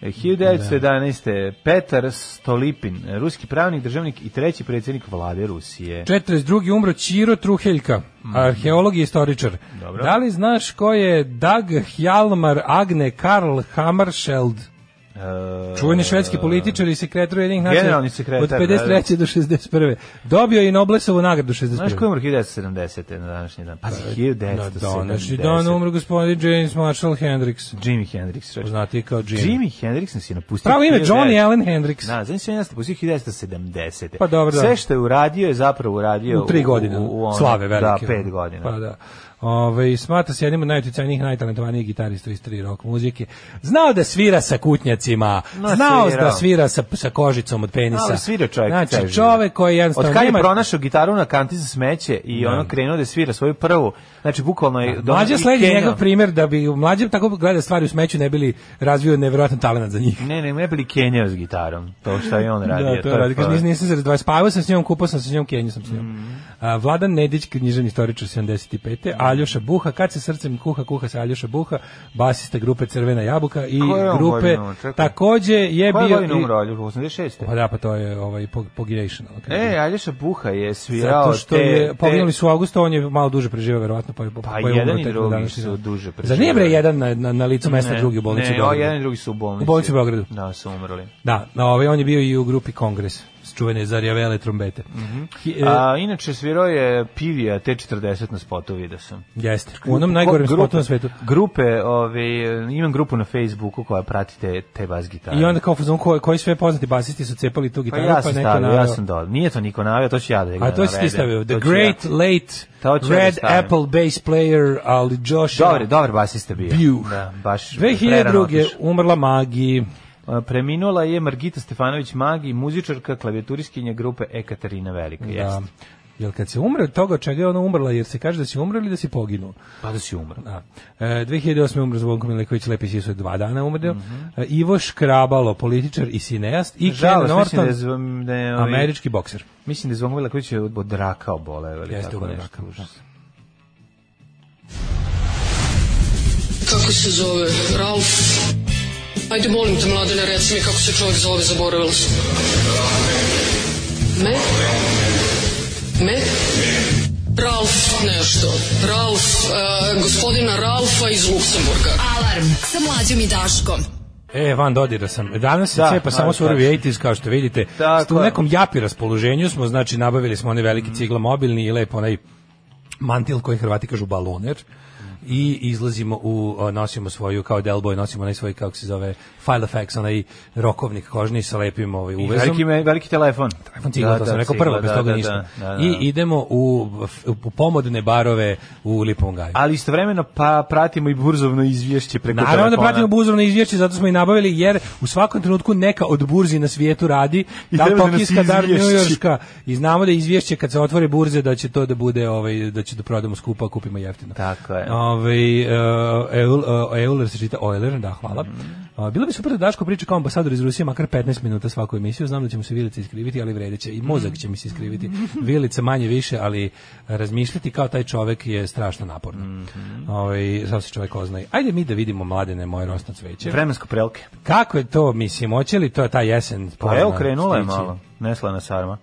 Speaker 6: eh, 1911. Petar Stolipin, eh, ruski pravnik, državnik i treći predsjednik vlade Rusije.
Speaker 9: 42. umro Ćiro Truheljka, arheolog i istoričar.
Speaker 6: Mhm. Dobro.
Speaker 9: Da li znaš ko je Dag Hjalmar Agne Karl Hammarskjöld?
Speaker 6: Eh,
Speaker 9: Čuveni švedski političar i sekretar jednih nacija
Speaker 6: Generalni sekretar,
Speaker 9: od 53. do 61. Dobio je i Noblesovu nagradu 61.
Speaker 6: Znaš ko je umro 1970. na današnji dan? Pa, Pazi, 1970.
Speaker 9: Pa, Na današnji dan umro gospodin James Marshall Hendricks,
Speaker 6: Jimi Hendrix. čovječe.
Speaker 9: poznatiji kao Jim.
Speaker 6: Jimi Hendrix nas je napustio.
Speaker 9: Pravo ime
Speaker 6: 1900.
Speaker 9: Johnny Allen Hendricks.
Speaker 6: Da, znači se nas napustio 1970.
Speaker 9: Pa dobro, da.
Speaker 6: Sve što je uradio je zapravo uradio
Speaker 9: u tri godine
Speaker 6: u, u, ono-
Speaker 9: slave velike.
Speaker 6: Da, pet godina.
Speaker 9: Pa da. Ove, smatra se jednim od najuticajnijih, najtalentovanijih gitarista u istoriji rock muzike. Znao da svira sa kutnjacima,
Speaker 6: No,
Speaker 9: znao
Speaker 6: svirao.
Speaker 9: da svira sa, sa kožicom od penisa.
Speaker 6: Ali svira čovjek. ceo
Speaker 9: Znači,
Speaker 6: život.
Speaker 9: čovek koji jednostavno...
Speaker 6: Od kad je
Speaker 9: nema-
Speaker 6: pronašao gitaru na kanti za smeće i ono krenuo da svira svoju prvu, znači bukvalno je... do-
Speaker 9: Mlađe
Speaker 6: i
Speaker 9: sledi
Speaker 6: kenjao.
Speaker 9: njegov primjer da bi mlađe tako gleda stvari u smeću ne bili razvio nevjerojatan talent za njih.
Speaker 6: Ne, ne, ne bili kenjao s gitarom, to što je on radio.
Speaker 9: da, to je radi. Kaže,
Speaker 6: fora. Mm-hmm.
Speaker 9: nis, nisam se razdvajao. Spavao sam s njom, kupao sam se s njom, kenju sam s njom. A, Vladan Nedić, književni istoričar 75. Aljoša Buha, kad se srcem kuha, kuha se Aljoša Buha, basista grupe Crvena jabuka i
Speaker 6: Koje je on
Speaker 9: grupe
Speaker 6: godine, čekaj?
Speaker 9: takođe je
Speaker 6: Koja je
Speaker 9: bio...
Speaker 6: godina
Speaker 9: i-
Speaker 6: umro, Aljoša? 86.
Speaker 9: Pa da, pa to je ovaj, pog- pogirejšano.
Speaker 6: E, Alješa Buha je svirao
Speaker 9: Zato što
Speaker 6: te,
Speaker 9: je poginuli
Speaker 6: te-
Speaker 9: su u augustu, on je malo duže preživao verovatno, pa je pa, je
Speaker 6: jedan
Speaker 9: umro
Speaker 6: i
Speaker 9: tek na
Speaker 6: drugi
Speaker 9: današnji
Speaker 6: su
Speaker 9: dan.
Speaker 6: duže
Speaker 9: Zar nije bre
Speaker 6: preživeli?
Speaker 9: jedan na, na, na licu mesta, drugi u bolnici?
Speaker 6: Ne,
Speaker 9: u
Speaker 6: o,
Speaker 9: Beogradu?
Speaker 6: jedan i drugi su u bolnici.
Speaker 9: U bolnici u Beogradu.
Speaker 6: Da, su umrli.
Speaker 9: Da, na ovaj, on je bio i u grupi Kongres, čuvene Zarjavele trombete. Hi- e,
Speaker 6: Mhm. A, inače, svirao je Pivija T40 na spotu, vidio sam.
Speaker 9: Jeste, u onom najgorem
Speaker 6: Grupe-
Speaker 9: spotu na svetu.
Speaker 6: Grupe, ove, imam grupu na Facebooku koja pratite te bas gitare.
Speaker 9: I onda kao fazon ko, koji sve poznati basisti su cepali tu
Speaker 6: pa
Speaker 9: gitaru,
Speaker 6: ja
Speaker 9: pa,
Speaker 6: sam
Speaker 9: neko
Speaker 6: stavio, ja
Speaker 9: naveo.
Speaker 6: sam dodao. Nije to niko navio, to ću ja da ga
Speaker 9: A to si ti
Speaker 6: navedem.
Speaker 9: stavio, The
Speaker 6: To ću ja.
Speaker 9: Great Late
Speaker 6: To ću ja da
Speaker 9: Red
Speaker 6: stavim.
Speaker 9: Apple Bass Player, ali Josh
Speaker 6: Dobar, dobar basista bio.
Speaker 9: Buh.
Speaker 6: Da, baš prerano
Speaker 9: 2002.
Speaker 6: otišao.
Speaker 9: umrla Magi.
Speaker 6: A, Preminula je Margita Stefanović Magi, muzičarka, klavijaturiskinja grupe Ekaterina Velika.
Speaker 9: Da.
Speaker 6: Jeste.
Speaker 9: Jel kad se umre od toga od čega je ona umrla, jer se kaže da si umrla ili da si poginuo?
Speaker 6: Pa da si umro.
Speaker 9: Da. E, 2008. umro Zvonko Mileković, Lepi Sisu je dva dana umreo.
Speaker 6: Mhm.
Speaker 9: E, Ivo Škrabalo, političar i sineast. I Ken
Speaker 6: Žalost, mislim
Speaker 9: Norton,
Speaker 6: da je, zv- da je ovi-
Speaker 9: američki bokser.
Speaker 6: Mislim da je Zvonko Milaković je od od raka oboleo ili
Speaker 9: Jeste
Speaker 6: tako
Speaker 9: umro od
Speaker 6: nešto.
Speaker 9: raka,
Speaker 6: užas.
Speaker 11: Kako se zove? Ralf? Ajde, molim te, mladene, reci mi kako se čovjek zove, zaboravila sam. Me? Me? Ralf nešto. Ralf, e, gospodina Ralfa iz Luksemburga.
Speaker 4: Alarm sa mlađom i Daškom.
Speaker 9: E, van dodira sam. Danas se
Speaker 6: Da,
Speaker 9: cepa samo
Speaker 6: ali
Speaker 9: surovi
Speaker 6: tačno.
Speaker 9: 80s, kao što vidite.
Speaker 6: Tako
Speaker 9: Sto- u
Speaker 6: je.
Speaker 9: nekom japi raspoloženju smo, znači, nabavili smo one
Speaker 6: Mm.
Speaker 9: velike cigla mobilni i lepo onaj mantil koji Hrvati kažu baloner i izlazimo u, o, nosimo svoju, kao Delboy, nosimo onaj svoj, kako se zove, file effects, onaj rokovnik kožni sa lepim ovaj,
Speaker 6: I
Speaker 9: uvezom.
Speaker 6: veliki, me- veliki telefon.
Speaker 9: IPhone cigla, to sam rekao
Speaker 6: cigla,
Speaker 9: prvo, bez
Speaker 6: da,
Speaker 9: toga
Speaker 6: da,
Speaker 9: ništa.
Speaker 6: da, da, da.
Speaker 9: I idemo u, u pomodne barove u Lipovom gaju.
Speaker 6: Ali istovremeno pa pratimo i burzovno izvješće preko
Speaker 9: Naravno da
Speaker 6: telefona.
Speaker 9: pratimo buzorno izvješće, zato smo i nabavili, jer u svakom trenutku neka od burzi na svijetu radi,
Speaker 6: I
Speaker 9: da li
Speaker 6: treba da nas
Speaker 9: Tokijska, da li
Speaker 6: izvješći.
Speaker 9: Njujorška, i znamo da izvješće kad se otvore burze da će to da bude, ovaj, da će da prodamo skupa, a kupimo jeftino.
Speaker 6: Tako je.
Speaker 9: Ovaj, e, Eul- e, Euler se čita Euler, da, hvala.
Speaker 6: Mm.
Speaker 9: A, Bilo bi super da Daško priča kao ambasador iz Rusije makar 15 minuta svaku emisiju. Znam da će mu se vilica iskriviti, ali vredit će. I mozak će mi se iskriviti. Vilica manje više, ali razmišljati kao taj čovek je strašno naporno.
Speaker 6: Mhm.
Speaker 9: Ovaj, sad se čovek oznaje. Ajde mi da vidimo mladene moje rosno cveće.
Speaker 6: Vremensko prelke.
Speaker 9: Kako je to, mislim, hoće li to ta jesen?
Speaker 6: Pa
Speaker 9: ponovno
Speaker 6: evo krenula je
Speaker 9: stići?
Speaker 6: malo. Neslana sarma.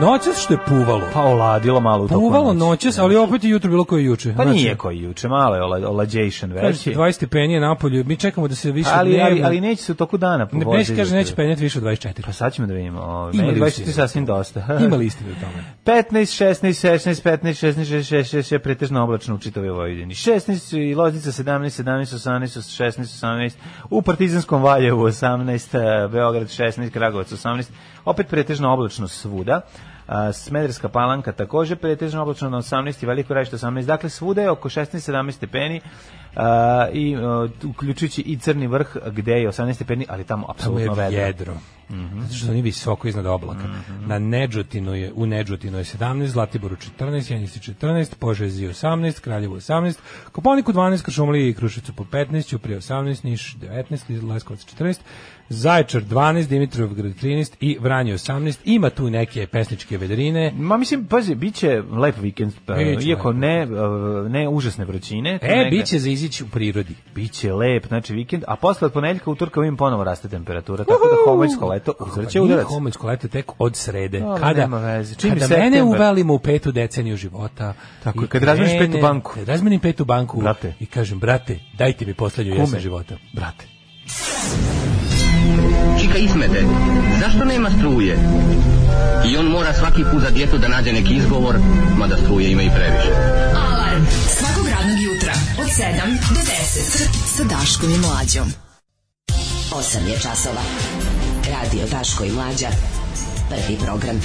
Speaker 9: noćas što je puvalo.
Speaker 6: Pa oladilo malo u toku
Speaker 9: Puvalo
Speaker 6: noći.
Speaker 9: noćas, ali opet je jutro bilo koje juče.
Speaker 6: Pa
Speaker 9: Znači,
Speaker 6: nije koji juče, malo je ola- olađejšan
Speaker 9: Kaže se
Speaker 6: veći.
Speaker 9: 20 stepeni je napolju, mi čekamo da se više
Speaker 6: Ali,
Speaker 9: ne...
Speaker 6: ali, ali neće se u toku dana
Speaker 9: ne,
Speaker 6: povoziti.
Speaker 9: neće kaže, neće penjeti više od 24.
Speaker 6: Pa sad ćemo da vidimo. Ove,
Speaker 9: Ima
Speaker 6: meni
Speaker 9: li
Speaker 6: 24
Speaker 9: istine?
Speaker 6: sasvim dosta.
Speaker 9: Ima li istine u tome?
Speaker 6: 15, 16, 16, 15, 16, 16, 16, je pretežno oblačno u čitavoj Vojvodini. 16 i Loznica 17, 17, 18, 16, 18, u Partizanskom Valjevu 18, eh, Beograd 16, Kragovac 18, opet pretežno oblačno svuda. A, Smederska palanka takođe pretežno oblačno na 18 i Veliko Rajište 18. Dakle, svuda je oko 16-17 stepeni a, i a, tu- uključujući i Crni vrh gde je 18 stepeni, ali tamo
Speaker 9: Tamo
Speaker 6: apsolutno
Speaker 9: je
Speaker 6: vedro. Mhm.
Speaker 9: jedro. Zato što oni visoko iznad oblaka. Na Nedžutinu je, u Nedžutinu je 17, Zlatiboru 14, Jenici 14, Požezi 18, Kraljevu 18, Koponiku 12, Kršumliji i Kruševcu po 15, Uprije 18, Niš 19, Leskovac 14, Zaječar 12, Dimitrovgrad 13 i Vranje 18. Ima tu neke pesničke vedrine.
Speaker 6: Ma mislim, pazi, bit će lep vikend, pa,
Speaker 9: Biće
Speaker 6: iako
Speaker 9: lep.
Speaker 6: ne, uh, ne užasne vrućine. tu
Speaker 9: E,
Speaker 6: negde-
Speaker 9: bit će za izići u prirodi.
Speaker 6: bit će lep, znači vikend, a posle od ponedjeljka utorka vidim ponovo raste temperatura, tako da homoljsko leto uzvrće
Speaker 9: Pa nije
Speaker 6: udarac.
Speaker 9: homoljsko leto tek od srede.
Speaker 6: Ali
Speaker 9: kada
Speaker 6: nema veze, čim
Speaker 9: kada
Speaker 6: septembar.
Speaker 9: mene uvalimo u petu deceniju života.
Speaker 6: Tako
Speaker 9: i
Speaker 6: je, kad razmeniš
Speaker 9: krenem-
Speaker 6: petu banku.
Speaker 9: Kad razmenim petu banku
Speaker 6: Brate.
Speaker 9: i kažem, brate, dajte mi poslednju
Speaker 6: Kume.
Speaker 9: jesen života.
Speaker 6: Brate.
Speaker 5: Čika Ismete, zašto nema struje? I on mora svaki put za djetu da nađe neki izgovor, mada struje ima i previše.
Speaker 4: Alarm. Svakog radnog jutra od 7 do 10.
Speaker 8: Sa Daškom i Mlađom. 8 je časova. Radio Daško i Mlađa. Prvi program.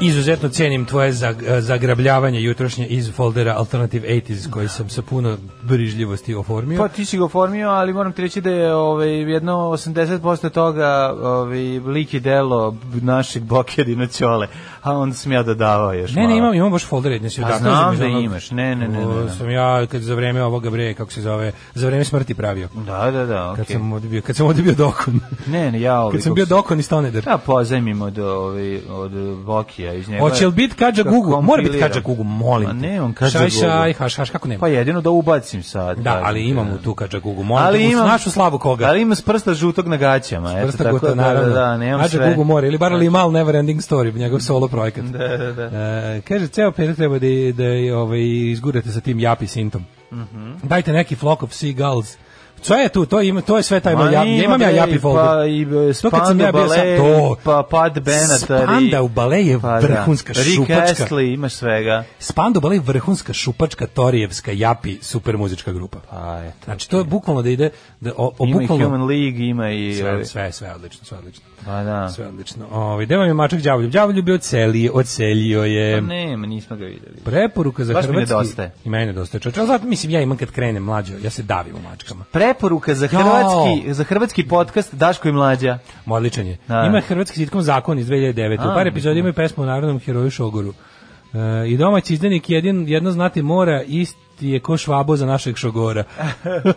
Speaker 9: Izuzetno cijenim tvoje zag- e, zagrabljavanje jutrošnje iz foldera Alternative 80s koji sam sa puno brižljivosti oformio.
Speaker 6: Pa ti si ga oformio, ali moram ti reći da je ovaj, jedno 80% toga ovaj, lik i delo b- našeg Bokedina Ćole, a onda sam ja dodavao još
Speaker 9: Ne,
Speaker 6: malo.
Speaker 9: ne, imam, imam baš folder jedne se
Speaker 6: Pa
Speaker 9: utakmice
Speaker 6: znam
Speaker 9: između
Speaker 6: da
Speaker 9: onog-
Speaker 6: imaš, ne, ne, ne, ne, ne.
Speaker 9: O, Sam ja kad za vreme ovoga bre, kako se zove, za vreme smrti pravio.
Speaker 6: Da, da, da, okej.
Speaker 9: Kad sam ovdje bio, kad sam ovdje bio dokon.
Speaker 6: Ne, ne, ja ovaj...
Speaker 9: Kad sam
Speaker 6: kako
Speaker 9: bio
Speaker 6: se-
Speaker 9: dokon i stoneder.
Speaker 6: Da, pozajmim od, ovaj, od Bokija iz njega.
Speaker 9: Hoće li biti Kađa Gugu? Mora biti Kađa Gugu, molim.
Speaker 6: Pa
Speaker 9: te.
Speaker 6: ne, on Kađa
Speaker 9: Šaj,
Speaker 6: Gugu.
Speaker 9: šaj, haš, haš, kako nema?
Speaker 6: Pa jedino da ubacim sad.
Speaker 9: da,
Speaker 6: kažem
Speaker 9: ali
Speaker 6: ti,
Speaker 9: imamo
Speaker 6: da.
Speaker 9: tu Kađa Gugu, molim. Ali imam, našu slavu koga.
Speaker 6: Ali ima s prsta žutog na gaćama, eto
Speaker 9: Vrsta
Speaker 6: tako
Speaker 9: Guta,
Speaker 6: da,
Speaker 9: naravno.
Speaker 6: da, da, nemam
Speaker 9: Kađa
Speaker 6: sve. Znači-
Speaker 9: Gugu mora, ili bar ali mal never ending story, njegov solo projekat.
Speaker 6: Da, da, da.
Speaker 9: E, kaže, ceo period treba da, da je, ovaj, izgurate sa tim japi sintom.
Speaker 6: Mhm.
Speaker 9: Dajte neki flock of seagulls. Co je tu? To, ima, to je sve taj moj
Speaker 6: Ma
Speaker 9: japi.
Speaker 6: nije,
Speaker 9: Ja imam ja
Speaker 6: bre,
Speaker 9: japi
Speaker 6: i
Speaker 9: folder.
Speaker 6: Pa, i e,
Speaker 9: To kad sam
Speaker 6: Spandau
Speaker 9: ja bio sam-
Speaker 6: Ballet,
Speaker 9: to.
Speaker 6: pa Pat Benatar. i-
Speaker 9: Spandau Ballet je vrhunska šupačka.
Speaker 6: pa Rick Astley, imaš svega.
Speaker 9: Spando Ballet je vrhunska šupačka Torijevska japi super muzička grupa.
Speaker 6: Pa, eto.
Speaker 9: Znači to je bukvalno da ide da o, o
Speaker 6: Ima i
Speaker 9: bukvalno
Speaker 6: Human League, ima i...
Speaker 9: sve,
Speaker 6: ovi-
Speaker 9: sve, sve odlično, sve odlično.
Speaker 6: Pa da.
Speaker 9: Sve odlično. Ovaj gde vam je mačak đavoljub? Đavoljub je ocelio, ocelio
Speaker 6: Pa
Speaker 9: je.
Speaker 6: nema, nismo ga videli.
Speaker 9: Preporuka za
Speaker 6: Baš mi
Speaker 9: hrvatski.
Speaker 6: nedostaje.
Speaker 9: I meni nedostaje. čoveče. Ali zato mislim ja imam kad krenem mlađo, ja se davim u mačkama.
Speaker 6: Preporuka za
Speaker 9: Jao.
Speaker 6: hrvatski, za hrvatski podcast Daško i mlađa.
Speaker 9: Odličan je.
Speaker 6: Da.
Speaker 9: Ima hrvatski sitkom Zakon iz 2009.
Speaker 6: A,
Speaker 9: u par epizoda ima i pesmu o narodnom heroju Šogoru. E, I domaći izdenik jedin, jedno znati mora, isti je ko švabo za našeg Šogora.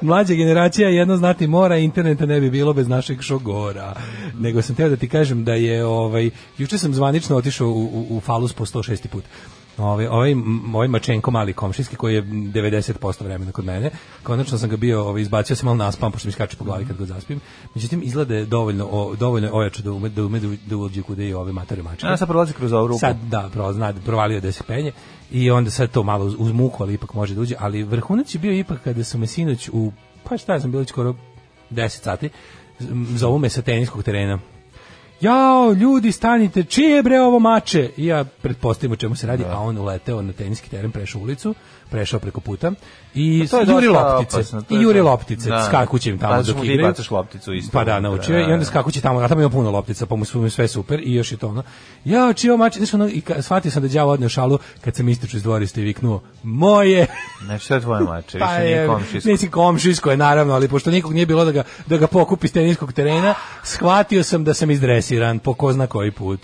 Speaker 9: Mlađa generacija jedno znati mora, interneta ne bi bilo bez našeg Šogora. Nego sam teo da ti kažem da je, ovaj, juče sam zvanično otišao u, u, u falus po 106. put. Ovaj, ovaj, m- ovaj Mačenko mali komšijski koji je 90% vremena kod mene. Konačno sam ga bio, ovaj, izbacio sam malo naspam, pošto mi skače po glavi kad ga zaspim. Međutim, izgleda da je dovoljno, o, dovoljno ojačo da ume, da ume da, u- da uđe kude i ove matore mačke.
Speaker 6: A sad prolazi kroz ovu rupu.
Speaker 9: Sad, da, pro, zna, provalio je da se penje i onda sad to malo uz, uz muku, ali ipak može da uđe, ali vrhunac je bio ipak kada su me sinoć u, pa šta ja znam, bilo je skoro 10 sati, m, zovu me sa teniskog terena. Jao, ljudi, stanite, čije bre ovo mače? I ja pretpostavim o čemu se radi, a on uleteo na teniski teren, prešao ulicu, prešao preko puta i
Speaker 6: Pa to je
Speaker 9: juri
Speaker 6: dosta
Speaker 9: loptice.
Speaker 6: opasno, to
Speaker 9: I
Speaker 6: je
Speaker 9: juri
Speaker 6: to.
Speaker 9: loptice,
Speaker 6: Da.
Speaker 9: skakuće im tamo
Speaker 6: Pa,
Speaker 9: dok
Speaker 6: ti
Speaker 9: igraju.
Speaker 6: bacaš lopticu isto
Speaker 9: Pa da,
Speaker 6: unutra,
Speaker 9: naučio je
Speaker 6: da,
Speaker 9: i onda
Speaker 6: da.
Speaker 9: kako će tamo, a tamo ima puno loptica, pa mu su mu sve super i još je to ono. Ja čio mač, znaš ono, i ka, shvatio sam da đavo odneo šalu kad sam istrčao iz dvorišta i viknuo, moje,
Speaker 6: Ne, šta je tvoje mače?
Speaker 9: pa
Speaker 6: Više nije
Speaker 9: je,
Speaker 6: komšijsko.
Speaker 9: nisi komšijsko je naravno, ali pošto nikog nije bilo da ga, da ga pokupi s teniskog terena, shvatio sam da sam izdresiran, po ko zna koji put.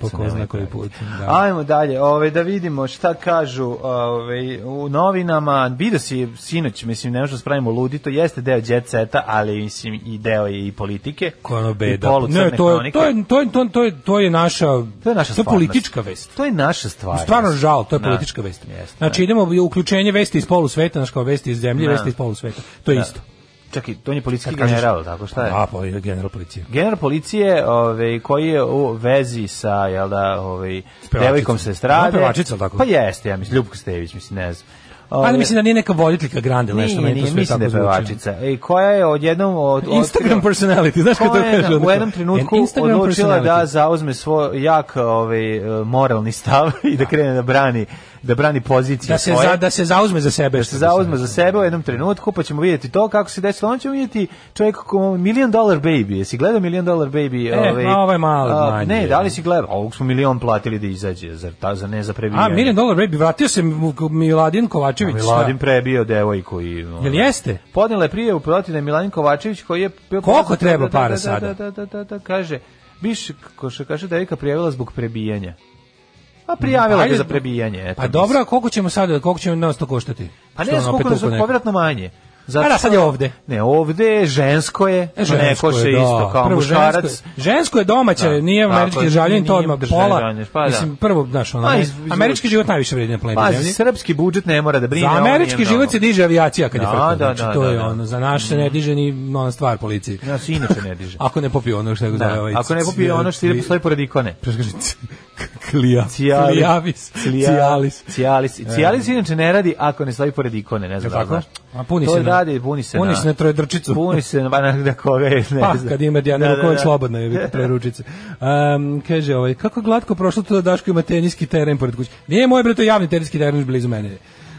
Speaker 9: Po ko zna koji put, da.
Speaker 6: Ajmo dalje, ove, da vidimo šta kažu ove, u novinama. Vidio si sinoć, mislim, ne možemo spravimo ludi, to jeste deo jet seta, ali mislim, i deo je i politike.
Speaker 9: Ko ono beda.
Speaker 6: I polucrne
Speaker 9: Ne, to je,
Speaker 6: hronike.
Speaker 9: to je, to je, to je, to je, to je naša,
Speaker 6: To je naša stvarnost.
Speaker 9: politička vest.
Speaker 6: To je naša stvar.
Speaker 9: Stvarno žal, to je
Speaker 6: Da.
Speaker 9: politička vest.
Speaker 6: Jeste,
Speaker 9: znači idemo u uključenje vesti iz polusveta, znači kao vesti iz zemlje,
Speaker 6: Da.
Speaker 9: vesti iz polusveta. To je isto.
Speaker 6: Čekaj, on je policijski
Speaker 9: Kad kažeš-
Speaker 6: general, tako šta je?
Speaker 9: Da, pa je general policije.
Speaker 6: General policije, ovaj koji je u vezi sa jel da, ovaj
Speaker 9: pevačicom.
Speaker 6: devojkom se strade.
Speaker 9: Ona pevačica, jel tako?
Speaker 6: Pa jeste, ja mislim Ljubko Stević, mislim ne znam.
Speaker 9: Ali
Speaker 6: Ovaj,
Speaker 9: mislim da nije neka voditeljka grande, ili nešto
Speaker 6: nije,
Speaker 9: meni to
Speaker 6: nije,
Speaker 9: sve
Speaker 6: mislim da
Speaker 9: tako
Speaker 6: je
Speaker 9: zvuči.
Speaker 6: pevačica. I koja je odjednom od,
Speaker 9: Instagram
Speaker 6: otkrio-
Speaker 9: personality, znaš kako to ono
Speaker 6: Koja je
Speaker 9: kaže?
Speaker 6: U jednom trenutku odlučila da zauzme svoj jak ovaj e, moralni stav i da krene da brani da brani pozicije
Speaker 9: da se
Speaker 6: svoje.
Speaker 9: za, da se zauzme za sebe,
Speaker 6: se zauzme za sebe u jednom trenutku, pa ćemo vidjeti to kako se desilo. On ćemo vidjeti čovjek ko Million Dollar Baby. Jesi gledao Million Dollar Baby?
Speaker 9: E, ma, ovaj mali
Speaker 6: a,
Speaker 9: manji
Speaker 6: Ne,
Speaker 9: je.
Speaker 6: da li si gledao? Ovog smo milion platili da izađe, zar ta, za ne za prebijanje.
Speaker 9: A, Million Dollar Baby, vratio se mu- Miladin Kovačević.
Speaker 6: Miladin
Speaker 9: šta?
Speaker 6: prebio devojku i... ono,
Speaker 9: Jel jeste?
Speaker 6: Podnela je prijavu protiv da je Miladin Kovačević koji je... bio-
Speaker 9: Koliko treba para
Speaker 6: da,
Speaker 9: sada?
Speaker 6: Da, da, da, da, da, kaže, biš, košarkaša devojka prijavila zbog prebijanja. Pa prijavila
Speaker 9: Ajde.
Speaker 6: ga za prebijanje. eto,
Speaker 9: Pa dobro, a koliko ćemo sada, koliko ćemo nas to koštati?
Speaker 6: Pa
Speaker 9: Što
Speaker 6: ne,
Speaker 9: ono opet
Speaker 6: skupili
Speaker 9: tuku
Speaker 6: su
Speaker 9: neko?
Speaker 6: povratno manje. Zato
Speaker 9: A da, sad je
Speaker 6: što-
Speaker 9: ovde.
Speaker 6: Ne, ovde je žensko je,
Speaker 9: E,
Speaker 6: neko se
Speaker 9: je, da.
Speaker 6: isto kao
Speaker 9: Prvo,
Speaker 6: muškarac.
Speaker 9: Žensko, je- žensko je domaće,
Speaker 6: Da.
Speaker 9: nije
Speaker 6: Tako
Speaker 9: američki
Speaker 6: je,
Speaker 9: državljanin,
Speaker 6: nije
Speaker 9: to odmah
Speaker 6: državljanin,
Speaker 9: pola.
Speaker 6: pa da.
Speaker 9: Mislim, prvo, znaš, ono,
Speaker 6: Pa,
Speaker 9: ne,
Speaker 6: iz- iz-
Speaker 9: američki život najviše vredi na planeti.
Speaker 6: Pa,
Speaker 9: Zemlji.
Speaker 6: srpski budžet ne mora da brine.
Speaker 9: Za
Speaker 6: ovo nije
Speaker 9: američki
Speaker 6: mnogo.
Speaker 9: život se diže avijacija kad je
Speaker 6: Da,
Speaker 9: frka,
Speaker 6: da,
Speaker 9: znači,
Speaker 6: da,
Speaker 9: to
Speaker 6: da,
Speaker 9: je
Speaker 6: da. Mm.
Speaker 9: ono, za naš se ne diže ni ona stvar policiji.
Speaker 6: Ja se inače ne diže.
Speaker 9: Ako ne popije ono što je
Speaker 6: Da,
Speaker 9: ovaj,
Speaker 6: ako ne popije ono što ide
Speaker 9: cvi-
Speaker 6: stoji pored ikone.
Speaker 9: Preškaži, c- klija,
Speaker 6: Cialis.
Speaker 9: klijavis, cijalis.
Speaker 6: Cijalis. Cijalis inače ne radi ako ne stoji pored ikone, ne znam. da
Speaker 9: Jel
Speaker 6: li
Speaker 9: tako?
Speaker 6: znaš.
Speaker 9: A puni
Speaker 6: to
Speaker 9: se na-
Speaker 6: radi, puni se
Speaker 9: puni
Speaker 6: na...
Speaker 9: se na trojedrčicu.
Speaker 6: Puni se na, na, na koga je, ne
Speaker 9: Pa,
Speaker 6: znam.
Speaker 9: kad ima Dijana
Speaker 6: Da,
Speaker 9: da,
Speaker 6: da,
Speaker 9: Rukovac,
Speaker 6: da.
Speaker 9: slobodno je, vidite, preručice. Um, kaže, ovaj, kako je glatko prošlo to da Daško ima teniski teren pored kuće. Nije moj, bre, to je javni teniski teren blizu mene.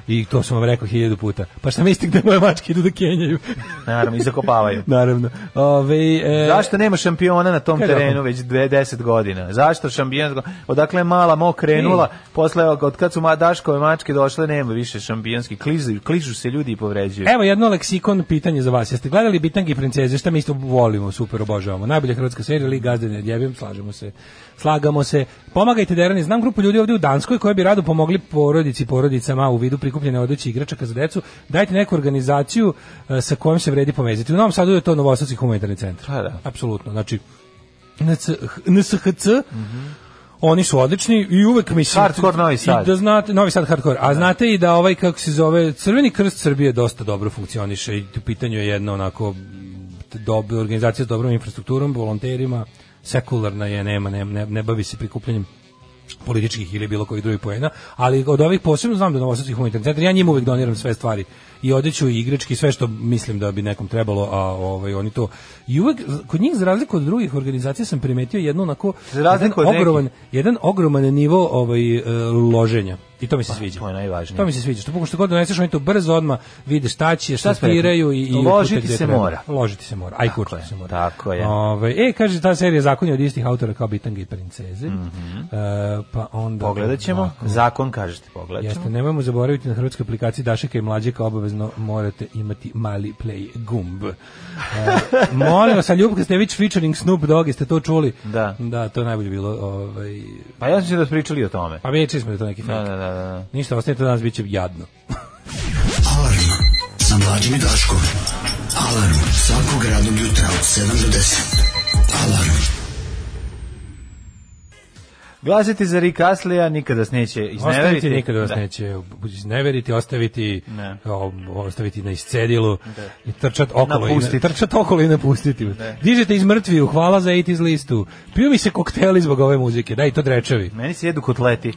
Speaker 9: I to sam vam rekao hiljadu puta. Pa šta mislite gde moje mačke idu da kenjaju?
Speaker 6: Naravno, i zakopavaju.
Speaker 9: Naravno. Ove, e,
Speaker 6: Zašto nema šampiona na tom
Speaker 9: Kaj je
Speaker 6: terenu već dve- 10 godina? Zašto šampionsko? Odakle je mala mo krenula, posle od kad su ma Daškove mačke došle nema više šampionski klizu, kližu se ljudi i povređuju.
Speaker 9: Evo jedno leksikon pitanje za vas. Jeste gledali Bitangi i princeze? Šta mi isto volimo, super obožavamo. Najbolja hrvatska serija, ali gazde ne djebim, slažemo se. Slagamo se. Pomagajte Derani. Znam grupu ljudi ovdje u Danskoj koji bi rado pomogli porodici i porodicama u vidu prikupljene odeće i igračaka za decu. Dajte neku organizaciju e, sa kojom se vredi povezati. U Novom Sadu je to Novosadski humanitarni centar.
Speaker 6: Pa da.
Speaker 9: Apsolutno. Znači, NC NSHC, oni su odlični i uvek mislim...
Speaker 6: Hardcore Novi Sad.
Speaker 9: I da znate, Novi Sad hardcore. A znate i da ovaj, kako se zove, Crveni krst Srbije dosta dobro funkcioniše i u pitanju je jedna onako dobra organizacija s dobrom infrastrukturom, volonterima, sekularna je, nema, ne, ne, ne bavi se prikupljanjem političkih ili bilo kojih drugih poena, ali od ovih posebno znam da Novosadski humanitarni centar, ja njima uvek doniram sve stvari i odeću i igrački, sve što mislim da bi nekom trebalo, a ovaj, oni to i uvek, kod njih za razliku od drugih organizacija sam primetio jednu onako
Speaker 6: Za razliku
Speaker 9: jedan
Speaker 6: od nekih.
Speaker 9: ogroman, jedan ogroman nivo ovaj, e, loženja i to mi se sviđa.
Speaker 6: Pa, to je najvažnije.
Speaker 9: To mi se sviđa, što pokušto god doneseš, oni to brzo odmah vide šta će, šta
Speaker 6: smo rekli?
Speaker 9: tiraju i, i upute
Speaker 6: Ložiti
Speaker 9: gde
Speaker 6: se
Speaker 9: treba.
Speaker 6: mora.
Speaker 9: Ložiti se mora, aj
Speaker 6: Tako
Speaker 9: kurčiti
Speaker 6: je,
Speaker 9: se mora.
Speaker 6: tako je.
Speaker 9: Ovaj, e, kaže, ta serija zakon je od istih autora kao Bitange i princeze. E, pa onda...
Speaker 6: Mhm. Pogledat ćemo,
Speaker 9: Ovako,
Speaker 6: zakon kažete pogledat ćemo.
Speaker 9: Jeste, nemojmo zaboraviti na hrvatskoj aplikaciji Dašeka i Mlađeka, obavezno morate imati mali play gumb. E, molim vas, a Ljubka Stević featuring Snoop Dogg, jeste to čuli?
Speaker 6: Da.
Speaker 9: Da, to je najbolje bilo. Ovaj,
Speaker 6: Pa ja sam se da smo pričali o tome.
Speaker 9: pa već smo da je to neki fake.
Speaker 6: Da, da, da, da.
Speaker 9: Ništa, ostaje to danas, bit će jadno.
Speaker 4: Alarm sa mlađim i Daškom. Alarm svakog radnog jutra od 7 do 10. Alarm.
Speaker 6: Glasiti za Rick Aslija nikada se neće izneveriti.
Speaker 9: Ostaviti nikada vas
Speaker 6: Da.
Speaker 9: neće izneveriti, ostaviti,
Speaker 6: Ne.
Speaker 9: o, ostaviti na iscedilu i trčat okolo, i,
Speaker 6: Napustiti.
Speaker 9: na- trčat okolo i napustiti. Dižete iz mrtviju, hvala za 80s listu. Piju mi se kokteli zbog ove muzike, da i to drečevi.
Speaker 6: Meni se jedu kotleti.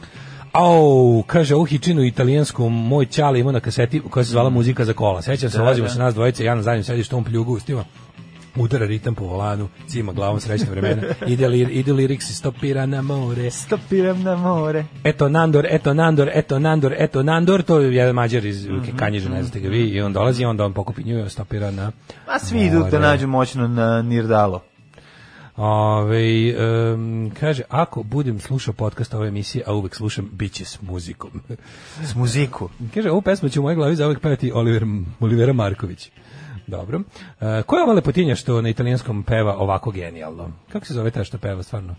Speaker 9: Au, kaže, ovu hičinu italijansku moj ćale ima na kaseti koja se zvala muzika za kola. Sećam se,
Speaker 6: Da,
Speaker 9: vozimo
Speaker 6: da.
Speaker 9: se nas dvojice, ja na zadnjem sedištu, on pljugu ustima udara ritam po volanu, cima glavom srećna vremena, ide, li, ide liriksi, stopira na more,
Speaker 6: Stopiram na more.
Speaker 9: eto Nandor, eto Nandor, eto Nandor, eto Nandor, to je jedan mađar iz Kanjiže, ne znate ga vi, i on dolazi, onda on pokupi nju i stopira na...
Speaker 6: A Pa svi idu da
Speaker 9: more.
Speaker 6: nađu moćno na Nirdalo.
Speaker 9: Ove, ovaj, em, kaže, ako budem slušao podcast ove emisije, a uvek slušam, bit će s muzikom.
Speaker 6: S muziku.
Speaker 9: Kaže, ovu pesmu će u mojoj glavi zauvek pevati Oliver, Olivera Marković. Dobro. E, koja je ova lepotinja što na italijanskom peva ovako genijalno? Kako se zove ta što peva stvarno?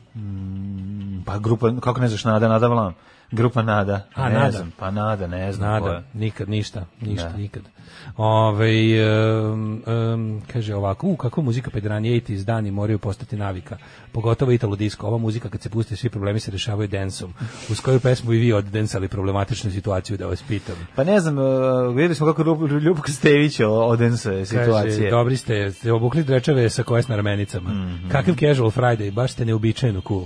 Speaker 6: Pa grupa, kako ne znaš, Nada, Nada Vlan. Grupa Nada.
Speaker 9: A,
Speaker 6: ne
Speaker 9: Nada.
Speaker 6: Znam, pa Nada, ne znam. ko
Speaker 9: Nada,
Speaker 6: je.
Speaker 9: nikad, ništa, ništa,
Speaker 6: Da.
Speaker 9: nikad. Ove, um, um, kaže ovako, u, kakva muzika pa pedranije iz dani moraju postati navika. Pogotovo Italo disco, ova muzika kad se pusti, svi problemi se rešavaju densom. Uz koju pesmu i vi oddensali problematičnu situaciju, da vas pitam.
Speaker 6: Pa ne znam, uh, videli smo kako Ljub, Ljubko Stević odense
Speaker 9: Kaže,
Speaker 6: situacije. Mhm.
Speaker 9: dobri ste, ste obukli drečave sa koje s ramenicama. Kakav casual Friday, baš ste neuobičajeno cool.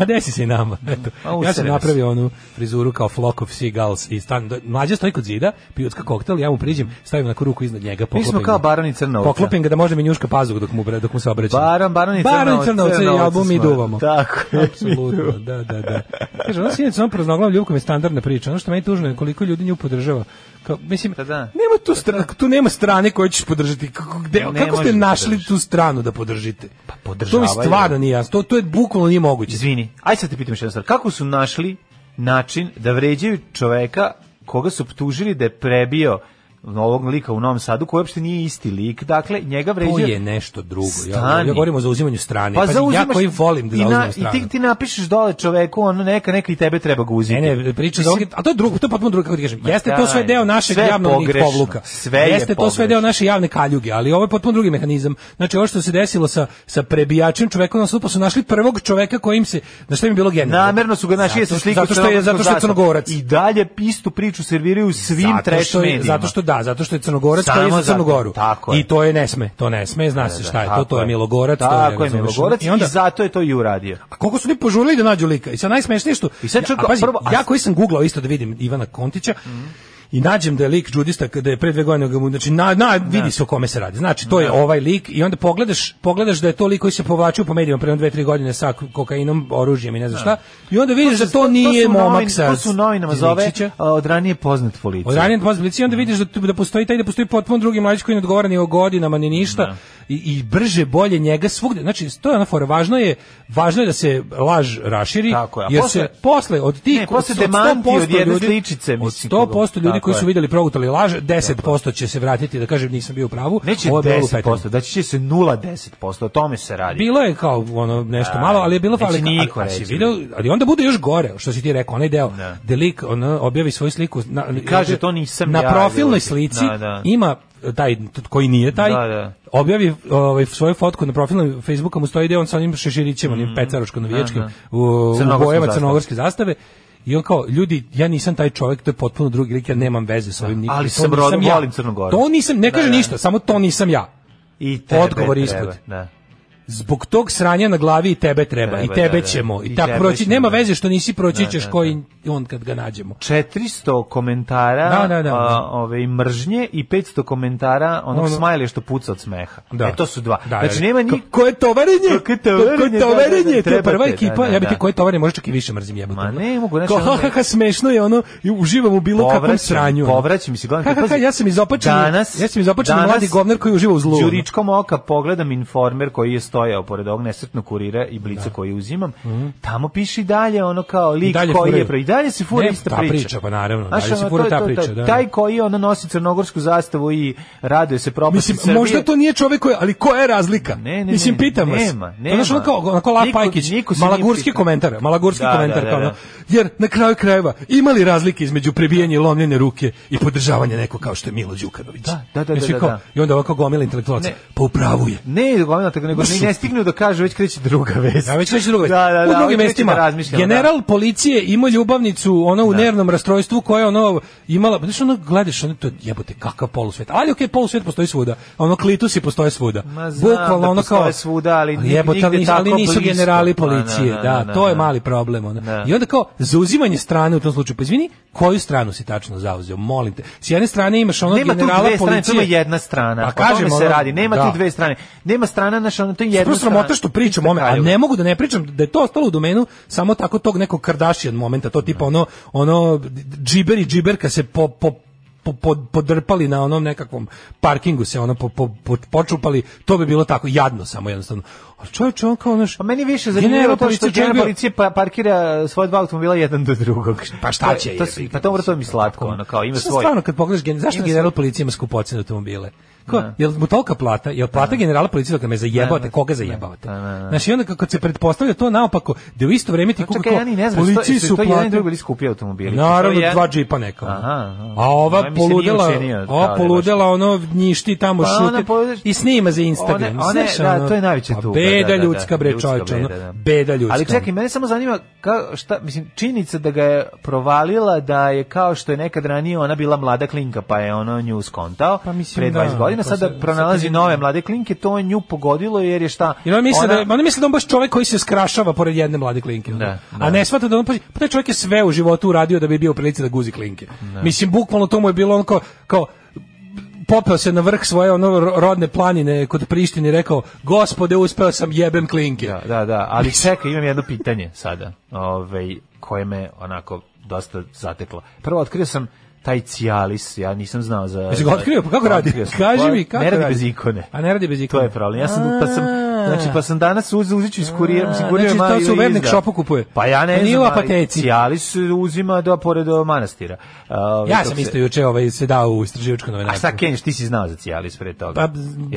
Speaker 9: A desi se i nama. Eto.
Speaker 6: A usere
Speaker 9: ja sam
Speaker 6: nas.
Speaker 9: napravio onu frizuru kao flock of seagulls i stan, do- mlađa stoji kod zida, pijutska koktel, ja mu priđem, stavim na ruku iznad njega,
Speaker 6: Mi
Speaker 9: poklopim
Speaker 6: smo kao
Speaker 9: ga.
Speaker 6: Baron i Crnovca.
Speaker 9: Poklopim ga da može mi njuška pazuk dok mu, bre- dok mu se obraćam.
Speaker 6: Baron, Baron i
Speaker 9: Baron
Speaker 6: Crnovca.
Speaker 9: Crnovca i
Speaker 6: Crnovca
Speaker 9: album
Speaker 6: smo.
Speaker 9: i duvamo.
Speaker 6: Tako.
Speaker 9: Apsolutno, da, da, da. Kaže, ona sinac, on praznoglav ljubkom je standardna priča. Ono što meni tužno je koliko ljudi nju podržava. Kao, mislim,
Speaker 6: Pa da.
Speaker 9: nema tu, strana, tu nema strane koju ćeš podržati. Kako, gde,
Speaker 6: Ne
Speaker 9: kako ste
Speaker 6: možeš
Speaker 9: našli
Speaker 6: podržati.
Speaker 9: tu stranu da podržite? Pa
Speaker 6: podržavaju.
Speaker 9: To mi stvarno nije jasno. To, to je bukvalno nije moguće.
Speaker 6: Izvini, aj sad te pitam još jednu stvar. Kako su našli način da vređaju čoveka koga su optužili da je prebio ovog lika u Novom Sadu, koji uopšte nije isti lik. Dakle, njega
Speaker 9: To
Speaker 6: vređaju...
Speaker 9: je nešto drugo. Ja,
Speaker 6: Stani.
Speaker 9: ja govorim o zauzimanju strane. Pa, ja
Speaker 6: zauzimaš-
Speaker 9: koji volim da
Speaker 6: i na-
Speaker 9: zauzimam stranu.
Speaker 6: I ti, ti napišeš dole čoveku, ono neka, neka i tebe treba ga uzeti.
Speaker 9: Ne, ne, priča za
Speaker 6: Mislim,
Speaker 9: ovog, a to je drugo, to je potpuno drugo, kako ti kažem.
Speaker 6: Ma
Speaker 9: Jeste to sve
Speaker 6: daj,
Speaker 9: deo našeg
Speaker 6: sve je
Speaker 9: javnog
Speaker 6: pogrešno,
Speaker 9: povluka.
Speaker 6: sve je
Speaker 9: Jeste to sve
Speaker 6: pogrešno.
Speaker 9: deo naše javne kaljuge, ali ovo je potpuno drugi mehanizam. Znači, ovo što se desilo sa, sa prebijačem čovekom na sudu, pa su našli prvog čoveka kojim se, na što im je bilo genijalno.
Speaker 6: Namerno su ga našli,
Speaker 9: Zato-
Speaker 6: jesu sliku
Speaker 9: Zato što je, zato što je crnogorac.
Speaker 6: I dalje istu priču serviraju svim
Speaker 9: Zato
Speaker 6: trash
Speaker 9: što, je,
Speaker 6: medijima.
Speaker 9: zato što da, zato što je Crnogorac
Speaker 6: Samo
Speaker 9: koji je za
Speaker 6: zato,
Speaker 9: Crnu Goru.
Speaker 6: tako je.
Speaker 9: I to je ne sme, to ne sme, zna se šta je to,
Speaker 6: Tako
Speaker 9: to je Milogorac, to je,
Speaker 6: Tako je
Speaker 9: razumeš,
Speaker 6: Milogorac i,
Speaker 9: onda-
Speaker 6: zato je to i uradio.
Speaker 9: A koliko su oni požurili da nađu lika? I sad najsmešnije što...
Speaker 6: I sad čak-
Speaker 9: a, pazi,
Speaker 6: prvo- a-
Speaker 9: ja koji sam googlao isto da vidim Ivana Kontića, I nađem da je lik Đudista kada je pre dve godine ga mu- znači na, na vidi se o kome se radi. Znači to je ovaj lik i onda pogledaš pogledaš da je to lik koji se povlačio po medijima pre jedno dve tri godine sa kokainom, oružjem i ne znam šta. I onda vidiš da to nije
Speaker 6: su novin-
Speaker 9: momak sa
Speaker 6: To su u novinama zove
Speaker 9: Nikšića.
Speaker 6: a, od ranije poznat policija.
Speaker 9: Od ranije poznat policiji, onda vidiš da, tu- da postoji taj, da postoji potpuno drugi mladić koji ne odgovara ni o godinama, ni ništa. I, I brže, bolje njega svugde. Znači, to je ona fora. Važno je, važno je da se laž raširi,
Speaker 6: Tako je, a
Speaker 9: jer
Speaker 6: posle-
Speaker 9: se posle od tih
Speaker 6: Ne, posle
Speaker 9: od,
Speaker 6: demanti od
Speaker 9: 100%
Speaker 6: jedne
Speaker 9: ljudi-
Speaker 6: sličice,
Speaker 9: od
Speaker 6: mislim,
Speaker 9: 100% ljudi
Speaker 6: tako
Speaker 9: koji su
Speaker 6: je.
Speaker 9: videli progutali laž, 10% će se vratiti da kažem nisam bio u pravu.
Speaker 6: Neće
Speaker 9: Ovo je bilo lupetanje.
Speaker 6: 10%, da će se 0,10%, o tome se radi.
Speaker 9: Bilo je kao ono nešto
Speaker 6: Da,
Speaker 9: malo, ali je bilo
Speaker 6: neće
Speaker 9: fali.
Speaker 6: niko
Speaker 9: ali, ali,
Speaker 6: reći.
Speaker 9: video, ali onda bude još gore, što si ti rekao, onaj deo
Speaker 6: Da.
Speaker 9: gde lik ono, objavi svoju sliku na,
Speaker 6: kaže, to nisam
Speaker 9: na
Speaker 6: ja,
Speaker 9: profilnoj
Speaker 6: ljudi.
Speaker 9: slici
Speaker 6: Da, da.
Speaker 9: ima taj t- koji nije taj
Speaker 6: Da, da.
Speaker 9: objavi ovaj svoju fotku na profilu Facebooka mu stoji deo on sa onim šeširićem,
Speaker 6: Mhm.
Speaker 9: onim pecaroško navijačkim
Speaker 6: Aha.
Speaker 9: u, u
Speaker 6: Crnogorskom
Speaker 9: bojama
Speaker 6: zastave.
Speaker 9: crnogorske zastave. I on kao, ljudi, ja nisam taj čovjek, to je potpuno drugi lik, ja nemam veze sa ovim nikom.
Speaker 6: ali
Speaker 9: to
Speaker 6: sam
Speaker 9: nisam
Speaker 6: rodom,
Speaker 9: ja.
Speaker 6: volim Crnu Goru.
Speaker 9: To nisam, ne
Speaker 6: Da,
Speaker 9: kaže
Speaker 6: da.
Speaker 9: ništa, samo to nisam ja
Speaker 6: I tebe
Speaker 9: Odgovor
Speaker 6: treba,
Speaker 9: ispod.
Speaker 6: Da.
Speaker 9: zbog tog sranja na glavi i tebe treba,
Speaker 6: Treba,
Speaker 9: i tebe
Speaker 6: da, da.
Speaker 9: ćemo i,
Speaker 6: I
Speaker 9: tako
Speaker 6: tebe
Speaker 9: proći
Speaker 6: ćemo,
Speaker 9: nema
Speaker 6: da.
Speaker 9: veze što nisi proći ćeš
Speaker 6: da, da.
Speaker 9: koji on kad ga nađemo
Speaker 6: 400 komentara
Speaker 9: Da, da, da.
Speaker 6: a, ove, mržnje i 500 komentara onog
Speaker 9: Ono-
Speaker 6: smajlija što puca od smeha.
Speaker 9: Da.
Speaker 6: E, to su dva.
Speaker 9: Da,
Speaker 6: znači,
Speaker 9: da.
Speaker 6: nema ni...
Speaker 9: Ko- koje tovarenje?
Speaker 6: Ko- koje tovarenje,
Speaker 9: Ko- koje
Speaker 6: da, da,
Speaker 9: tovarenje?
Speaker 6: da,
Speaker 9: to je prva
Speaker 6: trebate,
Speaker 9: ekipa,
Speaker 6: da, da,
Speaker 9: ja bih ti
Speaker 6: da.
Speaker 9: koje tovarenje, možda čak i više mrzim jebote.
Speaker 6: Ma
Speaker 9: ono.
Speaker 6: ne mogu, znači,
Speaker 9: Kao,
Speaker 6: ono-
Speaker 9: ha, ha, ha, smešno je ono, i uživam u bilo kakvom
Speaker 6: Povraćam,
Speaker 9: sranju. ono.
Speaker 6: povraćam i si gledam,
Speaker 9: Ha, ha,
Speaker 6: pazi,
Speaker 9: ha, ja sam izopačen,
Speaker 6: danas-
Speaker 9: ja sam izopačen
Speaker 6: danas-
Speaker 9: mladi govnar koji uživa u zlu. ono.
Speaker 6: Đuričkom oka pogledam informer koji je stojao pored ovog nesretnog kurira i blica koji uzimam. Tamo piše i dalje ono kao
Speaker 9: Mhm. I
Speaker 6: lik
Speaker 9: dalje
Speaker 6: koji
Speaker 9: furaju.
Speaker 6: je pro... I dalje se fura
Speaker 9: Ne,
Speaker 6: ista
Speaker 9: ta
Speaker 6: priča.
Speaker 9: priča, pa naravno,
Speaker 6: Znaš,
Speaker 9: dalje se
Speaker 6: ono,
Speaker 9: fura
Speaker 6: to je
Speaker 9: ta
Speaker 6: to,
Speaker 9: priča,
Speaker 6: taj-
Speaker 9: da.
Speaker 6: Taj koji ono nosi crnogorsku zastavu i raduje se propasti
Speaker 9: Mislim,
Speaker 6: Srbije.
Speaker 9: možda to nije čovjek koji, ali koja je razlika?
Speaker 6: Ne, ne, ne,
Speaker 9: Mislim, pitam vas.
Speaker 6: nema, nema.
Speaker 9: Znaš, ono kao, onako Lav
Speaker 6: Niko-
Speaker 9: Pajkić,
Speaker 6: niko se nije
Speaker 9: malagurski
Speaker 6: pitao.
Speaker 9: komentar, malagurski
Speaker 6: Da,
Speaker 9: komentar,
Speaker 6: da, da,
Speaker 9: kao ono,
Speaker 6: da.
Speaker 9: jer na kraju krajeva imali razlike između prebijanja i lomljene ruke i podržavanja nekog kao što je Milo Đukanović.
Speaker 6: Da, da, da,
Speaker 9: Mislim,
Speaker 6: da,
Speaker 9: kao,
Speaker 6: da.
Speaker 9: I onda ovako gomila intelektualaca,
Speaker 6: Ne.
Speaker 9: pa upravu je.
Speaker 6: Ne, glavno tako nego ne, ne stignu da kažu, već kreće druga vest.
Speaker 9: Ja već već drugo.
Speaker 6: Da, da, da,
Speaker 9: u drugim
Speaker 6: već kreće
Speaker 9: mestima.
Speaker 6: da razmišljamo,
Speaker 9: general policije ima ljubavnicu ono u nervnom rastrojstvu koja je ono imala, znaš ono gledaš ono to je, jebote kakav polusvet. Ali okej, polusvet postoji svuda. a Ono klitusi postoje svuda.
Speaker 6: Ma znam
Speaker 9: Bukvalno
Speaker 6: da
Speaker 9: ono kao
Speaker 6: postoje svuda, ali ni-
Speaker 9: jebote, ali,
Speaker 6: nigde
Speaker 9: nisu- ali
Speaker 6: tako
Speaker 9: nisu
Speaker 6: blisko.
Speaker 9: generali
Speaker 6: Pa, na,
Speaker 9: policije.
Speaker 6: na,
Speaker 9: da,
Speaker 6: na,
Speaker 9: to je
Speaker 6: na.
Speaker 9: mali problem ono.
Speaker 6: Da.
Speaker 9: I onda kao zauzimanje strane u tom slučaju. Pa izvini, koju stranu si tačno zauzeo? Molim te. S jedne strane imaš onog
Speaker 6: Nema tu
Speaker 9: generala
Speaker 6: dve strane, to
Speaker 9: policije.
Speaker 6: je jedna strana.
Speaker 9: Pa
Speaker 6: Pa kažem,
Speaker 9: kažem,
Speaker 6: se
Speaker 9: ono,
Speaker 6: radi, nema
Speaker 9: da.
Speaker 6: tu dve strane. Nema strana naša, ono to je jedna
Speaker 9: Prvo
Speaker 6: strana.
Speaker 9: sramota što pričam o ome, a ne mogu da ne pričam da je to ostalo u domenu samo tako tog nekog Kardashian momenta, to tipa ono ono džiber i džiberka se po, po po- po- podrpali na onom nekakvom parkingu se ono po, po- po- počupali to bi bilo tako jadno samo jednostavno a čovječe on kao naš
Speaker 6: Pa meni više zanimljivo to što
Speaker 9: čovjek
Speaker 6: general
Speaker 9: bio-
Speaker 6: policije pa parkira svoje dva automobila jedan do drugog.
Speaker 9: pa šta
Speaker 6: To
Speaker 9: će
Speaker 6: je-
Speaker 9: je
Speaker 6: To, su- pa to mora to mi slatko, ono kao ima
Speaker 9: Šta
Speaker 6: svoj.
Speaker 9: stvarno kad pogledaš gen- zašto
Speaker 6: Ima
Speaker 9: general policije ima skupocene automobile Ko, jel mu tolika plata? Jel plata generala policije kad me zajebavate? Koga zajebavate?
Speaker 6: Da, da, da.
Speaker 9: Znači, i onda kako se pretpostavlja to naopako, da u isto vreme ti kuka
Speaker 6: Čekaj, ja ni ne znam, što,
Speaker 9: policiji
Speaker 6: su
Speaker 9: su
Speaker 6: to jedan i
Speaker 9: plate...
Speaker 6: drugi bili skupi automobili.
Speaker 9: Naravno,
Speaker 6: To je-
Speaker 9: dva džipa neka. ono.
Speaker 6: Aha, aha.
Speaker 9: A ova
Speaker 6: Ovaj mi se nije
Speaker 9: poludela,
Speaker 6: učinio, da, da,
Speaker 9: ova
Speaker 6: baš.
Speaker 9: poludela, ono njišti tamo
Speaker 6: Pa ona
Speaker 9: šuti
Speaker 6: poludela-
Speaker 9: i snima za Instagram.
Speaker 6: One- one-
Speaker 9: Znaš,
Speaker 6: da,
Speaker 9: ono,
Speaker 6: to je najveća
Speaker 9: pa
Speaker 6: tuga,
Speaker 9: Beda
Speaker 6: da, da, da.
Speaker 9: ljudska, bre,
Speaker 6: Ljudska
Speaker 9: čovječe, ono,
Speaker 6: beda, da.
Speaker 9: beda ljudska.
Speaker 6: Ali čekaj, mene samo zanima ka, šta, mislim, činjenica da ga je provalila da je kao što je nekad ranije ona bila mlada klinka, pa je ono nju skontao
Speaker 9: Pa mislim,
Speaker 6: pre
Speaker 9: da,
Speaker 6: 20 godina,
Speaker 9: to
Speaker 6: sada
Speaker 9: se-
Speaker 6: pronalazi
Speaker 9: sad-
Speaker 6: nove mlade klinke, to je nju pogodilo jer je šta...
Speaker 9: Jer on misli da on misli da on baš čovjek koji se skrašava pored jedne mlade klinke. ono.
Speaker 6: Da, da.
Speaker 9: A ne shvata da on pa pa taj čovjek je sve u životu uradio da bi bio u prilici da guzi klinke. Mislim bukvalno to mu je bilo on kao, kao popeo se na vrh svoje ono ro- rodne planine kod Prištine i rekao gospode uspeo sam jebem klinke.
Speaker 6: Da, da, da, ali čekaj, imam jedno pitanje sada, ovaj, koje me onako dosta zateklo. Prvo, otkrio sam taj Cialis, ja nisam znao za...
Speaker 9: Jesi ga
Speaker 6: za-
Speaker 9: otkrio? Pa kako radi?
Speaker 6: Otkrio sam.
Speaker 9: Kaži
Speaker 6: Pa,
Speaker 9: mi, kako
Speaker 6: Ne radi
Speaker 9: radi?
Speaker 6: bez ikone.
Speaker 9: A ne radi bez ikone.
Speaker 6: To je problem. Ja sam, pa sam,
Speaker 9: A.
Speaker 6: znači, pa sam danas uz, uzet ću iz kurira, mislim,
Speaker 9: A,
Speaker 6: kurir
Speaker 9: znači,
Speaker 6: mali
Speaker 9: to se u
Speaker 6: izda.
Speaker 9: webnik shopu kupuje.
Speaker 6: Pa ja ne
Speaker 9: To nije u
Speaker 6: znam, ali
Speaker 9: apoteci.
Speaker 6: Cialis uzima do, pored do manastira. Ovaj,
Speaker 9: Ja
Speaker 6: to
Speaker 9: sam
Speaker 6: se-
Speaker 9: isto juče ovaj se dao u istraživačko
Speaker 6: A
Speaker 9: novinarstvo.
Speaker 6: šta Kenjiš, ti si znao za Cialis pre toga?
Speaker 9: Pa,
Speaker 6: ja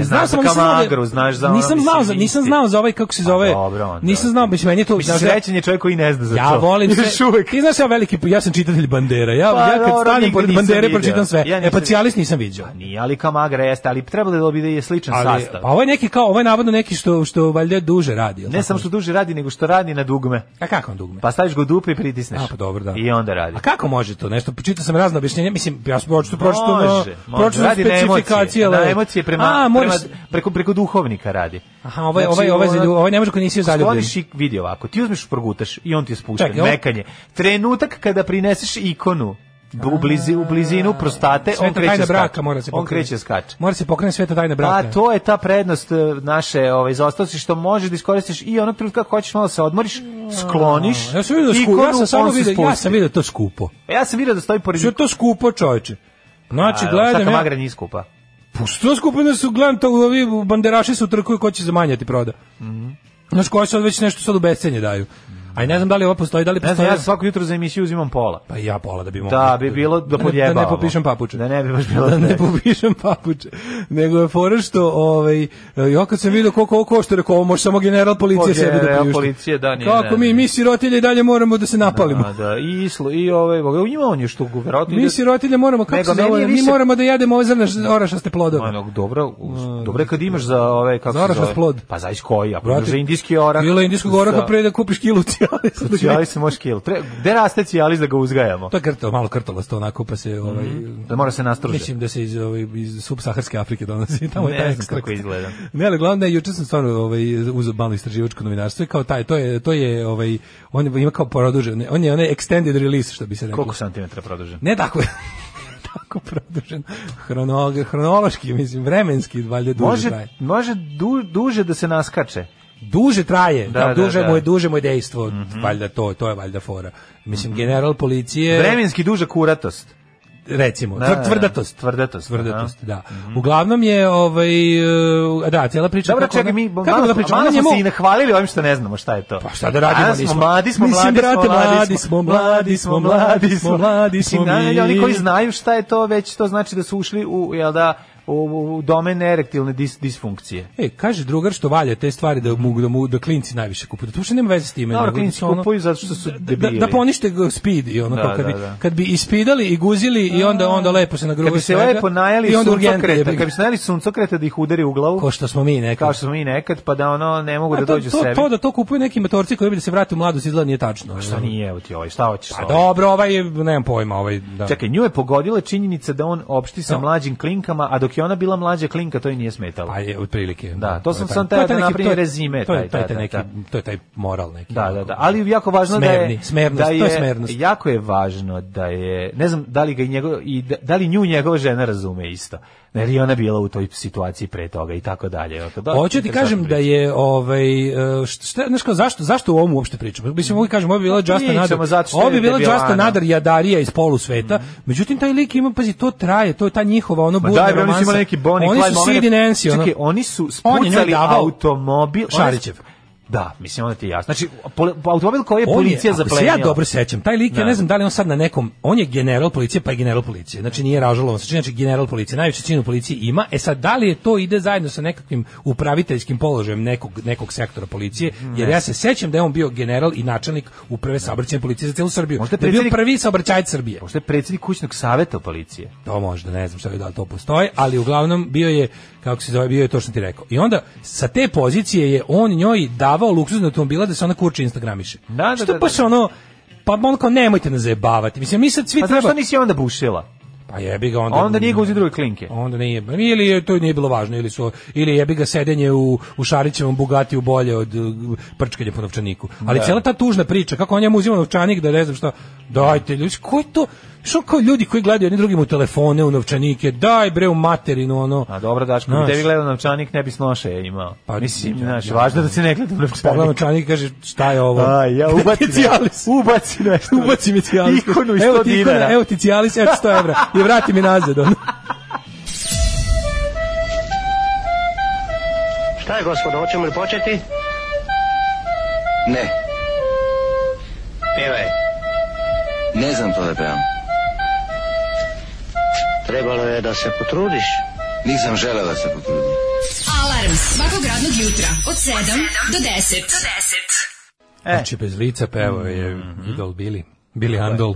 Speaker 9: znao
Speaker 6: znaš
Speaker 9: sam,
Speaker 6: za
Speaker 9: ali nisam znao da-
Speaker 6: Kamagru, znaš za ono,
Speaker 9: Nisam znao, za,
Speaker 6: mislim,
Speaker 9: nisam
Speaker 6: isti.
Speaker 9: znao za ovaj, kako se
Speaker 6: Pa
Speaker 9: zove.
Speaker 6: dobro, onda,
Speaker 9: nisam znao, mislim, meni je to...
Speaker 6: Mislim,
Speaker 9: znaš da-
Speaker 6: srećen je čovjek koji ne zna za to.
Speaker 9: Ja volim
Speaker 6: Još
Speaker 9: sve.
Speaker 6: uvek.
Speaker 9: Ti znaš ja veliki, ja sam čitatelj bandera. Ja,
Speaker 6: Pa,
Speaker 9: ja kad
Speaker 6: dobro,
Speaker 9: stanem
Speaker 6: nigde
Speaker 9: pored
Speaker 6: nisam
Speaker 9: bandere
Speaker 6: vidio.
Speaker 9: pročitam sve.
Speaker 6: Ja
Speaker 9: Ja
Speaker 6: nisam
Speaker 9: e pa Cialis nisam viđao.
Speaker 6: Pa nije, ali Kamagra jeste, ali trebalo bi da je sličan
Speaker 9: Ali,
Speaker 6: sastav.
Speaker 9: pa ovo je neki kao, ovo je navodno neki što, što valjda duže radi. jel
Speaker 6: ne
Speaker 9: tako?
Speaker 6: samo što duže radi, nego što radi na dugme.
Speaker 9: A kako on dugme?
Speaker 6: Pa staviš ga u dupe i pritisneš.
Speaker 9: A, pa dobro, da.
Speaker 6: I onda radi.
Speaker 9: A kako može to? Nešto pročitao sam razna objašnjenja, mislim ja sam pročitao pročitao
Speaker 6: može,
Speaker 9: na-
Speaker 6: može.
Speaker 9: pročitao
Speaker 6: Radi na
Speaker 9: specifikacije,
Speaker 6: emocije, na
Speaker 9: ali-
Speaker 6: emocije prema,
Speaker 9: A, moraš
Speaker 6: prema- preko, preko duhovnika radi.
Speaker 9: Aha, ovaj ovaj ovaj za
Speaker 6: ono,
Speaker 9: lju- ovaj ne može ko nisi zaljubljen.
Speaker 6: Skloniš i vidi ovako, ti uzmeš progutaš i on ti je spušten,
Speaker 9: Čekaj, ovo-
Speaker 6: mekanje. Trenutak kada prineseš ikonu u, blizi, u blizinu prostate, on
Speaker 9: Sveta
Speaker 6: kreće
Speaker 9: tajna braka
Speaker 6: skače.
Speaker 9: mora se
Speaker 6: On
Speaker 9: pokrene.
Speaker 6: kreće skače.
Speaker 9: Mora se pokrene sveta tajna braka.
Speaker 6: Pa to je ta prednost e, naše ovaj zaostavci što možeš da iskoristiš i onog trenutka kako hoćeš malo se odmoriš, skloniš.
Speaker 9: Mm. Ja sam vidio da skupo, ja
Speaker 6: ikonu,
Speaker 9: sam samo
Speaker 6: on se
Speaker 9: vidio, ja
Speaker 6: spusti. E,
Speaker 9: sam vidio da je to skupo.
Speaker 6: Ja sam vidio da stoji pored.
Speaker 9: Što je to skupo, čoveče? Znači,
Speaker 6: A,
Speaker 9: gledam,
Speaker 6: Šta
Speaker 9: ja,
Speaker 6: magra nije skupa.
Speaker 9: Pusto skupo da su gledam to ovi banderaši su trkuju ko će zamanjati proda. Mhm. Znaš koji sad već nešto sad u bescenje daju. A i ne znam da li ovo postoji, da li
Speaker 6: Ne
Speaker 9: postoji.
Speaker 6: znam, ja svako jutro za emisiju uzimam pola.
Speaker 9: Pa i ja pola da bi mogao.
Speaker 6: Da bi bilo da
Speaker 9: ne- Da ne
Speaker 6: podjebavamo.
Speaker 9: popišem papuče.
Speaker 6: Da ne bi baš bilo
Speaker 9: da ne
Speaker 6: previše.
Speaker 9: popišem papuče. Nego je fora što ovaj ja kad sam video koliko ovo košta, rekao ovo može samo general policije
Speaker 6: Može
Speaker 9: sebi da
Speaker 6: general
Speaker 9: priušti.
Speaker 6: policije, da, nije,
Speaker 9: Kako
Speaker 6: ne,
Speaker 9: mi
Speaker 6: ne.
Speaker 9: mi sirotilje i dalje moramo da se napalimo.
Speaker 6: A, da, i slu, i ovaj, u njima on je što verovatno
Speaker 9: Mi sirotilje moramo kako
Speaker 6: Nego
Speaker 9: se
Speaker 6: meni
Speaker 9: zove,
Speaker 6: je
Speaker 9: mi
Speaker 6: više-
Speaker 9: moramo da jedemo ove zrna orašaste plodove.
Speaker 6: Ono, dobro, uz- dobro je kad imaš za ove kako
Speaker 9: Za
Speaker 6: se
Speaker 9: oraš
Speaker 6: zove.
Speaker 9: vas plod.
Speaker 6: Pa za koji, a
Speaker 9: Brate,
Speaker 6: za indijski orah.
Speaker 9: Bilo je indijskog oraha
Speaker 6: za-
Speaker 9: pre da kupiš kilu cijalisa. da ga-
Speaker 6: Cijalis se može kil. Tre, gde raste cijalis da ga uzgajamo?
Speaker 9: To je krto, malo krtolasto onako, pa se ovaj...
Speaker 6: Da mora se nastruže.
Speaker 9: Mislim da se iz, ovaj, iz subsaharske Afrike donosi. Tamo je
Speaker 6: Ne
Speaker 9: taj
Speaker 6: znam
Speaker 9: ekstrakt.
Speaker 6: kako izgleda.
Speaker 9: Ne, ali glavno je, juče sam stvarno ovaj, uzeo malo istraživačko novinarstvo i kao taj, to je, to je ovaj, on ima kao produžen, on je onaj extended release, što bi se reklo.
Speaker 6: Koliko santimetra produžen?
Speaker 9: Ne tako je. tako produžen. Hrono, hronološki, mislim, vremenski, valjda duže
Speaker 6: Može,
Speaker 9: traje.
Speaker 6: može du, duže da se naskače.
Speaker 9: Duže traje, da,
Speaker 6: Da, da,
Speaker 9: duže
Speaker 6: da. Mhm.
Speaker 9: mu je, duže mu je dejstvo, valjda to, to je valjda fora. Mislim, general policije...
Speaker 6: Vremenski duža kuratost.
Speaker 9: recimo,
Speaker 6: Da,
Speaker 9: tvr-
Speaker 6: da, da.
Speaker 9: tvrdatost.
Speaker 6: Tvrdatost,
Speaker 9: Tvrdatost, da. Uglavnom je, ovaj, e, da, cijela priča...
Speaker 6: Dobro,
Speaker 9: kako
Speaker 6: čekaj,
Speaker 9: ona-
Speaker 6: mi
Speaker 9: kako
Speaker 6: malo,
Speaker 9: da
Speaker 6: smo,
Speaker 9: pričamo,
Speaker 6: malo
Speaker 9: ona
Speaker 6: smo
Speaker 9: njemu-
Speaker 6: se i nahvalili ovim što ne znamo šta je to.
Speaker 9: Pa šta da radimo,
Speaker 6: Danas smo
Speaker 9: nismo-
Speaker 6: mladi, smo
Speaker 9: Mislim,
Speaker 6: mladi,
Speaker 9: brate,
Speaker 6: smo
Speaker 9: mladi smo, mladi smo, mladi smo, mladi smo
Speaker 6: Mislim,
Speaker 9: mi.
Speaker 6: na- Oni koji znaju šta je to, već to znači da su ušli u, jel da, u, u domen erektilne dis, disfunkcije.
Speaker 9: E, kaže drugar što valja te stvari da mu da mu da klinci najviše kupuju. To uopšte nema veze s time.
Speaker 6: Dobro,
Speaker 9: nego da
Speaker 6: klinci
Speaker 9: su ono-
Speaker 6: kupuju zato što su
Speaker 9: da,
Speaker 6: debili.
Speaker 9: da ponište ga speed i ono
Speaker 6: Da,
Speaker 9: kao kad,
Speaker 6: da,
Speaker 9: bi,
Speaker 6: da.
Speaker 9: kad bi ispidali i guzili i onda onda lepo se nagruvaju
Speaker 6: Kad bi se
Speaker 9: svega
Speaker 6: lepo najeli
Speaker 9: i onda urgentno
Speaker 6: suncokreta,
Speaker 9: jebi ga.
Speaker 6: kad bi se najeli suncokreta da ih udari u glavu,
Speaker 9: Ko što smo mi nekad.
Speaker 6: kao što smo mi nekad, pa da ono ne mogu
Speaker 9: A
Speaker 6: da
Speaker 9: to,
Speaker 6: dođu
Speaker 9: to,
Speaker 6: sebi.
Speaker 9: to da to kupuju neki motorci koji bi da se vrate u mladost izgleda nije tačno.
Speaker 6: Šta nije, evo ti ovaj, šta hoćeš? sa
Speaker 9: Pa
Speaker 6: ovim?
Speaker 9: dobro, ovaj je, nemam pojma, ovaj da.
Speaker 6: Čekaj, nju je pogodila činjenica da on opšti sa mlađim klinkama, a dok je ona bila mlađa klinka, to i nije smetalo.
Speaker 9: Pa je otprilike.
Speaker 6: Da, to sam
Speaker 9: je taj-
Speaker 6: sam
Speaker 9: to je
Speaker 6: teo
Speaker 9: taj
Speaker 6: da
Speaker 9: neki-
Speaker 6: napravim
Speaker 9: to je-
Speaker 6: rezime,
Speaker 9: To je
Speaker 6: taj,
Speaker 9: taj,
Speaker 6: da,
Speaker 9: taj
Speaker 6: da,
Speaker 9: neki,
Speaker 6: da.
Speaker 9: to je taj moral neki.
Speaker 6: Da, da, da. Ali jako važno da
Speaker 9: Smerni,
Speaker 6: je
Speaker 9: smernost,
Speaker 6: da
Speaker 9: to
Speaker 6: je,
Speaker 9: je smernost.
Speaker 6: Jako je važno da je, ne znam da li ga i njegov i da, da li nju njegova žena razume isto. Jer i ona bila u toj situaciji pre toga i tako dalje. ono, Evo, da,
Speaker 9: Hoću ti kažem da je ovaj e, šta šta- znaš kao zašto zašto o ovom uopšte pričamo? Mislim mogu kažem ovo bi bila Just
Speaker 6: Pa Pričamo
Speaker 9: Nadar.
Speaker 6: zato što
Speaker 9: Ovo bi
Speaker 6: je
Speaker 9: bila
Speaker 6: debilana.
Speaker 9: Just Nadar jadarija iz polu sveta. Međutim taj lik ima pazi to traje, to je ta njihova ono
Speaker 6: Ma
Speaker 9: burna
Speaker 6: daj, bre, oni su
Speaker 9: romansa.
Speaker 6: imali neki Bonnie
Speaker 9: Oni
Speaker 6: Clyde
Speaker 9: su
Speaker 6: moment.
Speaker 9: Sid i Nancy, ono.
Speaker 6: Čekaj, oni su
Speaker 9: On je njoj
Speaker 6: spucali
Speaker 9: davao-
Speaker 6: automobil. ona je-
Speaker 9: Šarićev.
Speaker 6: Da, mislim onda ti je jasno. Znači, poli- automobil koji je
Speaker 9: On
Speaker 6: policija
Speaker 9: ako se
Speaker 6: zaplenila.
Speaker 9: Ja dobro sećam, taj lik, ja
Speaker 6: Da.
Speaker 9: ne znam da li on sad na nekom, on je general policije, pa je general policije. Znači nije ražalovan, znači znači general policije, najveći čin u policiji ima. E sad da li je to ide zajedno sa nekakvim upraviteljskim položajem nekog nekog sektora policije, jer ja se sećam da je on bio general i načelnik uprave saobraćajne policije za celu Srbiju.
Speaker 6: Možda je
Speaker 9: da je bio
Speaker 6: predsjednik-
Speaker 9: prvi saobraćajac Srbije.
Speaker 6: Pošto je predsjednik kućnog saveta policije.
Speaker 9: To možda, ne znam šta je da li to postoji, ali uglavnom bio je, kako se zove, bio je to što ti rekao. I onda sa te pozicije je on njoj davao luksuzne automobila da se ona kurči instagramiše.
Speaker 6: Da, da,
Speaker 9: što
Speaker 6: da,
Speaker 9: baš
Speaker 6: da.
Speaker 9: ono, pa on kao nemojte nas zajebavati. Mislim, mi sad svi
Speaker 6: Pa
Speaker 9: treba...
Speaker 6: zašto nisi onda bušila?
Speaker 9: Pa jebi ga onda...
Speaker 6: A onda nije ga uzi druge klinke.
Speaker 9: Pa Onda nije, ili je to nije bilo važno, ili su, ili jebi ga sedenje u, u Šarićevom Bugatiju bolje od uh, prčkanja po novčaniku. Ali cijela ta tužna priča, kako on njemu uzima novčanik da ne znam šta, dajte ljudi, ko je to, što kao ljudi koji gledaju jedni drugim u telefone, u novčanike, daj bre u materinu, ono.
Speaker 6: A dobro, Daško,
Speaker 9: Znaš.
Speaker 6: bi tebi gledao novčanik, ne bi snoše imao.
Speaker 9: Pa,
Speaker 6: Mislim,
Speaker 9: ja,
Speaker 6: znaš,
Speaker 9: ja. Pa,
Speaker 6: važno da se ne gleda u
Speaker 9: Pogleda
Speaker 6: novčanik.
Speaker 9: novčanik i kaže, šta je ovo?
Speaker 6: Aj, ja ubaci
Speaker 9: Cialis.
Speaker 6: nešto. Ubaci nešto.
Speaker 9: Ubaci mi cijalis.
Speaker 6: Ikonu i
Speaker 9: evo
Speaker 6: 100
Speaker 9: ti ikona,
Speaker 6: dinara.
Speaker 9: Evo ti cijalis, evo ti 100 evra. I vrati mi nazad, ono.
Speaker 5: Šta je, gospodo, hoćemo li početi? Ne. Pivaj. Ne znam to da pevam. Trebalo je da se potrudiš. Nisam želeo da se potrudim.
Speaker 8: Alarm svakog radnog jutra od 7 do 10. Do 10.
Speaker 6: E. Mhm.
Speaker 9: Znači, bez lica pevao je idol Billy. Billy Andol.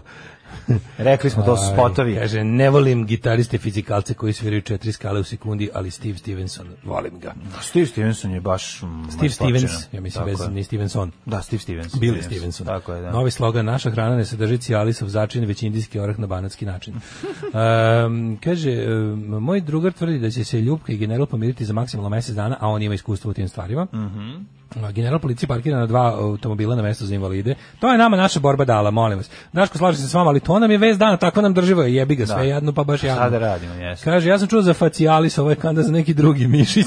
Speaker 6: Rekli smo, to su
Speaker 9: Aj,
Speaker 6: spotovi.
Speaker 9: Kaže, ne volim gitariste fizikalce koji sviraju četiri skale u sekundi, ali Steve Stevenson, volim ga.
Speaker 6: Steve Stevenson je baš... mm,
Speaker 9: Steve Stevens,
Speaker 6: maslačina.
Speaker 9: ja mislim,
Speaker 6: Tako
Speaker 9: bez,
Speaker 6: je.
Speaker 9: ni Stevenson.
Speaker 6: Da, Steve Stevens.
Speaker 9: Billy Stevenson.
Speaker 6: Tako je, da.
Speaker 9: Novi slogan, naša hrana ne sadrži cijalisov začin, već indijski orah na banatski način. Um, kaže, um, moj drugar tvrdi da će se Ljubka i general pomiriti za maksimalno mesec dana, a on ima iskustvo u tim stvarima.
Speaker 6: Mhm.
Speaker 9: A, General policije parkira na dva automobila na mesto za invalide. To je nama naša borba dala, molim vas. Daško, slažem se s vama, ali to nam je vez dana, tako nam drživo je, jebi ga sve
Speaker 6: Da.
Speaker 9: jadno, pa baš jadno.
Speaker 6: Šta da radimo, jeste.
Speaker 9: Kaže, ja sam čuo za facialis, ovo je kanda za neki drugi mišić.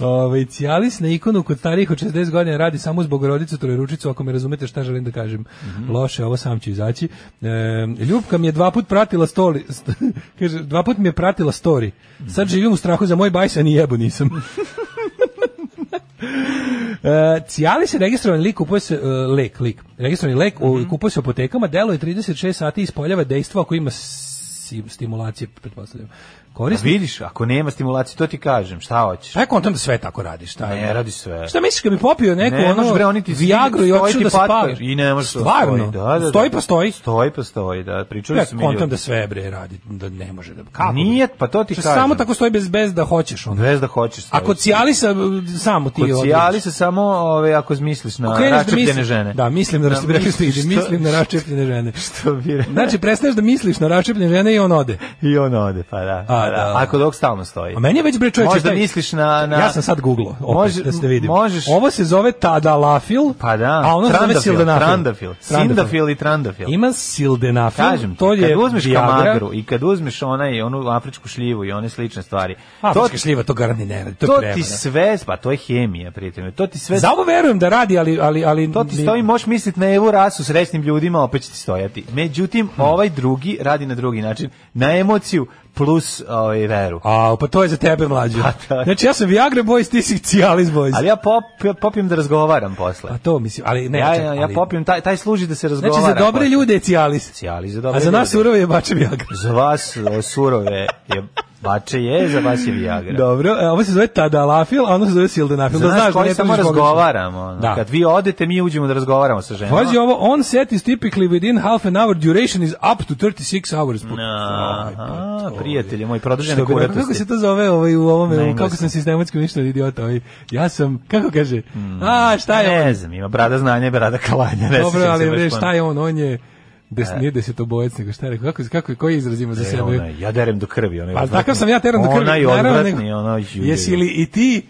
Speaker 9: Ove, cialis na ikonu kod starijih od 60 godina radi samo zbog rodicu, trojeručicu, ako me razumete šta želim da kažem. Loše, ovo sam ću izaći. E, Ljubka mi je dva put pratila stoli, st- kaže, dva put mi je pratila story. Sad živim u strahu za moj bajsa, ni jebu nisam. E, Cialis je registrovan lik, kupuje se e, lek, lik. Registrovani lek, u- kupuje se u apotekama, deluje 36 sati i ispoljava dejstvo ako ima si- stimulacije, pretpostavljam.
Speaker 6: A
Speaker 9: Koristi.
Speaker 6: Vidiš, ako nema stimulacije, to ti kažem, šta hoćeš?
Speaker 9: Šta je kontam da sve tako radiš? Šta je?
Speaker 6: Ne, radi sve.
Speaker 9: Šta misliš kad bi popio neku
Speaker 6: Ne
Speaker 9: ono
Speaker 6: može, bre, oni ti stignu,
Speaker 9: Viagru i
Speaker 6: stoji
Speaker 9: otišao
Speaker 6: ti
Speaker 9: da
Speaker 6: patka
Speaker 9: spavaš?
Speaker 6: I ne može
Speaker 9: Stvarno? Stoji pa stoji.
Speaker 6: Stoji pa stoji, da. Pričali
Speaker 9: Ja
Speaker 6: smo
Speaker 9: kontam da sve bre radi, da ne može da. Kako?
Speaker 6: Nije, pa to ti
Speaker 9: Šta,
Speaker 6: kažem.
Speaker 9: Samo tako stoji bez bez da hoćeš ono.
Speaker 6: Bez da hoćeš stoji.
Speaker 9: A kod Cialisa e, samo ti
Speaker 6: Kod
Speaker 9: odrediš.
Speaker 6: cijali se samo ove, ako misliš na
Speaker 9: Ako kreneš da
Speaker 6: raščepljene
Speaker 9: mislim-
Speaker 6: žene.
Speaker 9: Da, mislim na raščepljene
Speaker 6: misliš,
Speaker 9: stiže,
Speaker 6: što-
Speaker 9: mislim na raščepljene žene.
Speaker 6: Što bi re-
Speaker 9: Znači, prestaneš da misliš na raščepljene žene i on ode.
Speaker 6: I on ode, pa da.
Speaker 9: A, da.
Speaker 6: Ako dok stalno stoji.
Speaker 9: A meni je već bre čoveče
Speaker 6: Možda
Speaker 9: taj-
Speaker 6: misliš na- na-
Speaker 9: Ja sam sad googlo, opet
Speaker 6: Može-
Speaker 9: da ste vidim.
Speaker 6: možeš-
Speaker 9: Ovo se zove tadalafil.
Speaker 6: Pa da,
Speaker 9: A ono se zove
Speaker 6: trandafil,
Speaker 9: sildenafil.
Speaker 6: trandafil, sindafil i trandafil.
Speaker 9: Ima sildenafil.
Speaker 6: Kažem ti,
Speaker 9: to je
Speaker 6: kad uzmeš
Speaker 9: Viagra.
Speaker 6: kamagru i kad uzmeš onaj, onu afričku šljivu i one slične stvari,
Speaker 9: A,
Speaker 6: to,
Speaker 9: afrička šljiva, to garantni ne radi. To,
Speaker 6: to
Speaker 9: je
Speaker 6: ti
Speaker 9: prevara.
Speaker 6: sve, pa to je hemija, prijatelj. To ti sve
Speaker 9: Za ovo verujem da radi, ali... ali, ali
Speaker 6: To ti stoji, možeš misliti na Evu rasu srećnim ljudima, opet će ti stojati. Međutim,
Speaker 9: Hmm.
Speaker 6: ovaj drugi radi na drugi način, na emociju plus ovaj, veru.
Speaker 9: A, pa to je za tebe, mlađe.
Speaker 6: Pa da.
Speaker 9: Znači, ja sam Viagra boys, ti si Cialis boys.
Speaker 6: Ali ja pop, popijem da razgovaram posle.
Speaker 9: A to mislim, ali ne.
Speaker 6: ja,
Speaker 9: čekaj,
Speaker 6: ja, ja
Speaker 9: ali-
Speaker 6: popijem, taj, taj služi da se razgovara.
Speaker 9: Znači, za dobre
Speaker 6: posle.
Speaker 9: ljude je Cialis.
Speaker 6: Cijali za dobre
Speaker 9: A za nas
Speaker 6: ljude.
Speaker 9: surove je bače Viagra.
Speaker 6: Za vas o, surove je bače je, za vas je Viagra.
Speaker 9: Dobro, e, ovo se zove Tadalafil, a ono se zove Sildenafil.
Speaker 6: Za
Speaker 9: Da znaš
Speaker 6: nas
Speaker 9: da
Speaker 6: koji
Speaker 9: ne
Speaker 6: samo
Speaker 9: tražiš pogrešno.
Speaker 6: razgovaramo. ono.
Speaker 9: Da.
Speaker 6: Kad vi odete, mi uđemo da razgovaramo sa ženama.
Speaker 9: Pazi ovo, on set is typically within half an hour, duration is up to 36 hours. Put- Aj, pa
Speaker 6: Aha,
Speaker 9: to je.
Speaker 6: prijatelje moj, produžene
Speaker 9: Što bi rekao, Kako
Speaker 6: kuratosti.
Speaker 9: se to zove ovaj, u
Speaker 6: Na
Speaker 9: ovome, kako
Speaker 6: engleskom.
Speaker 9: sam sistematski uništen idiota? Ovaj. Ja sam, kako kaže, a šta je on?
Speaker 6: Hmm. Ne znam, ima brada znanja, i brada kalanja. Ne sjećam
Speaker 9: Dobro,
Speaker 6: se
Speaker 9: ali
Speaker 6: baš pa.
Speaker 9: bre,
Speaker 6: pojma.
Speaker 9: šta je on? On je, des, nije desetobojac, nego šta je rekao, kako, kako, koji izrazima za
Speaker 6: E,
Speaker 9: sebe?
Speaker 6: ona, ja derem do krvi. Ona,
Speaker 9: Pa takav sam ja teran do krvi.
Speaker 6: Ona je
Speaker 9: naravno,
Speaker 6: odvratni,
Speaker 9: nego-
Speaker 6: ona ju-
Speaker 9: Jesi li i ti?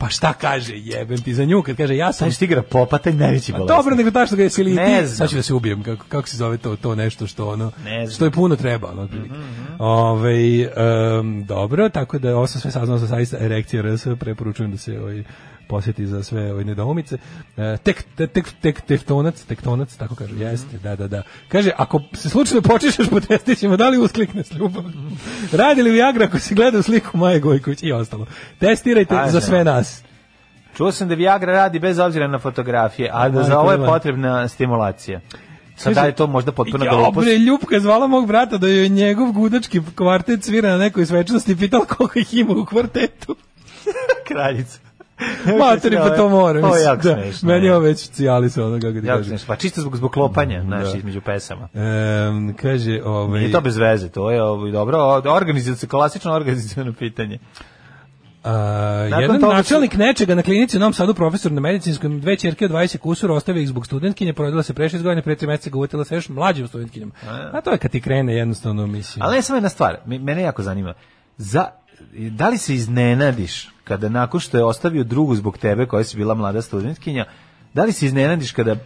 Speaker 9: Pa šta kaže, jebem ti za nju, kad kaže ja sam...
Speaker 6: Taj što igra popa, taj najveći bolest.
Speaker 9: Pa Dobro, nego tačno ga jesi li i
Speaker 6: Ne
Speaker 9: ti?
Speaker 6: znam.
Speaker 9: Sad ću da se ubijem, kako, kako se zove to, to nešto što ono,
Speaker 6: Ne znam. Mhm,
Speaker 9: što je puno treba, ono, otprilike. Ovaj, em, dobro, tako da ovo sam sve saznao sa sajsta Erekcija RS, preporučujem da se ovaj, posjeti za sve ove nedoumice. E, tek, tek, tek, tek, teftonac, tektonac, tako kažu,
Speaker 6: Mhm.
Speaker 9: jeste, da, da, da. Kaže, ako se slučajno počišeš po testićima, da li usklikne s ljubav?
Speaker 6: Mhm.
Speaker 9: Radi li Viagra ako se gleda u sliku Maje Gojković i ostalo? Testirajte
Speaker 6: Kažem
Speaker 9: za sve nas.
Speaker 6: Čuo sam da Viagra radi bez obzira na fotografije, a da za ovo je potrebna stimulacija. Sada je to možda potpuno
Speaker 9: Ja,
Speaker 6: glupost.
Speaker 9: bre, Ljupka je zvala mog brata da joj njegov gudački kvartet svira na nekoj svečanosti i pitala koliko ih ima u kvartetu.
Speaker 6: Kraljica.
Speaker 9: Materi, pa to
Speaker 6: Ovo
Speaker 9: more.
Speaker 6: je
Speaker 9: mislim,
Speaker 6: jako
Speaker 9: da.
Speaker 6: smešno.
Speaker 9: Meni je
Speaker 6: je.
Speaker 9: ovo već cijali se ono, kako ti
Speaker 6: Jako
Speaker 9: kažem.
Speaker 6: smešno. Pa čisto zbog, zbog lopanja, znaš, između pesama.
Speaker 9: Ehm, kaže, ovaj...
Speaker 6: Nije to bez veze, to je ovo, dobro, organizacija, klasično organizacijno pitanje.
Speaker 9: A,
Speaker 6: Nakon
Speaker 9: jedan
Speaker 6: toga
Speaker 9: načelnik nečega na klinici u Novom Sadu, profesor na medicinskom, dve ćerke od 20 kusura, ostavio ih zbog studentkinje, porodila se pre 6 godina, pre 3 meseca ga uvjetila sa još mlađim studentkinjom. A to je kad ti krene jednostavno mislim.
Speaker 6: Ali ne samo jedna stvar, me- mene jako zanima. Za, da li se iznenadiš kada nakon što je ostavio drugu zbog tebe koja si bila mlada studentkinja, da li se iznenadiš kada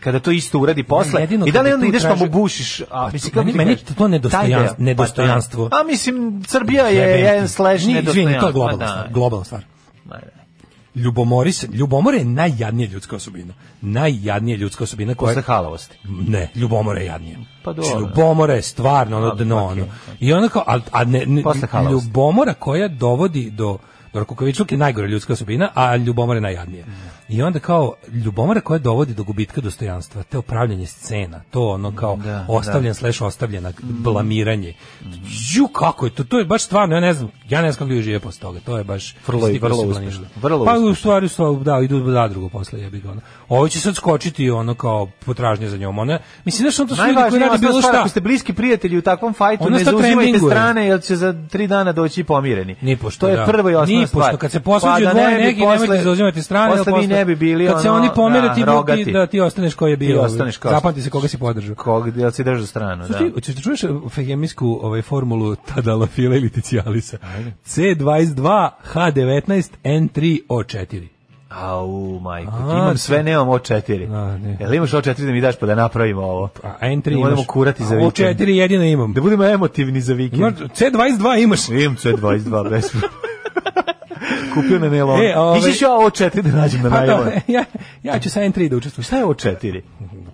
Speaker 6: kada to isto uradi posle
Speaker 9: jedino
Speaker 6: i da li
Speaker 9: kad bi
Speaker 6: onda
Speaker 9: tu
Speaker 6: ideš pa mu
Speaker 9: tražio-
Speaker 6: bušiš a
Speaker 9: Pa
Speaker 6: mislim
Speaker 9: to- meni-
Speaker 6: ti
Speaker 9: meni
Speaker 6: kažeš?
Speaker 9: to nedostojan-
Speaker 6: Taj deo. Pa da.
Speaker 9: nedostojanstvo.
Speaker 6: a mislim Srbija je
Speaker 9: Jebem ti.
Speaker 6: jedan slash
Speaker 9: Nije,
Speaker 6: nedostojanstvo
Speaker 9: Izvini, to je globalna
Speaker 6: Pa da.
Speaker 9: stvar. Globalna stvar.
Speaker 6: Ma da.
Speaker 9: Ljubomori se, ljubomora je najjadnija ljudska osobina. Najjadnija ljudska osobina koja
Speaker 6: Posle halavosti.
Speaker 9: ne, ljubomora je jadnija.
Speaker 6: Pa dobro. Pa,
Speaker 9: Znači, ljubomora je stvarno ono dno. Ono. I ono kao, a, a ne, ne,
Speaker 6: Posle halavosti.
Speaker 9: ljubomora koja dovodi do do kukavičluka je najgore ljudska osobina, a ljubomora je najjadnija. I onda kao ljubomora koja dovodi do gubitka dostojanstva, to pravljanje scena, to ono kao
Speaker 6: Da,
Speaker 9: ostavljen slash ostavljena, blamiranje. Ju, kako je to? To je baš stvarno, ja ne znam, ja ne znam kako ljudi žive posle toga, to je baš...
Speaker 6: Vrlo-
Speaker 9: stigli
Speaker 6: vrlo
Speaker 9: su
Speaker 6: uspešno,
Speaker 9: planirali.
Speaker 6: vrlo
Speaker 9: pa,
Speaker 6: uspešno.
Speaker 9: u stvari su da idu da drugo posle jebi ga ono. Ovo će sad skočiti ono kao potražnje za njom. Ona mislim da su to su ljudi koji
Speaker 6: Najvažnije
Speaker 9: rade
Speaker 6: je
Speaker 9: bilo šta.
Speaker 6: ako ste bliski prijatelji u takvom fajtu,
Speaker 9: Ona
Speaker 6: ne
Speaker 9: sta
Speaker 6: zauzimajte
Speaker 9: trendinguje.
Speaker 6: strane, jer će za tri dana doći pomireni.
Speaker 9: Nipošto,
Speaker 6: to je
Speaker 9: da.
Speaker 6: prvo i osnovna
Speaker 9: Nipošto,
Speaker 6: stvar. Pa
Speaker 9: kad se posvađaju
Speaker 6: da
Speaker 9: dvoje
Speaker 6: ne bi
Speaker 9: neki,
Speaker 6: posle-
Speaker 9: nemojte zauzimati strane, jer
Speaker 6: Posle vi
Speaker 9: posle-
Speaker 6: ne bi bili
Speaker 9: kad se
Speaker 6: ono,
Speaker 9: oni pomere,
Speaker 6: da,
Speaker 9: ti, bi- ti,
Speaker 6: rogati.
Speaker 9: da ti ostaneš ko je bio.
Speaker 6: Ti
Speaker 9: ovaj.
Speaker 6: ostaneš kao-
Speaker 9: Zapamti se koga si podržao.
Speaker 6: Kog, jel si držao stranu, da.
Speaker 9: Ti, hoćeš da čuješ fegemijsku ovaj, formulu tadalafila ili ticialisa? C22, H19, N3, O4.
Speaker 6: Au, majko,
Speaker 9: A,
Speaker 6: ti imam
Speaker 9: ti-
Speaker 6: sve, nemam O4.
Speaker 9: A, ne. e-
Speaker 6: Jel imaš O4 da mi daš pa da napravimo ovo?
Speaker 9: A N3
Speaker 6: Da
Speaker 9: Pa, imaš.
Speaker 6: budemo kurati za
Speaker 9: A
Speaker 6: vikend.
Speaker 9: O4 jedino imam.
Speaker 6: Da budemo emotivni za
Speaker 9: Imaš-
Speaker 6: vikend.
Speaker 9: C22 imaš.
Speaker 6: Imam C22, bez problema. Kupio na nailon.
Speaker 9: E, ove-
Speaker 6: Ići ću ja O4 da nađem na
Speaker 9: Pa
Speaker 6: nailon.
Speaker 9: da, ja, ja ću sa N3 da učestvujem.
Speaker 6: Šta je O4?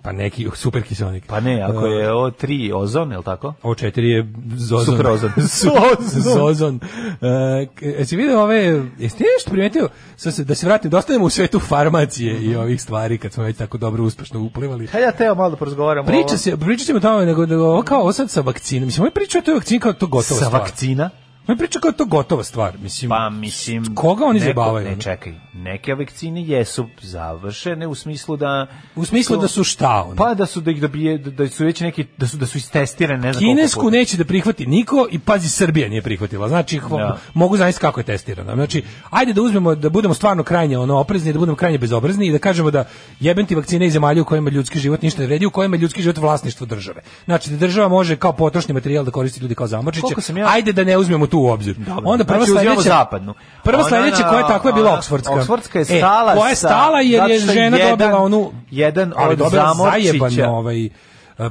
Speaker 9: Pa neki super kiselnik.
Speaker 6: Pa ne, ako je O3 ozon, jel tako?
Speaker 9: O4 je zozon.
Speaker 6: Super ozon. Zozon.
Speaker 9: zozon. E, k- jesi vidio ove, jeste nešto primetio? Sad se, da se vratim, da ostanemo u svetu farmacije i
Speaker 6: Mhm.
Speaker 9: ovih stvari kad smo već tako dobro uspešno uplivali.
Speaker 6: Hajde ja teo malo da porazgovaram o
Speaker 9: Priča
Speaker 6: ovom.
Speaker 9: se, priča se o tome, nego da ovo kao ovo sad sa vakcinom. Mislim, ovo priča o toj vakcini kao da je to gotova
Speaker 6: sa
Speaker 9: stvar.
Speaker 6: vakcina.
Speaker 9: Ovo priča kao da je to gotova stvar. Mislim,
Speaker 6: Pa mislim
Speaker 9: koga oni
Speaker 6: neko-
Speaker 9: zajebavaju,
Speaker 6: Ne
Speaker 9: ono?
Speaker 6: čekaj, neke vakcine jesu završene u smislu da
Speaker 9: u smislu da su šta ono.
Speaker 6: pa da su da ih dobije da, da su već neki da su da su istestirane, ne znam koliko
Speaker 9: Kinesku
Speaker 6: puta.
Speaker 9: neće da prihvati niko i pazi Srbija nije prihvatila. Znači hva-
Speaker 6: Da.
Speaker 9: mogu zamisliti kako je testirana. Znači ajde da uzmemo da budemo stvarno krajnje ono oprezni, da budemo krajnje bezobrazni i da kažemo da jebem ti vakcine iz zemalja u kojima ljudski život ništa ne vredi, u kojima je ljudski život vlasništvo države. Znači da država može kao potrošni materijal da koristi ljudi kao zamorčiće.
Speaker 6: Koliko sam ja-
Speaker 9: Ajde da ne uzmemo tu u obzir.
Speaker 6: Dobro.
Speaker 9: Onda prva
Speaker 6: Znači, uzimamo
Speaker 9: sledeća
Speaker 6: zapadnu.
Speaker 9: Prva
Speaker 6: Ona
Speaker 9: sledeća
Speaker 6: na-
Speaker 9: koja je takva je bila
Speaker 6: ona-
Speaker 9: Oksfordska.
Speaker 6: Oksfordska je
Speaker 9: E,
Speaker 6: stala
Speaker 9: koja je
Speaker 6: sa-
Speaker 9: stala jer je
Speaker 6: zato što
Speaker 9: žena
Speaker 6: jedan-
Speaker 9: dobila onu
Speaker 6: jedan
Speaker 9: ali
Speaker 6: od
Speaker 9: dobila
Speaker 6: zamorčića.
Speaker 9: zajebano ovaj e,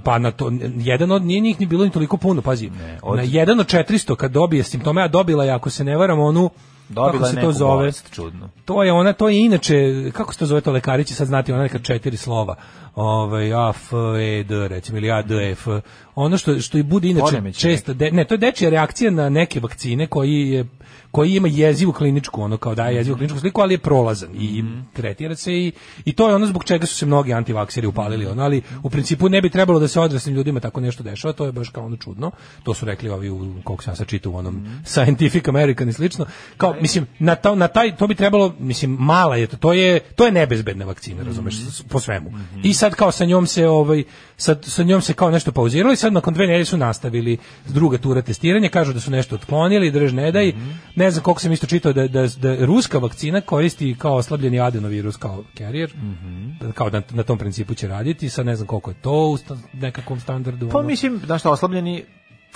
Speaker 9: pa na to jedan od nije njih ni bilo ni toliko puno pazi
Speaker 6: od-
Speaker 9: na jedan od 400 kad dobije simptome a dobila je ako se ne varam onu
Speaker 6: dobila
Speaker 9: kako
Speaker 6: je
Speaker 9: se to
Speaker 6: neku
Speaker 9: zove
Speaker 6: bolest čudnu.
Speaker 9: to je ona to je inače kako se to zove to lekari će sad znati ona neka četiri slova ovaj a f e d recimo ili a d e f ono što što i bude inače
Speaker 6: Poremećaj
Speaker 9: često de, ne to je dečija reakcija na neke vakcine koji je koji ima jezivu kliničku ono kao daje jezivu kliničku sliku ali je prolazan i tretira se i i to je ono zbog čega su se mnogi antivakseri upalili ono ali u principu ne bi trebalo da se odraslim ljudima tako nešto dešava to je baš kao ono čudno to su rekli ovi u koliko sam ja sad čitao u onom Scientific American i slično kao mislim na to, na taj to bi trebalo mislim mala je to to je to je nebezbedna vakcina razumeš s-
Speaker 6: Mhm.
Speaker 9: po svemu i sad kao sa njom se ovaj sad sa njom se kao nešto pauziralo i sad nakon dve nedelje su nastavili druga tura testiranja kažu da su nešto otklonili drž ne daj
Speaker 6: Mhm.
Speaker 9: ne znam koliko sam isto čitao da, da, da ruska vakcina koristi kao oslabljeni adenovirus kao carrier
Speaker 6: Mhm.
Speaker 9: kao na, na tom principu će raditi sad ne znam koliko je to u sta- nekakvom standardu
Speaker 6: Pa
Speaker 9: ono.
Speaker 6: mislim, znaš šta, oslabljeni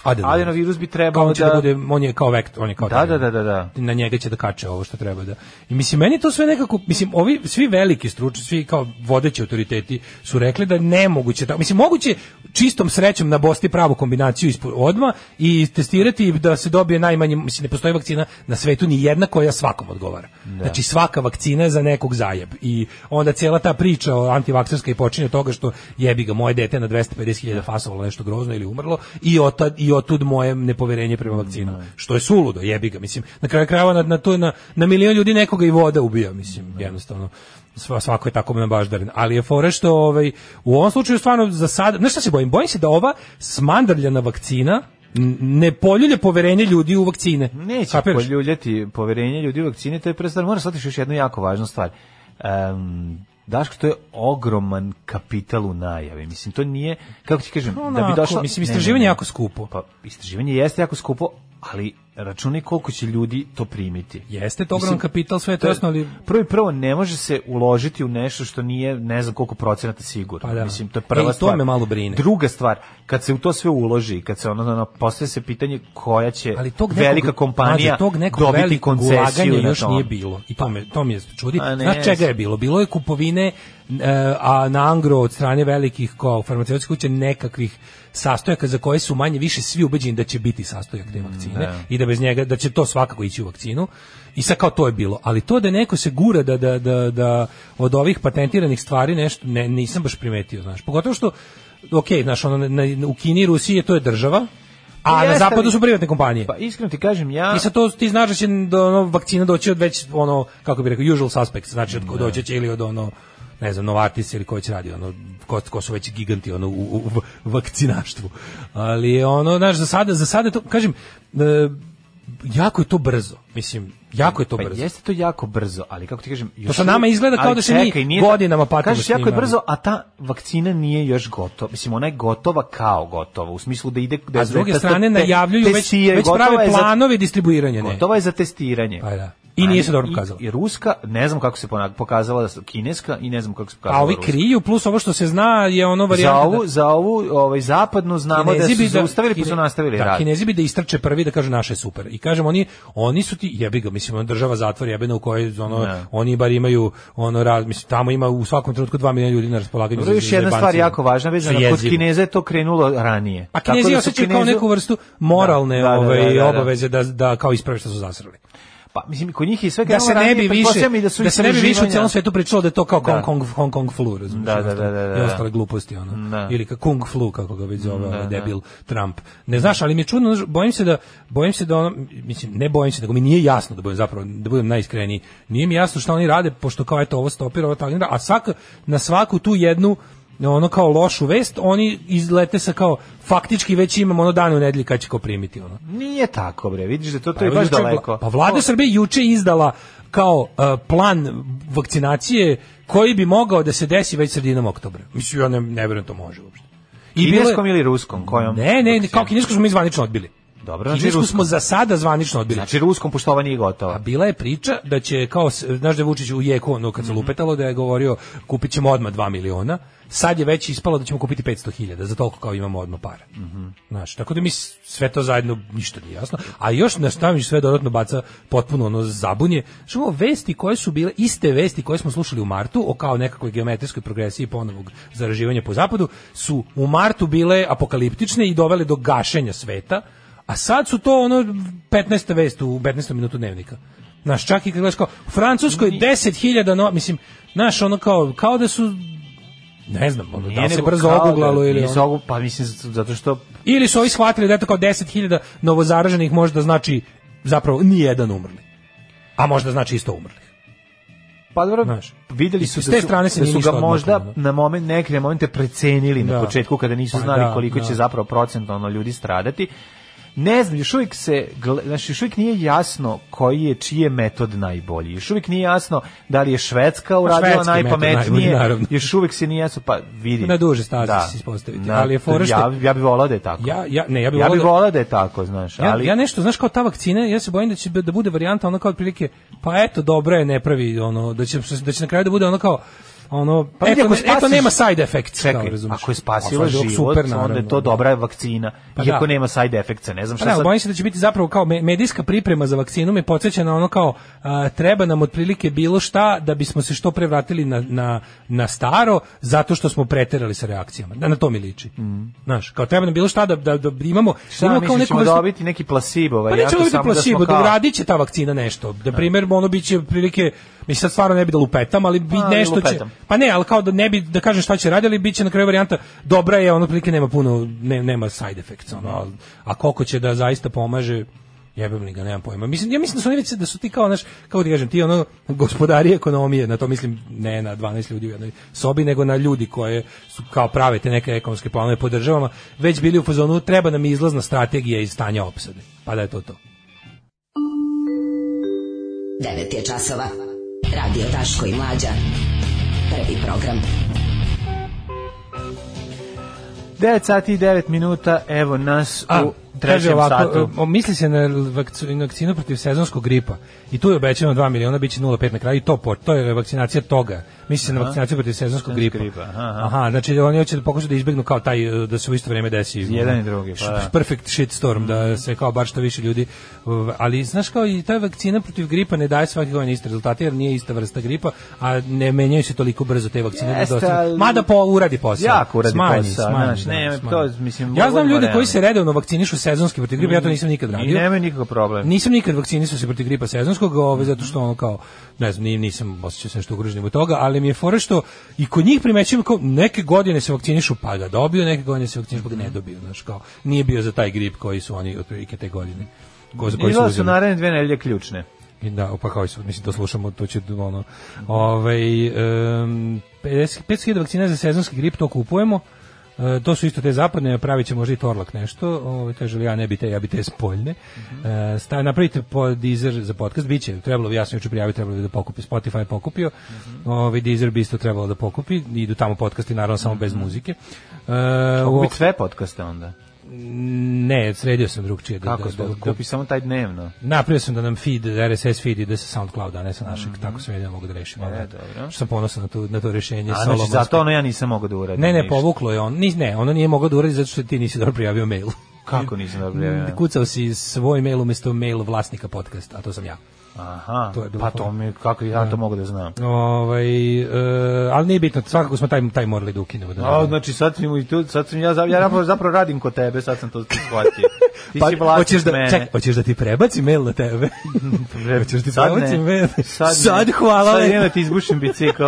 Speaker 9: Adenovirus.
Speaker 6: adenovirus bi
Speaker 9: Kao
Speaker 6: trebao
Speaker 9: on će da,
Speaker 6: da...
Speaker 9: bude, on je kao vektor, on je kao
Speaker 6: Da,
Speaker 9: taj-
Speaker 6: da, da, da, da.
Speaker 9: na njega će da kače ovo što treba da. I mislim meni je to sve nekako mislim ovi svi veliki stručni, svi kao vodeći autoriteti su rekli da nemoguće tako. Mislim moguće čistom srećom nabosti pravu kombinaciju ispo- odma i testirati da se dobije najmanje mislim ne postoji vakcina na svetu ni jedna koja svakom odgovara. Znači svaka vakcina je za nekog zajeb i onda cijela ta priča o antivakserskoj počinje od toga što jebi ga moje dete na 250.000 fasovalo nešto grozno ili umrlo i od tad i i otud moje nepoverenje prema vakcinama. Što je suludo, jebi ga, mislim. Na kraju krajeva na, na, to, na, na milion ljudi nekoga i voda ubija, mislim, jednostavno. Sva, svako je tako nabaždaren. Ali je fora što ovaj, u ovom slučaju stvarno za sad, znaš šta se bojim? Bojim se da ova smandrljana vakcina n- ne poljulje poverenje ljudi u vakcine.
Speaker 6: Neće
Speaker 9: Kapiraš?
Speaker 6: poljuljati poverenje ljudi u vakcine, to je prva stvar. Moram shvatiti još jednu jako važnu stvar. Um, Daško, to je ogroman kapital u najavi. Mislim, to nije, kako ti kažem, da bi
Speaker 9: Onako,
Speaker 6: došlo...
Speaker 9: mislim,
Speaker 6: Ne, ne,
Speaker 9: istraživanje
Speaker 6: ne.
Speaker 9: je jako skupo.
Speaker 6: Pa, istraživanje jeste jako skupo, ali računaj koliko će ljudi to primiti.
Speaker 9: Jeste to ogroman
Speaker 6: Mislim,
Speaker 9: kapital, sve je to
Speaker 6: je-
Speaker 9: jasno, ali
Speaker 6: Prvo i prvo, ne može se uložiti u nešto što nije ne znam koliko procenata sigurno.
Speaker 9: Pa da.
Speaker 6: Mislim, to je
Speaker 9: E, i
Speaker 6: prva
Speaker 9: to
Speaker 6: stvar.
Speaker 9: me malo brine.
Speaker 6: Druga stvar, kad se u to sve uloži, kad se ono, ono postavlja se pitanje koja će
Speaker 9: ali tog nekog,
Speaker 6: velika kompanija
Speaker 9: Mlađe, tog nekog
Speaker 6: dobiti
Speaker 9: velikog ulaganja
Speaker 6: koncesiju na
Speaker 9: još
Speaker 6: to.
Speaker 9: nije bilo. I to me, to mi je čudi.
Speaker 6: A ne,
Speaker 9: Znaš čega je bilo? Bilo je kupovine e, a na angro od strane velikih kao farmaceutskih kuća nekakvih sastojaka za koje su manje više svi ubeđeni da će biti sastojak
Speaker 6: Mm,
Speaker 9: te vakcine i da bez njega da će to svakako ići u vakcinu. I sad kao to je bilo, ali to da neko se gura da, da, da, da od ovih patentiranih stvari nešto ne, nisam baš primetio, znaš. Pogotovo što ok, znaš, ono, na, na- u Kini i Rusiji to je država, a na
Speaker 6: Jeste,
Speaker 9: zapadu
Speaker 6: ali-
Speaker 9: su privatne kompanije.
Speaker 6: Pa iskreno ti kažem, ja...
Speaker 9: I sad to ti znaš da će do ono, vakcina doći od već ono kako bi rekao usual suspects, znači od doći će ili od ono ne znam, Novartis ili ko će radi, ono, ko, ko su već giganti ono, u, u, u vakcinaštvu. Ali, ono, znaš, za sada, za sada je to, kažem, e, jako je to brzo, mislim, jako je to
Speaker 6: Pa
Speaker 9: brzo.
Speaker 6: jeste to jako brzo, ali kako ti kažem... Još
Speaker 9: sa
Speaker 6: uvijek-
Speaker 9: nama izgleda kao
Speaker 6: ali
Speaker 9: da se mi
Speaker 6: čekaj, nije-
Speaker 9: godinama patimo
Speaker 6: Kažeš
Speaker 9: s njim,
Speaker 6: jako je
Speaker 9: ali-
Speaker 6: brzo, a ta vakcina nije još gotova. Mislim, ona je gotova kao gotova, u smislu da ide... Da
Speaker 9: A s druge
Speaker 6: da-
Speaker 9: strane
Speaker 6: da-
Speaker 9: najavljuju već,
Speaker 6: testiraju,
Speaker 9: već
Speaker 6: gotova
Speaker 9: prave
Speaker 6: je za-
Speaker 9: planove distribuiranja. Ne.
Speaker 6: Gotova je za testiranje.
Speaker 9: Pa da. I nije se dobro pokazala.
Speaker 6: I, i ruska, ne znam kako se pona- pokazala da su kineska i ne znam kako se pokazala
Speaker 9: A ovi
Speaker 6: ruska.
Speaker 9: kriju, plus ovo što se zna je ono
Speaker 6: Za
Speaker 9: varijanta
Speaker 6: ovu, za ovu ovaj, zapadnu znamo da su zaustavili pa su
Speaker 9: Kine-
Speaker 6: nastavili
Speaker 9: da,
Speaker 6: rad.
Speaker 9: Kinezi bi da istrče prvi da kažu naše je super. I kažem oni oni su ti jebi ga, mislim ono država zatvor jebena u kojoj ono
Speaker 6: Ne.
Speaker 9: oni bar imaju ono rad, mislim tamo ima u svakom trenutku 2 miliona ljudi na raspolaganju.
Speaker 6: Dobro,
Speaker 9: za-
Speaker 6: još
Speaker 9: za
Speaker 6: jedna
Speaker 9: jebancima.
Speaker 6: stvar jako važna vezana
Speaker 9: Što je
Speaker 6: kod
Speaker 9: jezivo.
Speaker 6: Kineza je to krenulo ranije.
Speaker 9: A
Speaker 6: Tako
Speaker 9: Pa Kinezi
Speaker 6: da su
Speaker 9: osjećaju kao
Speaker 6: Kinezi-
Speaker 9: neku vrstu moralne
Speaker 6: Da, da, da,
Speaker 9: ovaj,
Speaker 6: da, da.
Speaker 9: obaveze da, da kao isprave što su zasrali.
Speaker 6: Pa mislim kod njih je sve
Speaker 9: Da
Speaker 6: krenulo
Speaker 9: se ne bi
Speaker 6: ranije,
Speaker 9: više
Speaker 6: pretpostavljam i
Speaker 9: da,
Speaker 6: su
Speaker 9: se ne bi više u
Speaker 6: istraživanja-
Speaker 9: celom svetu pričalo da je to kao
Speaker 6: Da.
Speaker 9: Hong Kong Hong Kong flu, razumiješ?
Speaker 6: Da, da, da, da, da.
Speaker 9: I ostale gluposti ono.
Speaker 6: Da.
Speaker 9: Ili ka Kung flu kako ga već zove ovaj debil Trump. Ne znaš, ali mi je čudno, znaš, bojim se da bojim se da ono mislim ne bojim se, nego mi nije jasno da budem zapravo da budem najiskreniji. Nije mi jasno šta oni rade pošto kao eto ovo stopira, ovo tagnira, a svak na svaku tu jednu ono kao lošu vest, oni izlete sa kao faktički već imamo ono dane u nedelji kad će ko primiti ono.
Speaker 6: Nije tako bre, vidiš da to, to je
Speaker 9: Evo,
Speaker 6: baš
Speaker 9: juče je vla-
Speaker 6: daleko.
Speaker 9: Pa vlada Srbije juče izdala kao uh, plan vakcinacije koji bi mogao da se desi već sredinom oktobra. Mislim, ja ne, ne verujem to može uopšte. I bilo je-
Speaker 6: Kineskom ili ruskom, kojom?
Speaker 9: Ne, ne, ne, kao
Speaker 6: vakcinom?
Speaker 9: kinesku smo mi zvanično odbili.
Speaker 6: Dobro, znači
Speaker 9: kinesku
Speaker 6: ruskom.
Speaker 9: smo za sada zvanično odbili.
Speaker 6: Znači ruskom pošto ova nije
Speaker 9: A
Speaker 6: gotova.
Speaker 9: bila je priča Pa da će kao s- znaš da je Vučić u jeku ono kad se lupetalo da je govorio kupit ćemo odmah 2 miliona. Sad je već ispalo da ćemo kupiti 500.000, za toliko kao imamo odmah para. Znaš, tako da mi s- sve to zajedno ništa nije jasno. A još na šta mi sve dodatno baca potpuno ono zabunje. Što imamo vesti koje su bile iste vesti koje smo slušali u martu o kao nekakvoj geometrijskoj progresiji ponovog zaraživanja po zapadu su u martu bile apokaliptične i dovele do gašenja sveta. A sad su to ono 15. vest u 15. minutu dnevnika. Naš čak i kad gledaš kao u Francuskoj 10.000 no, mislim, naš ono kao kao da su ne znam, ono, da li se
Speaker 6: nego
Speaker 9: brzo
Speaker 6: kao da-
Speaker 9: oguglalo ili
Speaker 6: nije se
Speaker 9: ono.
Speaker 6: ogu- pa mislim zato što
Speaker 9: ili su ovi shvatili da je to kao 10.000 novozaraženih možda znači zapravo ni jedan umrli. A možda znači isto umrli.
Speaker 6: Pa dobro,
Speaker 9: Znaš.
Speaker 6: videli
Speaker 9: I
Speaker 6: su
Speaker 9: s
Speaker 6: da
Speaker 9: te
Speaker 6: su,
Speaker 9: strane se
Speaker 6: da
Speaker 9: nije
Speaker 6: su
Speaker 9: ništa
Speaker 6: ga
Speaker 9: odmaklo,
Speaker 6: možda
Speaker 9: ono.
Speaker 6: na moment, neke momente precenili
Speaker 9: Da.
Speaker 6: na početku kada nisu
Speaker 9: Pa
Speaker 6: znali
Speaker 9: da,
Speaker 6: koliko
Speaker 9: da.
Speaker 6: će zapravo procentualno ljudi stradati. Ne znam, još uvijek se, gle- znači još uvijek nije jasno koji je, čiji je metod najbolji. Još uvijek nije jasno da li je Švedska uradila
Speaker 9: Pa švedski metod najbolji,
Speaker 6: najpametnije.
Speaker 9: naravno.
Speaker 6: još uvijek se nije jasno, pa vidi.
Speaker 9: Na duže staze će se ispostaviti, ali je fora što-
Speaker 6: Ja, ja bih volao da je tako.
Speaker 9: Ja ja ne, ja bih
Speaker 6: Ja
Speaker 9: voleo
Speaker 6: bih
Speaker 9: da-
Speaker 6: volao da je tako, znaš,
Speaker 9: Ja,
Speaker 6: ali...
Speaker 9: ja nešto, znaš, kao ta vakcina, ja se bojim da će b- da bude varijanta ono kao otprilike, pa eto, dobro je, ne pravi, ono, da će, da će na kraju da bude ono kao, ono,
Speaker 6: Pa
Speaker 9: pa
Speaker 6: vidi,
Speaker 9: eto,
Speaker 6: ako
Speaker 9: ne- eto,
Speaker 6: spasiš-
Speaker 9: nema side effects.
Speaker 6: Čekaj,
Speaker 9: kao, razumeš.
Speaker 6: ako je
Speaker 9: A,
Speaker 6: spasila
Speaker 9: sad je
Speaker 6: život, onda je
Speaker 9: naravno,
Speaker 6: to
Speaker 9: da.
Speaker 6: dobra vakcina,
Speaker 9: Pa
Speaker 6: iako
Speaker 9: da.
Speaker 6: nema side effects ne znam
Speaker 9: Pa
Speaker 6: šta
Speaker 9: da,
Speaker 6: sad...
Speaker 9: bojim se da će biti zapravo kao me- medijska priprema za vakcinu me podsjeća na ono kao a, treba nam otprilike bilo šta da bismo se što pre vratili na, na, na staro zato što smo preterali sa reakcijama. Da, na to mi liči. Znaš, kao treba nam bilo šta da, da, da imamo,
Speaker 6: Mm. Šta
Speaker 9: imamo kao
Speaker 6: misliš,
Speaker 9: neku
Speaker 6: ćemo
Speaker 9: vrstu-
Speaker 6: dobiti neki placebo?
Speaker 9: Pa
Speaker 6: varijantu,
Speaker 9: nećemo dobiti
Speaker 6: samo da
Speaker 9: placebo,
Speaker 6: smo
Speaker 9: da
Speaker 6: kao-
Speaker 9: uradit će ta vakcina nešto. Da primjer, ono bit će prilike, mislim sad stvarno ne bi da lupetam, ali bi
Speaker 6: Pa, ne
Speaker 9: nešto će,
Speaker 6: lupetam.
Speaker 9: Pa ne, ali kao da ne bi da kaže šta će raditi, ali biće na kraju varijanta dobra je, ono otprilike nema puno ne, nema side effects, ono. ali- A koliko će da zaista pomaže? Jebem li ga, nemam pojma. Mislim, ja mislim da su oni već da su ti kao, naš, kako ti kažem, ti ono gospodari ekonomije, na to mislim ne na 12 ljudi u jednoj sobi, nego na ljudi koje su kao prave te neke ekonomske planove po državama, već bili u fazonu treba nam izlazna strategija iz stanja opsade. Pa da je to to.
Speaker 8: 9 je časova. Radio Daško i Mlađa. Prvi program.
Speaker 6: 9 sati i 9 minuta, evo nas
Speaker 9: A,
Speaker 6: u
Speaker 9: kaže
Speaker 6: trećem
Speaker 9: ovako,
Speaker 6: satu.
Speaker 9: e, o, misli se na vakcu- vakcinu protiv sezonskog gripa i tu je obećano 2 miliona, bit će 0,5 na kraju i to, po, to je vakcinacija toga. Misli se na vakcinaciju protiv sezonskog gripa.
Speaker 6: gripa, aha.
Speaker 9: aha. znači oni hoće da pokušaju da izbegnu kao taj, e, da se u isto vreme desi.
Speaker 6: Jedan
Speaker 9: ono,
Speaker 6: i drugi, pa
Speaker 9: š-
Speaker 6: da. Mhm.
Speaker 9: Perfect shitstorm, da se kao bar što više ljudi, v- ali znaš kao i ta vakcina protiv gripa ne daje svake godine iste rezultate, jer nije ista vrsta gripa, a ne menjaju se toliko brzo te vakcine. da
Speaker 6: Jeste,
Speaker 9: dostanu-
Speaker 6: ali-
Speaker 9: Mada po, uradi posao.
Speaker 6: Jako uradi
Speaker 9: smanji,
Speaker 6: posao,
Speaker 9: smanji,
Speaker 6: znaš,
Speaker 9: da,
Speaker 6: ne,
Speaker 9: smanji.
Speaker 6: to, mislim,
Speaker 9: ja znam
Speaker 6: govorimo
Speaker 9: ljude koji
Speaker 6: realno.
Speaker 9: se redovno vakcinišu sezonski protiv gripa, ja to nisam nikad
Speaker 6: Mm. I
Speaker 9: radio.
Speaker 6: nemaju nikakav problem.
Speaker 9: Nisam nikad vakcinisao se protiv gripa sezonskog, ove, zato što ono kao, ne znam, ni- nisam osjećao se nešto ugroženim od toga, ali mi je fora što i kod njih primećujem kao neke godine se vakcinišu pa ga dobio, neke godine se vakcinišu pa ga ne
Speaker 6: Mhm.
Speaker 9: dobio, znaš, kao, nije bio za taj grip koji su oni otprilike te godine. Ko, za koji su
Speaker 6: Izgleda su
Speaker 9: uzeli.
Speaker 6: naredne dve nedelje ključne.
Speaker 9: I da, pa kao i sad, mislim, to slušamo, to će ono... Ovaj, em, 50 500.000 vakcina za sezonski grip, to kupujemo. E, to su isto te zapadne, pravit će možda i Torlak nešto. Ovaj, kaže li, ja ne bi te, ja bi te spoljne. E, sta- napravite po Deezer za podcast, bit će, trebalo bi, ja sam juče prijavio, trebalo bi da pokupi, Spotify je pokupio, ovaj, Deezer bi isto trebalo da pokupi, idu tamo podcasti, naravno, samo bez muzike. E,
Speaker 6: Mogu
Speaker 9: u-
Speaker 6: biti sve podcaste onda.
Speaker 9: ne, sredio sam drugčije. da-
Speaker 6: Kako
Speaker 9: da-
Speaker 6: se
Speaker 9: da- da-
Speaker 6: kupi samo taj dnevno?
Speaker 9: Napravio sam da nam feed, RSS feed ide sa SoundClouda, a ne sa našeg, tako sam jedino mogu da rešim. ali eto,
Speaker 6: Mhm. E, dobro.
Speaker 9: Što sam ponosan na to, na to rješenje.
Speaker 6: A, znači,
Speaker 9: solomonsko.
Speaker 6: zato ono ja nisam mogao da uradim.
Speaker 9: Ne, ne, pa
Speaker 6: ništa.
Speaker 9: povuklo je on. Ni, ne, ono nije mogao da uradi zato što ti nisi dobro prijavio mail.
Speaker 6: Kako nisam da objavio?
Speaker 9: Kucao si svoj mail umjesto mail vlasnika podcasta, a to sam ja.
Speaker 6: Aha,
Speaker 9: To je bilo
Speaker 6: pa
Speaker 9: fora.
Speaker 6: to mi, kako ja to mogu da znam?
Speaker 9: Ovaj, e, ali nije bitno, svakako smo taj, taj morali da ukinemo. Da
Speaker 6: A, znači sad sam i tu, sad sam ja, za- ja zapravo, zapravo radim kod tebe, sad sam to shvatio. Ti si vlasnik
Speaker 9: Pa, hoćeš da,
Speaker 6: mene.
Speaker 9: čekaj, hoćeš da ti prebaci mail na tebe? hoćeš da ti
Speaker 6: Sad ne.
Speaker 9: prebaci mail?
Speaker 6: Sad, ne.
Speaker 9: hvala
Speaker 6: Sad
Speaker 9: lepo.
Speaker 6: idem da ti izbušim bicikl.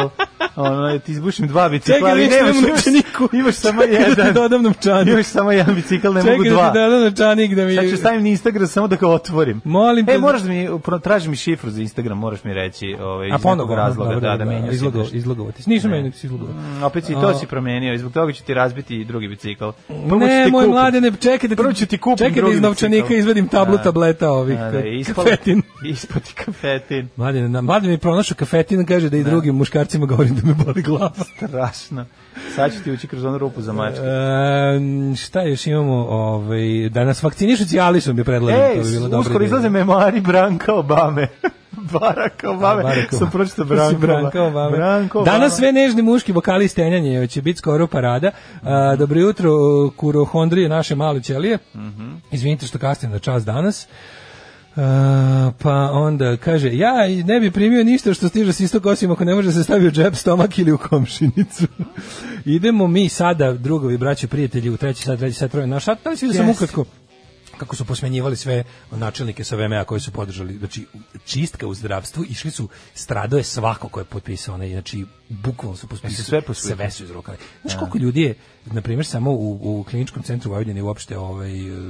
Speaker 6: Ono, ti izbušim dva bicikla,
Speaker 9: Čekaj,
Speaker 6: ali
Speaker 9: već
Speaker 6: nemaš,
Speaker 9: nemam
Speaker 6: imaš,
Speaker 9: novčaniku.
Speaker 6: imaš samo
Speaker 9: Čekaj da ti
Speaker 6: jedan.
Speaker 9: dodam novčanik.
Speaker 6: Imaš samo jedan bicikl, ne mogu
Speaker 9: Čekaj da
Speaker 6: dva.
Speaker 9: ti dodam novčanik da mi...
Speaker 6: Sad ću stavim na Instagram samo da ga otvorim.
Speaker 9: Molim
Speaker 6: E,
Speaker 9: te-
Speaker 6: moraš da mi, pro- traži mi šifru za Instagram, moraš mi reći ovaj, iz
Speaker 9: A ponovo,
Speaker 6: nekog razloga,
Speaker 9: dobro,
Speaker 6: da, da, menjam se
Speaker 9: izlogo,
Speaker 6: nešto.
Speaker 9: izlogovo ti. si. Nisam menio, nego si izlogovo.
Speaker 6: Mm, Opet si i to si promenio, i zbog toga ću ti razbiti i drugi bicikl. Prvo ću
Speaker 9: Ne,
Speaker 6: ti
Speaker 9: moj
Speaker 6: kupiti.
Speaker 9: mlade, ne, čekaj da
Speaker 6: Prvo ću ti kupim
Speaker 9: čekaj da
Speaker 6: drugi
Speaker 9: iz novčanika
Speaker 6: bicikl.
Speaker 9: izvedim tablu
Speaker 6: Da.
Speaker 9: tableta ovih
Speaker 6: Da, da,
Speaker 9: ka-
Speaker 6: ispalo-
Speaker 9: kafetin.
Speaker 6: Ispod i kafetin.
Speaker 9: Mlade, na, mlade mi pronašao kafetin, kaže da i drugim muškarcima govorim da me boli glava.
Speaker 6: Strašno. Sad ću ti ući kroz onu rupu za mačke.
Speaker 9: E, šta još imamo? Ovaj, da nas vakcinišu cijališom bi predlažem.
Speaker 6: Ej,
Speaker 9: to bi bilo dobro.
Speaker 6: uskoro izlaze memari Branka Obame. Baraka Obame. Sam pročito Branka,
Speaker 9: Obame.
Speaker 6: Branko Obame.
Speaker 9: Znači, Danas sve nežni muški vokali stenjanje, će biti skoro parada. A, dobro jutro, kurohondrije naše male ćelije. Izvinite što kasnim na čas danas. A, pa onda kaže ja i ne bi primio ništa što stiže s istog osim ako ne može da se stavi u džep, stomak ili u komšinicu. Idemo mi sada, drugovi, braći, prijatelji, u treći sat, treći sat, troje naš sat. Da li si vidio sam ukratko kako su posmenjivali sve načelnike sa VMA koji su podržali, znači čistka u zdravstvu, išli su, stradao je svako ko je potpisao, onaj, znači bukvalno su
Speaker 6: Jesu
Speaker 9: potpisali,
Speaker 6: sve posvojili?
Speaker 9: sve su izrukali. Znaš koliko ljudi je, na primjer, samo u, u kliničkom centru Vojvodine i uopšte ovaj, e,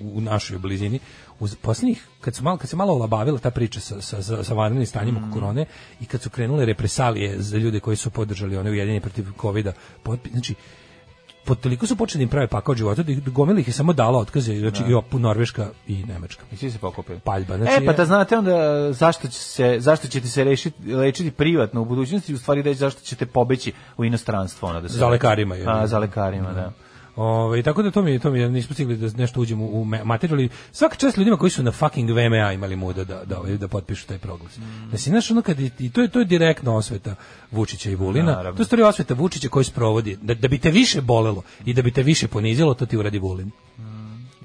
Speaker 9: u našoj blizini, uz posljednjih, kad, su malo, kad se malo olabavila ta priča sa, sa, sa, sa vanrednim stanjem oko korone i kad su krenule represalije za ljude koji su podržali one ujedinje protiv covida, potpi- znači, po toliko su počeli da im prave pakao od života, da ih gomila ih je samo dala otkaze, znači i op- Norveška i Nemačka.
Speaker 6: I svi se pokupili.
Speaker 9: Paljba, znači-
Speaker 6: e, pa da znate onda zašto, će se, zašto ćete se rešiti, lečiti privatno u budućnosti, u stvari da zašto ćete pobeći u inostranstvo. Ono, da se
Speaker 9: Za lekarima, je.
Speaker 6: A, za lekarima, da.
Speaker 9: Ove, Ovaj, tako da to mi, to mi je- nismo stigli da nešto uđemo u me- materiju, ali svaka čast ljudima koji su na fucking VMA imali muda da, da, ovaj, da potpišu taj proglas.
Speaker 6: Mm.
Speaker 9: Da si, znaš, ono kad, i- i to je, to je direktno osveta Vučića i Vulina,
Speaker 6: Naravno.
Speaker 9: to je stvari osveta Vučića koji sprovodi, da, da bi te više bolelo i da bi te više ponizilo, to ti uradi Vulin.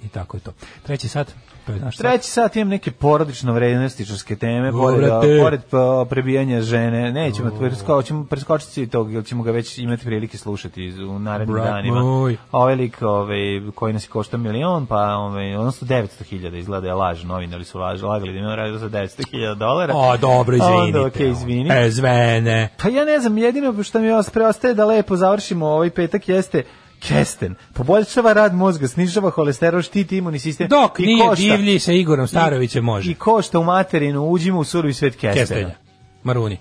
Speaker 9: I tako je to. Treći sat, to je naš sat.
Speaker 6: Mm. Treći sat imam neke porodično vrednostičarske teme,
Speaker 9: O,
Speaker 6: pored, a,
Speaker 9: brate.
Speaker 6: pored pa, prebijanja žene. Nećemo, presko, ćemo preskočiti tog, jer ćemo ga već imati prilike slušati iz- u narednim
Speaker 9: Brat
Speaker 6: danima.
Speaker 9: moj.
Speaker 6: A Ovaj lik ovaj, koji nas je košta milion, pa ovaj, odnosno 900 hiljada, izgleda je laž, novinari su laž, lagali da imamo radio za 900 hiljada dolara.
Speaker 9: O, dobro,
Speaker 6: A
Speaker 9: izvinite.
Speaker 6: Onda, okej, izvini.
Speaker 9: E, zvene.
Speaker 6: Pa ja ne znam, jedino što mi vas preostaje da lepo završimo ovaj petak jeste kesten. Poboljšava rad mozga, snižava holesterol, štiti imunni sistem.
Speaker 9: Dok
Speaker 6: i
Speaker 9: nije
Speaker 6: košta.
Speaker 9: divlji sa Igorom Starovićem može.
Speaker 6: I košta u materinu, uđimo u surovi svet kestenja.
Speaker 9: Kestenja. Maruni.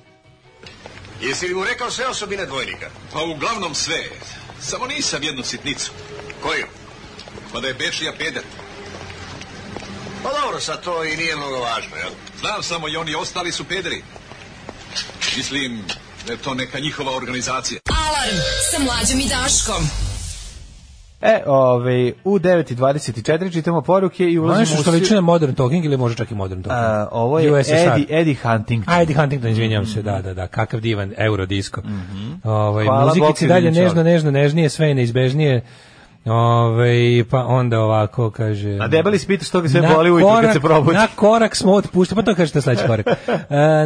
Speaker 12: Jesi li mu rekao sve osobine dvojnika?
Speaker 2: Pa uglavnom sve. Samo nisam jednu sitnicu.
Speaker 12: Koju?
Speaker 2: Pa da je Bečija peder.
Speaker 12: Pa dobro, sad to i nije mnogo važno, jel?
Speaker 2: Znam samo i oni ostali su pederi. Mislim da je to neka njihova organizacija.
Speaker 8: Alarm sa mlađom i Daškom.
Speaker 6: E, ovaj, u 9.24 čitamo poruke i ulazimo
Speaker 9: Znaš što
Speaker 6: u... svi-
Speaker 9: liči na Modern Talking ili može čak i Modern Talking?
Speaker 6: A, ovo je
Speaker 9: USSR.
Speaker 6: Eddie, Eddie Huntington.
Speaker 9: Ajde Huntington, izvinjavam se, da, da, da, kakav divan eurodisko. Ovaj
Speaker 6: Mhm. Hvala,
Speaker 9: muzikici
Speaker 6: Bokir
Speaker 9: dalje
Speaker 6: Vinčar.
Speaker 9: nežno, nežno, nežnije, sve je neizbežnije. Ovaj pa onda ovako kaže.
Speaker 6: A debeli spita što ga sve boli ujutro kad se probudi.
Speaker 9: Na korak smo od puštanja, pa to kažete sledeći korak. E,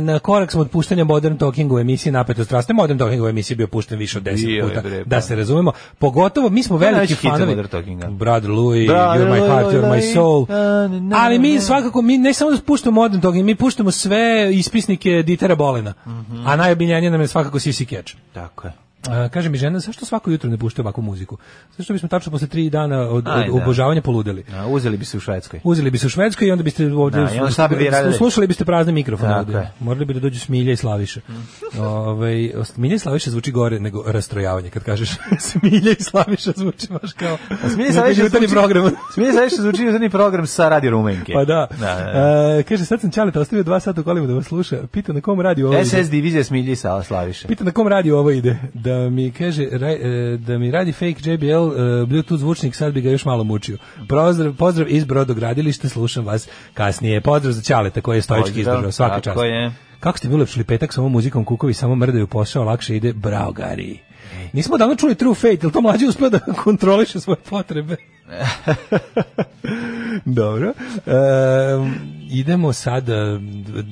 Speaker 9: na korak smo od puštanja Modern Talking u emisiji Napetost raste. Modern Talking u emisiji bio pušten više od 10
Speaker 6: Bio je,
Speaker 9: puta,
Speaker 6: bre, pa.
Speaker 9: da se razumemo. Pogotovo mi smo
Speaker 6: To je
Speaker 9: veliki
Speaker 6: najveći hit
Speaker 9: fanovi.
Speaker 6: Modern Talkinga.
Speaker 9: Brother Louis,
Speaker 6: Brother
Speaker 9: You're my heart,
Speaker 6: Louis,
Speaker 9: you're my
Speaker 6: Louis,
Speaker 9: soul.
Speaker 6: na, na, na,
Speaker 9: Ali mi
Speaker 6: na.
Speaker 9: svakako, mi ne samo da spuštamo Modern Talking, mi puštamo sve ispisnike Ditera Bolena.
Speaker 6: Mhm.
Speaker 9: A najomiljenije nam je svakako Sissy Catch.
Speaker 6: Tako je.
Speaker 9: A, E, kaže mi žena, zašto svako jutro ne pušta ovakvu muziku? Zašto bismo tačno posle tri dana od, od
Speaker 6: Ajde.
Speaker 9: obožavanja poludeli?
Speaker 6: A, uzeli bi se u Švedskoj.
Speaker 9: Uzeli bi se u Švedskoj i onda biste ovde
Speaker 6: Da, i onda šta bi vi radili?
Speaker 9: slušali biste prazne mikrofone
Speaker 6: Tako
Speaker 9: ovde.
Speaker 6: je. Mm.
Speaker 9: Morali bi da dođu Smilja i Slaviša. Ovaj Smilja i Slaviša zvuči gore nego rastrojavanje kad kažeš Smilja i Slaviša zvuči baš kao
Speaker 6: Smije se više
Speaker 9: jutarnji program.
Speaker 6: Smije se više zvuči jutarnji program sa Radio Rumenke.
Speaker 9: Pa da.
Speaker 6: da, da.
Speaker 9: E, kaže, sad sam Ćaleta ostavio dva sata u kolima da vas sluša. Pita na kom radiju ovo
Speaker 6: da.
Speaker 9: ide.
Speaker 6: SS divizija Smilji i Sala Slaviše.
Speaker 9: Pita na kom radiju ovo ide. Da mi kaže, raj, e, da mi radi fake JBL e, Bluetooth zvučnik, sad bi ga još malo mučio. Pozdrav, pozdrav iz Brodogradilišta, slušam vas kasnije. Pozdrav za Ćaleta koji je stojički
Speaker 6: Pozdrav,
Speaker 9: izdržao, svaka
Speaker 6: tako
Speaker 9: čast.
Speaker 6: je.
Speaker 9: Kako ste mi ulepšili petak sa ovom muzikom kukovi, samo mrdaju posao, lakše ide, bravo Gari. Nismo davno čuli True Fate, jel to mlađi uspio da kontroliše svoje potrebe? Dobro. E, idemo sada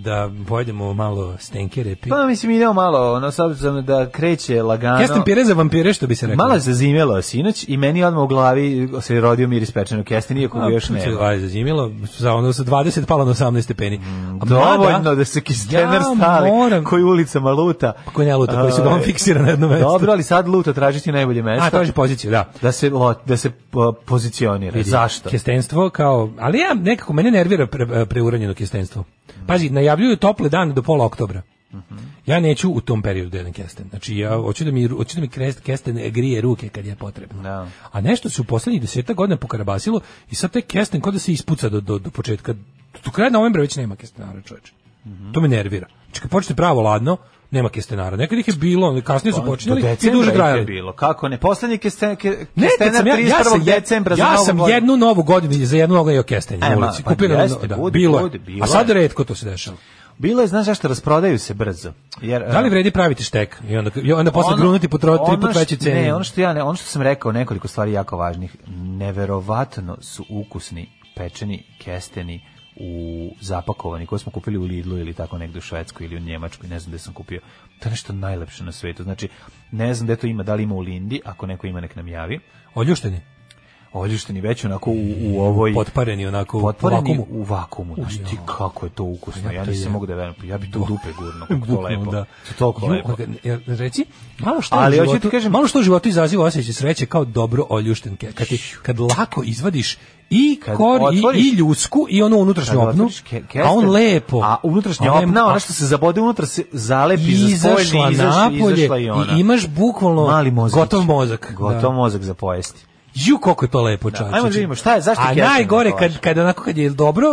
Speaker 9: da pojedemo malo stenke repi.
Speaker 6: Pa mislim idemo malo, ono sad sam da kreće lagano.
Speaker 9: Kesten pire za vampire, što bi se rekao.
Speaker 6: Malo je zazimjelo sinoć i meni je odmah u glavi se rodio miris pečenog kesti, nijako ga još
Speaker 9: ne.
Speaker 6: nema.
Speaker 9: Aj, zazimilo, za ono sa 20 palo na 18 stepeni. A
Speaker 6: Mm, Dovoljno
Speaker 9: mada-
Speaker 6: da se kistener
Speaker 9: Pa Ja
Speaker 6: stali
Speaker 9: moram-
Speaker 6: koji ulicama luta.
Speaker 9: Pa koji ne luta, koji se dom
Speaker 6: Ovaj,
Speaker 9: fiksira na jedno mesto.
Speaker 6: Dobro, ali sad luta tražiti najbolje mesto.
Speaker 9: A, traži poziciju, da.
Speaker 6: Da se, lo- da se po- pozicionira.
Speaker 9: Vidi,
Speaker 6: Zašto?
Speaker 9: Kestenstvo kao, ali ja nekako mene nervira pre, preuranjeno kestenstvo. Pazi, najavljuju tople dane do pola oktobra. Ja neću u tom periodu da jedem kesten. Znači, ja hoću da mi, ru- hoću da mi krest, kesten grije ruke kad je potrebno.
Speaker 6: Da.
Speaker 9: A nešto se u poslednjih deseta godina pokarabasilo i sad taj kesten kod da se ispuca do, do, do početka. Do kraja novembra već nema kestenara, čoveče. To me nervira. Znači, kad počne pravo ladno, nema kestenara. Nekad ih je bilo, ali kasnije su
Speaker 6: Pa, Do
Speaker 9: počinjali i
Speaker 6: decembra
Speaker 9: duže
Speaker 6: ih je
Speaker 9: trajali.
Speaker 6: bilo. Kako ne? Poslednji kesten, ke,
Speaker 9: Ne, kad
Speaker 6: kestenar
Speaker 9: sam ja, ja
Speaker 6: 31.
Speaker 9: sam, je-
Speaker 6: decembra za
Speaker 9: ja
Speaker 6: Novu
Speaker 9: sam
Speaker 6: godinu.
Speaker 9: jednu novu godinu za jednu novu godinu kestenje
Speaker 6: E,
Speaker 9: na
Speaker 6: ma,
Speaker 9: ulici.
Speaker 6: pa
Speaker 9: Kupio na-
Speaker 6: jeste,
Speaker 9: da,
Speaker 6: bude,
Speaker 9: bilo je.
Speaker 6: bude, bilo
Speaker 9: A sad
Speaker 6: je.
Speaker 9: retko to se dešava.
Speaker 6: Bilo je, znaš zašto, rasprodaju se brzo. Jer, e,
Speaker 9: Da li vredi praviti štek? I onda, i onda posle
Speaker 6: Ono-
Speaker 9: grunuti po tro, tri
Speaker 6: ono
Speaker 9: put
Speaker 6: što-
Speaker 9: veće cene.
Speaker 6: Ne, ono što ja ne, ono što sam rekao nekoliko stvari jako važnih. Neverovatno su ukusni pečeni kesteni u zapakovani koje smo kupili u Lidlu ili tako negde u Švedskoj ili u Njemačkoj, ne znam gde sam kupio. To je nešto najlepše na svetu. Znači, ne znam gde to ima, da li ima u Lindi, ako neko ima nek nam javi.
Speaker 9: Oljušteni.
Speaker 6: Oljušteni već onako u, u ovoj
Speaker 9: Potpareni onako u
Speaker 6: potvoreni
Speaker 9: vakumu. Pa
Speaker 6: u vakumu. Znaš ti kako je to ukusno. Ja
Speaker 9: to je-
Speaker 6: nisam mogu da verujem. Ja bi to u dupe gurno. Kako to
Speaker 9: Bukvalno,
Speaker 6: lepo.
Speaker 9: Da.
Speaker 6: To je toliko
Speaker 9: Ju,
Speaker 6: lepo.
Speaker 9: organ- jer, Reci, malo što
Speaker 6: Ali
Speaker 9: ali
Speaker 6: hoću
Speaker 9: u
Speaker 6: ti
Speaker 9: životu,
Speaker 6: kažem-
Speaker 9: malo što u životu izaziva osjećaj sreće kao dobro oljušten ke- kad ti, kad lako izvadiš i
Speaker 6: Kad
Speaker 9: kor i,
Speaker 6: otvoriš-
Speaker 9: i ljusku i ono unutrašnju
Speaker 6: Kad
Speaker 9: opnu,
Speaker 6: otvoriš ke- kesten,
Speaker 9: a on lepo.
Speaker 6: A unutrašnja
Speaker 9: Ona je-
Speaker 6: opna,
Speaker 9: a-
Speaker 6: ona što se zabode unutra se zalepi za spoljni,
Speaker 9: izašla
Speaker 6: izašla,
Speaker 9: napolje
Speaker 6: izašla i ona.
Speaker 9: i imaš bukvalno
Speaker 6: Mali mozak.
Speaker 9: gotov mozak.
Speaker 6: Gotov
Speaker 9: Da.
Speaker 6: mozak za pojesti.
Speaker 9: Ju koliko je to lepo čač.
Speaker 6: ajmo da vidimo šta je, zašto
Speaker 9: A
Speaker 6: kesten
Speaker 9: najgore
Speaker 6: tako
Speaker 9: kad
Speaker 6: važno?
Speaker 9: kad onako kad je dobro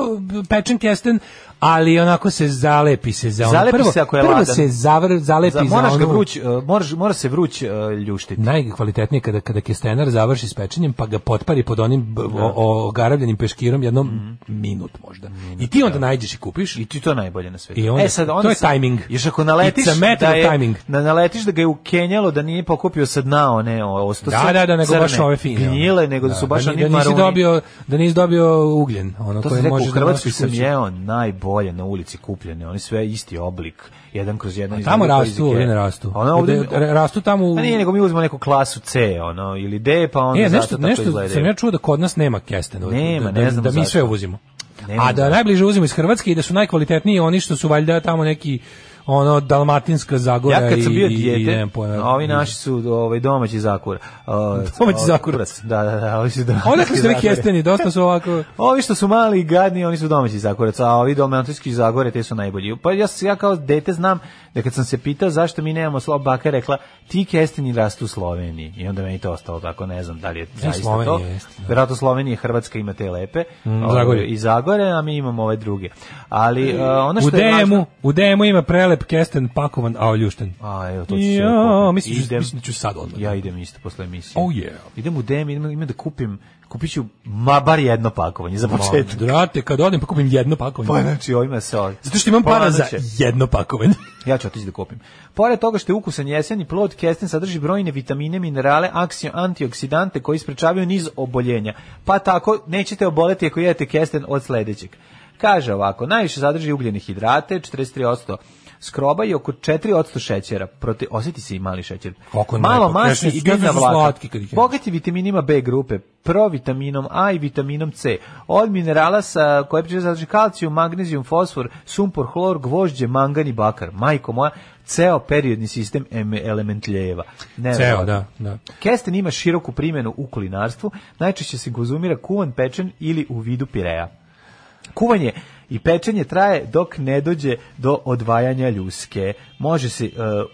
Speaker 9: pečen kesten, ali onako se zalepi se za ono.
Speaker 6: Zalepi
Speaker 9: prvo,
Speaker 6: se ako je
Speaker 9: prvo
Speaker 6: ladan.
Speaker 9: se zavr, zalepi za, ono
Speaker 6: Za, moraš ga
Speaker 9: onu-
Speaker 6: vruć, e, moraš, mora se vruć e, ljuštiti.
Speaker 9: Najkvalitetnije je kada kada kestenar završi s pečenjem pa ga potpari pod onim b- o- o- ogaravljenim peškirom jednom minut možda. I ti onda najđeš i kupiš.
Speaker 6: Mhm. I ti to najbolje na svetu.
Speaker 9: I onda,
Speaker 6: e sad, onda
Speaker 9: to je
Speaker 6: sad-
Speaker 9: tajming.
Speaker 6: Još ako naletiš
Speaker 9: It's a matter
Speaker 6: da
Speaker 9: of
Speaker 6: je,
Speaker 9: timing.
Speaker 6: da naletiš da ga je ukenjalo, da nije pokupio sa dna one o- ostose.
Speaker 9: Da, da, da, nego
Speaker 6: crne,
Speaker 9: baš ove fine. ono.
Speaker 6: Gnjile, nego da, su baš
Speaker 9: da, ni-
Speaker 6: oni
Speaker 9: da nisi
Speaker 6: maruni.
Speaker 9: dobio, da nisi dobio ugljen, ono
Speaker 6: To
Speaker 9: koje
Speaker 6: sam rekao, u
Speaker 9: možeš da
Speaker 6: Hrvatskoj
Speaker 9: nosiš
Speaker 6: sam
Speaker 9: kući.
Speaker 6: jeo najbolje na ulici kupljene, oni sve isti oblik, jedan kroz jedan.
Speaker 9: Tamo
Speaker 6: izgleda kao iz
Speaker 9: rastu, ovdje ne
Speaker 6: Ikee.
Speaker 9: rastu.
Speaker 6: Ono ovdje,
Speaker 9: Ovdje rastu tamo u...
Speaker 6: Pa nije, nego mi uzmemo neku klasu C, ono, ili D, pa onda
Speaker 9: Ne,
Speaker 6: zato
Speaker 9: nešto,
Speaker 6: tako
Speaker 9: nešto
Speaker 6: izgledaju.
Speaker 9: sam ja čuo da kod nas nema kestena.
Speaker 6: Nema,
Speaker 9: da,
Speaker 6: ne znam
Speaker 9: da, mi
Speaker 6: zašto.
Speaker 9: sve uvozimo.
Speaker 6: Ne
Speaker 9: A
Speaker 6: znam
Speaker 9: da
Speaker 6: zašto.
Speaker 9: najbliže uzimo iz Hrvatske i da su najkvalitetniji oni što su valjda tamo neki ono dalmatinska zagora
Speaker 6: Ja kad sam
Speaker 9: i-
Speaker 6: bio
Speaker 9: i, i,
Speaker 6: dijete,
Speaker 9: nemam pojma.
Speaker 6: ovi naši su ovaj domaći zakur. Uh,
Speaker 9: Domaći
Speaker 6: o-
Speaker 9: zakurac.
Speaker 6: Da, da, da, ovi su domaći.
Speaker 9: Odakle ste vi
Speaker 6: zakurac.
Speaker 9: kesteni, dosta su ovako...
Speaker 6: Ovi što su mali i gadni, oni su domaći zakurac, a ovi dalmatinski zagore, te su najbolji. Pa ja, s- ja kao dete znam da kad sam se pitao zašto mi nemamo slab baka, je rekla ti kesteni rastu u Sloveniji. I onda meni to ostalo tako, ne znam da li je zaista
Speaker 9: E, Slovenija
Speaker 6: to.
Speaker 9: jeste, da.
Speaker 6: Verovatno Slovenija i Hrvatska ima te lepe
Speaker 9: Mm,
Speaker 6: ovaj,
Speaker 9: Zagorje.
Speaker 6: i Zagore, a mi imamo ove druge. Ali uh, ono
Speaker 9: U
Speaker 6: što je važno...
Speaker 9: DM-u, u DM-u ima prelep kesten pakovan, a oljušten.
Speaker 6: A, evo, to ću se
Speaker 9: Ja,
Speaker 6: kupiti.
Speaker 9: mislim, ću-
Speaker 6: Idem.
Speaker 9: mislim da ću sad odmah.
Speaker 6: Ja idem isto posle emisije.
Speaker 9: Oh yeah.
Speaker 6: Idem u DM, idem, idem da kupim, kupit ću ma, bar jedno pakovanje za početak.
Speaker 9: Ma, Brate, kad odem pa kupim jedno pakovanje.
Speaker 6: Pa znači ovime se ovdje.
Speaker 9: Zato što imam para za jedno pakovanje.
Speaker 6: Ja ću otići da kupim. Pored toga što je ukusan jeseni plod, kesten sadrži brojne vitamine, minerale, aksio, antioksidante koji sprečavaju niz oboljenja. Pa tako, nećete oboleti ako jedete kesten od sledećeg. Kaže ovako, najviše sadrži ugljenih hidrate, 43% skroba i oko 4% šećera. Proti, osjeti se i mali šećer.
Speaker 9: Kako je
Speaker 6: Malo
Speaker 9: lepo.
Speaker 6: masti
Speaker 9: Znači,
Speaker 6: i biljna
Speaker 9: znači su
Speaker 6: vlaka.
Speaker 9: slatki kad ih jedeš.
Speaker 6: Bogat je vitaminima B grupe, provitaminom A i vitaminom C. Od minerala sa koje priče sadrži kalcijum, magnezijum, fosfor, sumpor, hlor, gvožđe, mangan i bakar. Majko moja, ceo periodni sistem em- elementljeva. Ne,
Speaker 9: Ceo, da, da.
Speaker 6: Kesten ima široku primjenu u kulinarstvu, najčešće se konzumira kuvan, pečen ili u vidu pireja. Kuvanje i pečenje traje dok ne dođe do odvajanja ljuske. Može se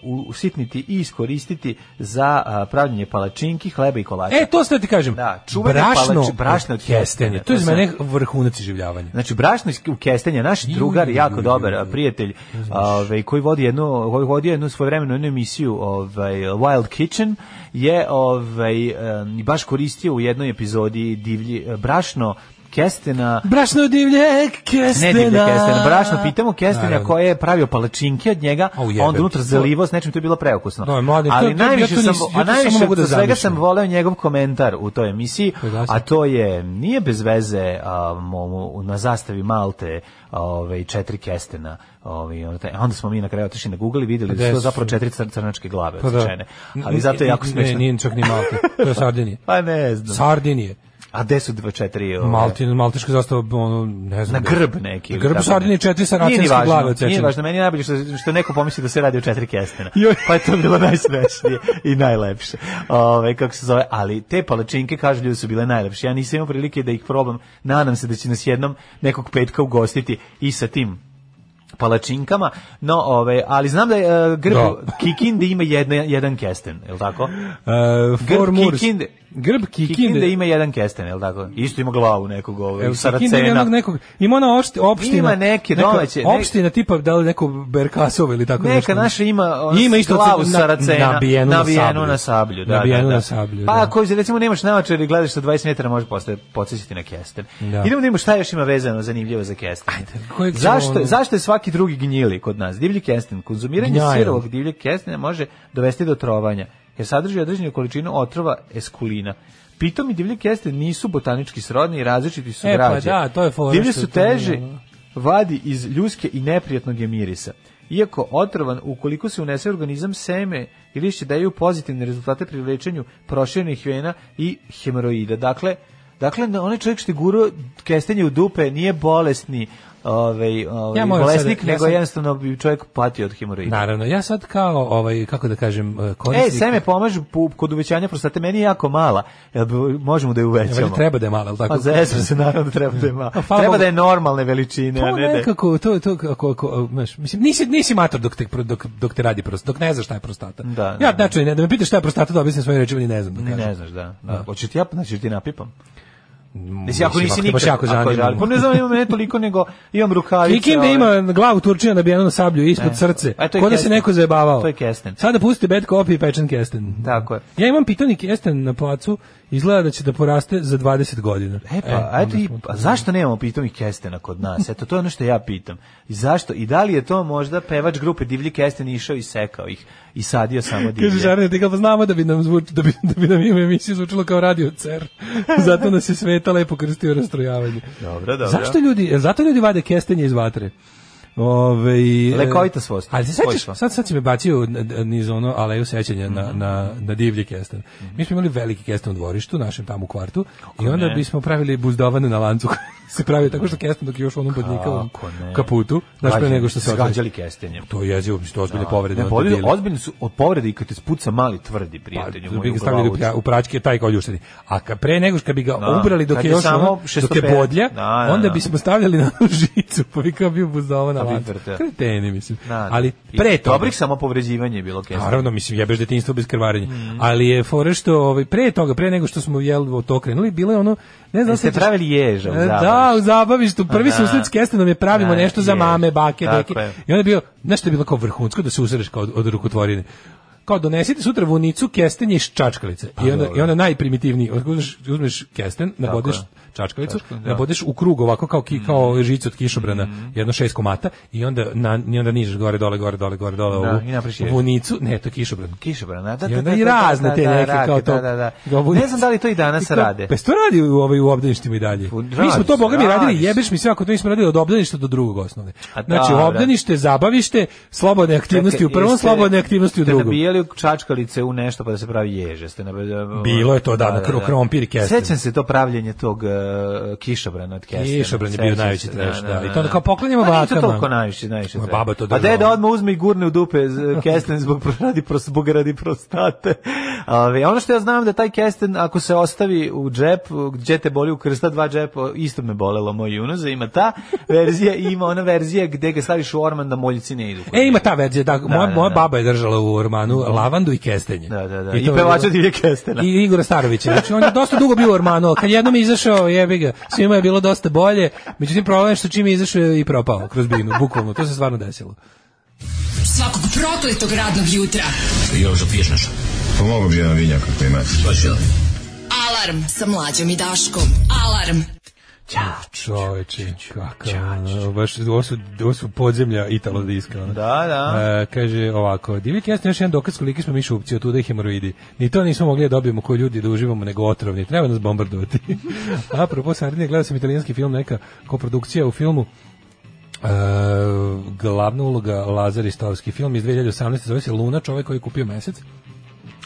Speaker 6: uh, usitniti i iskoristiti za uh, pravljenje palačinki, hleba i kolača.
Speaker 9: E, to ste ti kažem.
Speaker 6: Da, čuvene palače- brašne od kestenja.
Speaker 9: To je
Speaker 6: To
Speaker 9: za
Speaker 6: sam-
Speaker 9: mene vrhunac življavanja.
Speaker 6: Znači brašno iz- u kestenja, naš drugar jako dobar a, prijatelj, ovaj koji vodi jednu koji vodi jednu svojevremeno jednu emisiju, ovaj Wild Kitchen je ovaj em, baš koristio u jednoj epizodi divlji eh, brašno kestena
Speaker 9: Brašno divlje
Speaker 6: Ne
Speaker 9: kestena.
Speaker 6: divlje kestena, brašno, pitamo kestenja
Speaker 9: Naravno.
Speaker 6: koje je pravio palačinke od njega,
Speaker 9: Au,
Speaker 6: a
Speaker 9: jebem
Speaker 6: onda
Speaker 9: ti.
Speaker 6: unutra zalivo s nečim, to je bilo preukusno.
Speaker 9: Da, mladen, to-
Speaker 6: Ali
Speaker 9: to- ja
Speaker 6: najviše
Speaker 9: to
Speaker 6: sam,
Speaker 9: nisam- ja
Speaker 6: a
Speaker 9: to samo
Speaker 6: najviše
Speaker 9: mogu da
Speaker 6: od svega
Speaker 9: zamišljam.
Speaker 6: sam voleo njegov komentar u toj emisiji,
Speaker 9: To je jasno.
Speaker 6: a to je, nije bez veze a, momu- na zastavi Malte ovaj, četiri kestena. Ovaj, ono taj- a onda smo mi na kraju otišli na Google i vidjeli da
Speaker 9: Gde
Speaker 6: su to
Speaker 9: su?
Speaker 6: zapravo četiri cr- crnačke glave
Speaker 9: Pa da.
Speaker 6: odsečene. Ali zato je jako
Speaker 9: Ne,
Speaker 6: smiješno.
Speaker 9: Nije čak ni Malte. To je Sardinije.
Speaker 6: Pa ne znam.
Speaker 9: Sardinije.
Speaker 6: A gde su dva četiri? ovaj,
Speaker 9: Maltin, malteška zastava, ono, ne
Speaker 6: na
Speaker 9: znam. gde.
Speaker 6: grb neki.
Speaker 9: Na
Speaker 6: ili
Speaker 9: grb
Speaker 6: tako
Speaker 9: Sardinije
Speaker 6: nešto.
Speaker 9: četiri
Speaker 6: Nije ni
Speaker 9: saracenske
Speaker 6: važno,
Speaker 9: glave
Speaker 6: Nije
Speaker 9: odsečene.
Speaker 6: važno, meni je najbolje što, što neko pomisli da se radi o četiri kestena.
Speaker 9: Joj.
Speaker 6: Pa je to bilo najsmešnije i najlepše. Ove, kako se zove, ali te palačinke, kažu ljudi, su bile najlepše. Ja nisam imao prilike da ih probam. Nadam se da će nas jednom nekog petka ugostiti i sa tim palačinkama, no ove, ali znam da je e, grb
Speaker 9: Da.
Speaker 6: Kikinde ima jedna, jedan kesten, je li tako?
Speaker 9: Uh,
Speaker 6: Grb
Speaker 9: Four Moors.
Speaker 6: Kikinde,
Speaker 9: Grb
Speaker 6: Kikinde,
Speaker 9: Kikinde
Speaker 6: ima jedan kesten, je li tako? Isto ima glavu nekog ovaj,
Speaker 9: Evo, Kikinde ima
Speaker 6: saracena.
Speaker 9: onog nekog, ima ona opšti- opština.
Speaker 6: Ima neke
Speaker 9: neka
Speaker 6: domaće, ne-
Speaker 9: Opština tipa, da li neko Berkasov ili tako
Speaker 6: Neka
Speaker 9: nešto.
Speaker 6: naša ima ono,
Speaker 9: Ima isto
Speaker 6: glavu
Speaker 9: crnu- na-
Speaker 6: saracena
Speaker 9: nabijenu na sablju.
Speaker 6: na sablju, da,
Speaker 9: Nabijenu
Speaker 6: da, da.
Speaker 9: na sablju,
Speaker 6: Pa
Speaker 9: da.
Speaker 6: ako recimo nemaš naočar i gledaš sa 20 metara može posle podsjećati na kesten.
Speaker 9: Da.
Speaker 6: Idemo da vidimo šta još ima vezano zanimljivo za kesten.
Speaker 9: kojeg ćemo
Speaker 6: zašto
Speaker 9: ono-
Speaker 6: zašto je svaki drugi gnjili kod nas? Divlji kesten, konzumiranje
Speaker 9: Gnjajlo.
Speaker 6: sirovog divljeg kestena može dovesti do trovanja jer sadrži određenu količinu otrova eskulina. Pitom i divlji kesten nisu botanički srodni i različiti su
Speaker 9: E, pa
Speaker 6: građe.
Speaker 9: da, to je fora
Speaker 6: Divlji
Speaker 9: što
Speaker 6: su
Speaker 9: to nije,
Speaker 6: teži,
Speaker 9: ono.
Speaker 6: vadi iz ljuske i neprijatnog je mirisa. Iako otrovan, ukoliko se unese u organizam seme i lišće daju pozitivne rezultate pri lečenju proširenih vena i hemoroida. Dakle, dakle na- onaj čovjek što je guro kestenje u dupe nije bolesni ovaj, ovaj,
Speaker 9: Ja moram
Speaker 6: bolesnik,
Speaker 9: sada- ja
Speaker 6: nego
Speaker 9: sam-
Speaker 6: jednostavno bi čovjek patio od hemoroida.
Speaker 9: Naravno, ja sad kao, ovaj, kako da kažem, eh,
Speaker 6: E,
Speaker 9: korisnik...
Speaker 6: seme pomaže pu- kod uvećanja prostate, meni je jako mala. Jel bi- možemo da je
Speaker 9: Ja, valjda
Speaker 6: uvećamo?
Speaker 9: treba da je malo, jel tako?
Speaker 6: Pa zezam se, naravno da treba da je mala.
Speaker 9: A, hvala
Speaker 6: Treba
Speaker 9: Bogu. Pa,
Speaker 6: da je normalne veličine, a
Speaker 9: To
Speaker 6: ne da je-
Speaker 9: nekako, to, to, kako, ako, znaš, mislim, nisi, nisi mator dok te, pro- dok, dok te radi prost, dok ne znaš šta je prostata.
Speaker 6: Da,
Speaker 9: ja,
Speaker 6: da.
Speaker 9: znači, ne, da me pitaš šta je prostata, da objasnim svojim rečima, ni ne znam. Da
Speaker 6: Ni
Speaker 9: kažem.
Speaker 6: ne znaš, da. da. Hoćeš ti ja, znači ti napipam. Mislim, ako nisi
Speaker 9: te baš
Speaker 6: nikad,
Speaker 9: jako
Speaker 6: ako je
Speaker 9: zanima.
Speaker 6: žali- pa ne znam, imam mene toliko, nego imam rukavice.
Speaker 9: Nikim da
Speaker 6: ove.
Speaker 9: ima glavu turčina da bi jednom sablju ispod
Speaker 6: E.
Speaker 9: srce.
Speaker 6: ovaj- E, to je
Speaker 9: Ko da se
Speaker 6: kesten.
Speaker 9: neko zajebavao.
Speaker 6: To je kesten.
Speaker 9: Sada pustite bad copy i pečen kesten.
Speaker 6: Tako je.
Speaker 9: Ja imam pitani kesten na placu, izgleda da će da poraste za 20 godina.
Speaker 6: E pa, eto, i, a zašto nemamo pitomih kestena kod nas? Eto, to je ono što ja pitam. I zašto? I da li je to možda pevač grupe Divlji kesten išao i sekao ih i sadio samo
Speaker 9: Kaže
Speaker 6: divlje?
Speaker 9: Žarne, ti kao pa znamo da bi nam zvuč, da bi, da bi nam ime emisije zvučilo kao radio cer. Zato nas je sveta lepo krstio rastrojavanje.
Speaker 6: Dobro, dobro.
Speaker 9: Zašto ljudi, jel zato ljudi vade kestenje iz vatre? Ove, e,
Speaker 6: Lekovita svost.
Speaker 9: Ali se
Speaker 6: Svojstva.
Speaker 9: sećaš, sad, sad si me bacio u- n- n- niz ono aleju sećanja na,
Speaker 6: Mhm.
Speaker 9: na, na divlji kesten. Mi smo imali veliki kesten u dvorištu, našem tamo u kvartu, i onda
Speaker 6: ne?
Speaker 9: bismo pravili buzdovane na lancu koji se pravi tako što kesten dok je još u onom bodljikavom
Speaker 6: Kako ne?
Speaker 9: kaputu, znaš pre
Speaker 6: Gađali-
Speaker 9: nego što se otvori.
Speaker 6: Gađali kestenjem.
Speaker 9: To je jezivo, mislim, to je ozbiljne povrede.
Speaker 6: Ne,
Speaker 9: ono,
Speaker 6: povrede,
Speaker 9: debile.
Speaker 6: ozbiljni su od povrede i kad te spuca mali tvrdi prijatelju.
Speaker 9: Pa, Da
Speaker 6: moj,
Speaker 9: bi ga
Speaker 6: u
Speaker 9: stavili u,
Speaker 6: glavu.
Speaker 9: pra, u praćke taj kao ljušteni. A ka, pre nego što bi ga
Speaker 6: Da.
Speaker 9: ubrali dok
Speaker 6: Kad
Speaker 9: je
Speaker 6: je
Speaker 9: još
Speaker 6: samo
Speaker 9: ono, dok je
Speaker 6: 605.
Speaker 9: bodlja,
Speaker 6: Da, da,
Speaker 9: onda
Speaker 6: da.
Speaker 9: bismo stavljali na onu žicu, pa bi kao bio buzdovana
Speaker 6: Pa bi
Speaker 9: lanca.
Speaker 6: vrteo.
Speaker 9: Kreteni, mislim.
Speaker 6: Da, da.
Speaker 9: Ali
Speaker 6: I
Speaker 9: pre toga...
Speaker 6: Dobrih samo povređivanje je bilo kestenjem.
Speaker 9: Naravno, mislim, jebeš detinjstvo bez krvarenja. Ali je fore što, ovaj, pre toga, pre nego što smo jel, to krenuli, bilo je ono, ne znam...
Speaker 6: Jeste
Speaker 9: sećaš-
Speaker 6: pravili ježa u
Speaker 9: E, Da,
Speaker 6: zabavištu?
Speaker 9: u zabavištu. Prvi
Speaker 6: Aha.
Speaker 9: susret s kestenom je pravimo
Speaker 6: Da,
Speaker 9: nešto za
Speaker 6: je.
Speaker 9: mame, bake,
Speaker 6: Tako
Speaker 9: deke.
Speaker 6: je.
Speaker 9: I onda je bio, znaš što je bilo kao vrhunsko da se usreš kao od, od rukotvorine. Kao donesite sutra vunicu, kestenje i čačkalice. I onda,
Speaker 6: Pa dobro.
Speaker 9: I onda najprimitivniji, uzmeš, uzmeš kesten, nabodeš
Speaker 6: je.
Speaker 9: čačkalicu,
Speaker 6: da. Mm.
Speaker 9: nabodeš u krug ovako kao, ki, kao žicu od kišobrana, jedno šest komata i onda, na, i onda nižeš gore, dole, gore, dole, gore, dole
Speaker 6: Da,
Speaker 9: ovu
Speaker 6: i napraviš jež.
Speaker 9: vunicu, ne, to je kišobran.
Speaker 6: Kišobran, da, da,
Speaker 9: I
Speaker 6: da,
Speaker 9: onda
Speaker 6: da,
Speaker 9: i
Speaker 6: da,
Speaker 9: razne
Speaker 6: da,
Speaker 9: te
Speaker 6: da,
Speaker 9: neke
Speaker 6: rake,
Speaker 9: kao to.
Speaker 6: da, da, da.
Speaker 9: Kao bude-
Speaker 6: Ne znam da li to i danas
Speaker 9: kao-
Speaker 6: rade.
Speaker 9: Pa što radi u, ovaj, u obdaništima i dalje?
Speaker 6: Pa,
Speaker 9: mi smo
Speaker 6: radi
Speaker 9: to,
Speaker 6: se,
Speaker 9: boga mi, radili,
Speaker 6: radi se.
Speaker 9: jebeš mi sve ako to nismo radili od obdaništa do drugog osnovne.
Speaker 6: A da,
Speaker 9: Znači,
Speaker 6: da.
Speaker 9: obdanište, zabavište, slobodne aktivnosti u
Speaker 6: Čekaj,
Speaker 9: prvom,
Speaker 6: jeste-
Speaker 9: slobodne aktivnosti u
Speaker 6: ste
Speaker 9: drugom.
Speaker 6: nabijali čačkalice u nešto pa da se pravi ježe. Ste nabijali,
Speaker 9: Bilo je to, da, na kro- krompir i kesten.
Speaker 6: Sećam se to pravljenje tog uh, kišobrana od kestena.
Speaker 9: Kišobran je bio
Speaker 6: Sećam
Speaker 9: najveći
Speaker 6: se,
Speaker 9: trash, da. I to onda kao poklanjamo
Speaker 6: Pa nije to
Speaker 9: bakama.
Speaker 6: toliko najviše, najviše.
Speaker 9: Moja
Speaker 6: trash.
Speaker 9: baba to
Speaker 6: Pa
Speaker 9: držala.
Speaker 6: deda odmah uzme i gurne u dupe z- kesten zbog pro- radi pros- zbog radi prostate. Ove, ono što ja znam da taj kesten ako se ostavi u džep, gdje te boli u krsta dva džepa, isto me bolelo moj junoza, ima ta verzija i ima ona verzija gde ga staviš u orman da moljci ne idu. kod
Speaker 9: E, ima ta verzija, da, moja,
Speaker 6: da,
Speaker 9: moja
Speaker 6: da.
Speaker 9: baba je držala u ormanu lavandu i kestenje.
Speaker 6: Da, da, da.
Speaker 9: to
Speaker 6: I
Speaker 9: je
Speaker 6: pevača
Speaker 9: bilo-
Speaker 6: Divlje Kestena.
Speaker 9: I Igora Starovića. Znači, on je dosta dugo bio u ormanu, ali kad jednom je izašao, jebi ga, svima je bilo dosta bolje, međutim, problem je što čim je izašao je i propao kroz binu, bukvalno, to se stvarno desilo.
Speaker 8: Svakog prokletog radnog jutra.
Speaker 13: Jožo, piješ nešto? Pomogu bi jedan vinjak ako imate. Pa će
Speaker 8: Alarm sa mlađom i Daškom. Alarm.
Speaker 9: Čoveče, kakav, ono, baš, ovo su, ovo su podzemlja Italo diska. ono.
Speaker 6: Da, da.
Speaker 9: E, kaže ovako, divik jeste još jedan dokaz koliki smo mi šupci, od tuda i hemoroidi. Ni to nismo mogli da dobijemo koji ljudi da uživamo, nego otrovni. Treba nas bombardovati. A propos Sardinije, gledao sam italijanski film, neka koprodukcija u filmu E, glavna uloga Lazar Ristovski film iz 2018. zove se Luna, čovjek koji je kupio mesec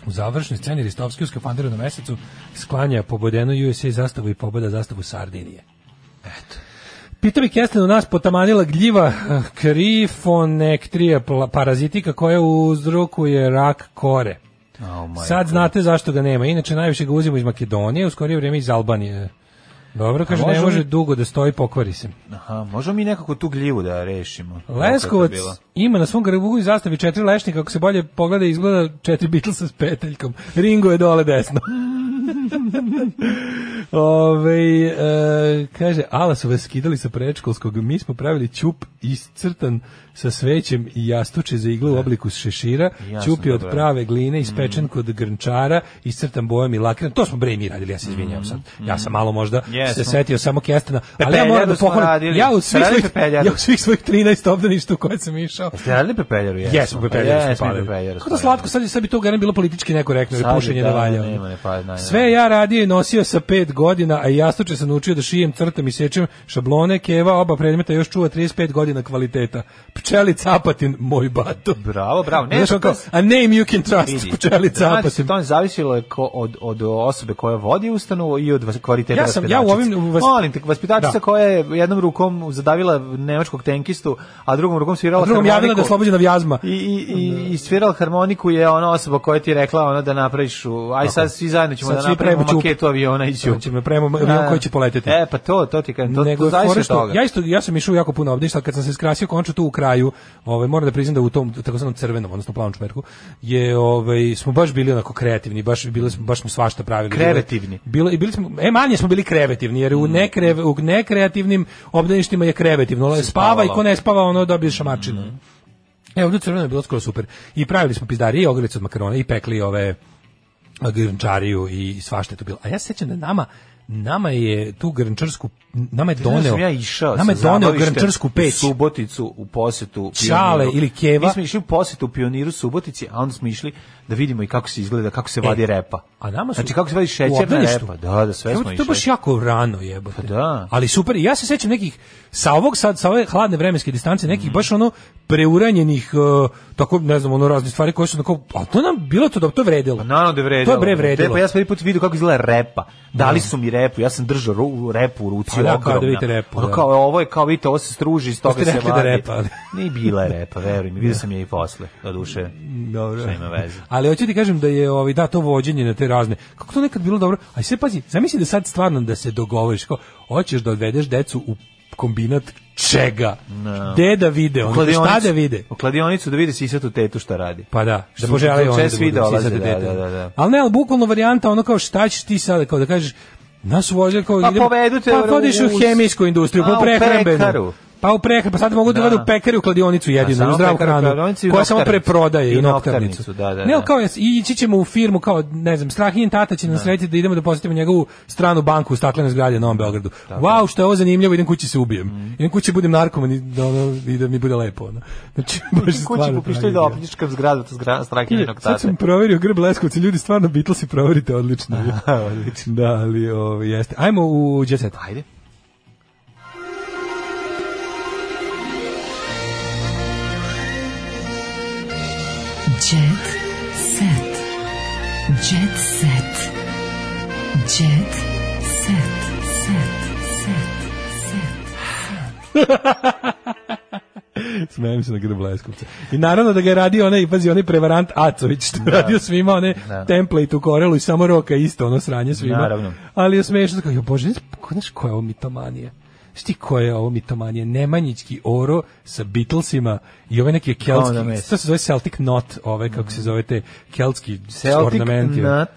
Speaker 9: u završnoj sceni Ristovski u skafanderu na mesecu sklanja pobodenu USA zastavu i pobeda zastavu Sardinije Pita mi Kesten u nas potamanila gljiva eh, krifonektrija pla- parazitika koja uzrokuje rak kore. Sad znate zašto ga nema. Inače, najviše ga uzimo iz Makedonije, u skorije vrijeme iz Albanije. Dobro, kaže, ne
Speaker 6: možemo
Speaker 9: može
Speaker 6: mi-
Speaker 9: dugo da stoji, pokvari se.
Speaker 6: Aha, možemo mi nekako tu gljivu da rešimo. Kako je to
Speaker 9: Leskovac
Speaker 6: bilo?
Speaker 9: ima na svom garbugu i zastavi četiri lešnika, ako se bolje pogleda izgleda četiri Beatlesa s peteljkom. Ringo je dole desno. Ove, e, kaže, ala su vas skidali sa predškolskog, mi smo pravili ćup iscrtan sa svećem i jastuče za igle u obliku šešira,
Speaker 6: Jasno,
Speaker 9: ćup je od
Speaker 6: dobro. Mm.
Speaker 9: prave gline, ispečen kod grnčara, iscrtan bojom i lakiran, to smo bre i mi radili, ja se izvinjam sad, ja sam malo možda se
Speaker 6: Mm. Jesmo.
Speaker 9: setio samo kestena, ali ja
Speaker 6: Pepeljaru
Speaker 9: moram da
Speaker 6: E, smo
Speaker 9: pohvalim,
Speaker 6: radili.
Speaker 9: ja u
Speaker 6: Ste
Speaker 9: svih
Speaker 6: radili
Speaker 9: svojih,
Speaker 6: pepeljaru?
Speaker 9: ja u svih svojih 13 obdaništa u koje sam išao.
Speaker 6: Ste radili pepeljaru? Jesmo, Pa
Speaker 9: Jesmo, pepeljaru smo
Speaker 6: Jesmo,
Speaker 9: palili.
Speaker 6: pepeljaru
Speaker 9: Kako
Speaker 6: smo
Speaker 9: da
Speaker 6: palili.
Speaker 9: slatko, sad, je- sad bi to garan bilo politički nekorektno, jer
Speaker 6: Sad je,
Speaker 9: pušenje
Speaker 6: da,
Speaker 9: ne valja.
Speaker 6: nema, ne pa- da, da.
Speaker 9: Sve ja radio i nosio sa pet godina, a i jastuče sam naučio da šijem, crtam i sečem šablone, keva, oba predmeta još čuva 35 godina kvaliteta. Pčeli Capatin, moj bato.
Speaker 6: Bravo, bravo. Ne,
Speaker 9: Znaš,
Speaker 6: to
Speaker 9: on kao,
Speaker 6: se-
Speaker 9: a name you can trust,
Speaker 6: vidi.
Speaker 9: pčeli
Speaker 6: Znači,
Speaker 9: Capatin.
Speaker 6: to je zavisilo je ko, od, od osobe koja vodi ustanovu i od vas- kvaliteta
Speaker 9: Ja sam- ja u
Speaker 6: vaspitačice.
Speaker 9: ovim- u vas-
Speaker 6: Molim te, vaspitačica
Speaker 9: Da.
Speaker 6: koja je jednom rukom zadavila nemačkog tenkistu, a drugom rukom svirala
Speaker 9: A drugom javila da je
Speaker 6: harmoniku.
Speaker 9: oslobođena vjazma.
Speaker 6: I, i, i, i svirala harmoniku je ona osoba koja ti je rekla ono da napraviš, u, aj sad svi zajedno ćemo
Speaker 9: Sad
Speaker 6: da
Speaker 9: svi
Speaker 6: napravimo
Speaker 9: pravimo ćup.
Speaker 6: maketu aviona i
Speaker 9: Sad
Speaker 6: ćup.
Speaker 9: aviocima, prema avion koji će poleteti.
Speaker 6: E, pa to, to ti kažem, to,
Speaker 9: Nego
Speaker 6: to
Speaker 9: je fora
Speaker 6: zavisi od
Speaker 9: što-
Speaker 6: toga.
Speaker 9: ja isto ja sam išao jako puno obdaništa, kad sam se skrasio konču tu u kraju, ovaj moram da priznam da u tom takozvanom crvenom, odnosno plavom čmerku je ovaj smo baš bili onako kreativni, baš bili smo baš smo svašta pravili.
Speaker 6: Krevetivni.
Speaker 9: Bilo i bili smo e manje smo bili krevetivni jer u
Speaker 6: Mm.
Speaker 9: nekre, u nekreativnim obdaništima je krevetivno, spava i ko ne spava ono dobije šamarčinu. E, ovdje u crveno je bilo skoro super. I pravili smo pizdarije i ogrlice od makarona i pekli ove grnčariju i svašta je to bilo. A ja se sećam da nama nama je tu grnčarsku nama je
Speaker 6: Znaš da
Speaker 9: doneo
Speaker 6: sam ja išao
Speaker 9: nama je
Speaker 6: sa
Speaker 9: doneo
Speaker 6: zabavištem
Speaker 9: grnčarsku
Speaker 6: u
Speaker 9: peć
Speaker 6: Suboticu u posetu
Speaker 9: Čale
Speaker 6: Pioniru.
Speaker 9: ili Keva.
Speaker 6: Mi smo išli u posetu Pioniru Subotici, a onda smo išli da vidimo i kako se izgleda, kako se
Speaker 9: E,
Speaker 6: vadi repa.
Speaker 9: A nama su
Speaker 6: Znači kako se vadi
Speaker 9: u
Speaker 6: šećerna
Speaker 9: obdaništu.
Speaker 6: repa. pa Da, da, sve
Speaker 9: Evo,
Speaker 6: smo
Speaker 9: To
Speaker 6: išli. Pa
Speaker 9: je baš jako rano jebote.
Speaker 6: da.
Speaker 9: Ali super, ja se sećam nekih sa ovog sad sa ove hladne vremenske distance
Speaker 6: Mhm.
Speaker 9: nekih baš ono preuranjenih uh, tako ne znam ono razne stvari koje su onako a to nam bilo to da to je vredilo.
Speaker 6: Pa Naravno da je vredilo.
Speaker 9: To je bre vredilo.
Speaker 6: Repa, ja sam prvi put vidio kako izgleda repa. Dali su mi repu, ja sam držao ru, repu u ruci
Speaker 9: Pa da,
Speaker 6: ogromna.
Speaker 9: kao da vidite repu,
Speaker 6: Ono
Speaker 9: da.
Speaker 6: kao, ovo je kao, vidite, ovo se struži, iz toga
Speaker 9: ste
Speaker 6: se
Speaker 9: rekli da
Speaker 6: vadi.
Speaker 9: repa, ali-
Speaker 6: Nije bila je repa, veruj mi, vidio sam je i posle, do duše.
Speaker 9: Dobro.
Speaker 6: Šta ima veze.
Speaker 9: Ali hoću ti kažem da je ovaj da to vođenje na te razne. Kako to nekad bilo dobro? Aj sve pazi, zamisli da sad stvarno da se dogovoriš kao hoćeš da odvedeš decu u kombinat čega?
Speaker 6: Da.
Speaker 9: Gde da vide?
Speaker 6: U
Speaker 9: Ono,
Speaker 6: kladionicu-
Speaker 9: šta da vide?
Speaker 6: U kladionicu da vide sisatu tetu šta radi.
Speaker 9: Pa da,
Speaker 6: Što
Speaker 9: da
Speaker 6: su-
Speaker 9: požele
Speaker 6: sve
Speaker 9: oni da
Speaker 6: svi
Speaker 9: budu
Speaker 6: dolaze,
Speaker 9: sisate
Speaker 6: da,
Speaker 9: dete.
Speaker 6: da, da, da.
Speaker 9: Ali ne, ali bukvalno varijanta ono kao šta ćeš ti sada, kao da kažeš, nas uvođe kao...
Speaker 6: Pa
Speaker 9: idemo-
Speaker 6: povedu te
Speaker 9: Pa odiš u
Speaker 6: u-
Speaker 9: hemijsku industriju,
Speaker 6: A,
Speaker 9: pa
Speaker 6: u
Speaker 9: u prehrambenu.
Speaker 6: pekaru.
Speaker 9: Pa u prehranu, pa sad mogu da,
Speaker 6: Da.
Speaker 9: da. u pekari u kladionicu
Speaker 6: A,
Speaker 9: jedinu,
Speaker 6: samo
Speaker 9: u zdravu
Speaker 6: pekara u
Speaker 9: hranu,
Speaker 6: kladionici i u
Speaker 9: koja samo
Speaker 6: noktarnicu.
Speaker 9: preprodaje
Speaker 6: I
Speaker 9: i noktarnicu.
Speaker 6: noktarnicu, da, da,
Speaker 9: ne,
Speaker 6: da.
Speaker 9: ali kao, jes- i ići ćemo u firmu, kao, ne znam, Strahinjen tata će nas sretiti da idemo da posjetimo njegovu stranu banku u staklenoj zgradi na Novom Beogradu. Wow, što je ovo zanimljivo, idem kući se ubijem.
Speaker 6: Mm.
Speaker 9: Idem kući budem narkoman i da, ono, i da mi bude lepo. Ono. Znači, baš
Speaker 6: Kući po
Speaker 9: stvarno
Speaker 6: pištolj da
Speaker 9: tragedija.
Speaker 6: opljičkam zgradu to zgra, strakinjenog
Speaker 9: Sad
Speaker 6: tate.
Speaker 9: sam proverio Grb Leskovci, ljudi, stvarno Beatlesi proverite odlično. odlično. Da, ali ovo jeste. Ajmo u Jet Set.
Speaker 6: Ajde.
Speaker 8: Jet set. Jet set. Jet set. Set. Set. Set.
Speaker 9: Smijem se na Grb Leskovca. I naravno da ga je radio onaj, pazi, onaj prevarant Acović, što je radio svima one
Speaker 6: Da.
Speaker 9: template u korelu i samo roka isto, ono sranje svima.
Speaker 6: Naravno.
Speaker 9: Ali je smešno, kao, jo bože, znaš- znaš koja je ovo mitomanija? Znaš ti koja je ovo mitomanija? Nemanjićki oro sa Beatlesima i ove neke keltski,
Speaker 6: Kao na mesto.
Speaker 9: to se zove Celtic knot, ove, kako se zove te keltski
Speaker 6: Celtic
Speaker 9: ornamenti. ono.
Speaker 6: nut.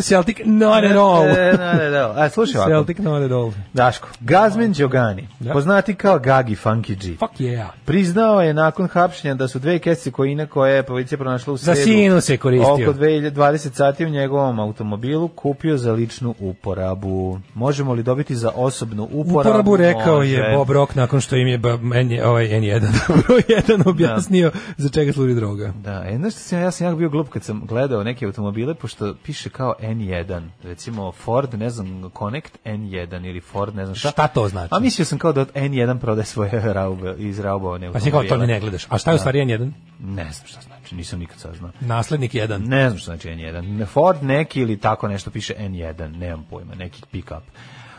Speaker 9: Celtic not at all.
Speaker 6: E, not at all. A, slušaj ovako.
Speaker 9: Celtic not at all.
Speaker 6: Daško, Gazmen Đogani,
Speaker 9: Da.
Speaker 6: poznati kao Gagi Funky G.
Speaker 9: Fuck yeah.
Speaker 6: Priznao je nakon hapšenja da su dve kesice kokaina koje je policija pronašla u
Speaker 9: Za
Speaker 6: sredu.
Speaker 9: sinuse koristio.
Speaker 6: Oko 20 sati u njegovom automobilu kupio za ličnu uporabu. Možemo li dobiti za osobnu uporabu?
Speaker 9: Uporabu rekao je
Speaker 6: Može.
Speaker 9: Bob Rock nakon što im je ba- meni, ovaj N1 broj 1 objasnio za čega služi droga.
Speaker 6: Da, e, znaš što sam, ja sam jako bio glup kad sam gledao neke automobile, pošto piše kao N1, recimo Ford, ne znam, Connect N1 ili Ford, ne znam šta.
Speaker 9: Šta to znači?
Speaker 6: A mislio sam kao da N1 prodaje svoje raube, iz raubovane
Speaker 9: Pa
Speaker 6: automobile.
Speaker 9: si kao to ni ne gledaš. A šta je u
Speaker 6: Da.
Speaker 9: stvari N1?
Speaker 6: Ne znam šta znači, nisam nikad saznao.
Speaker 9: Naslednik 1.
Speaker 6: Ne znam što znači N1. Ne, Ford neki ili tako nešto piše N1, nemam pojma, neki pick-up.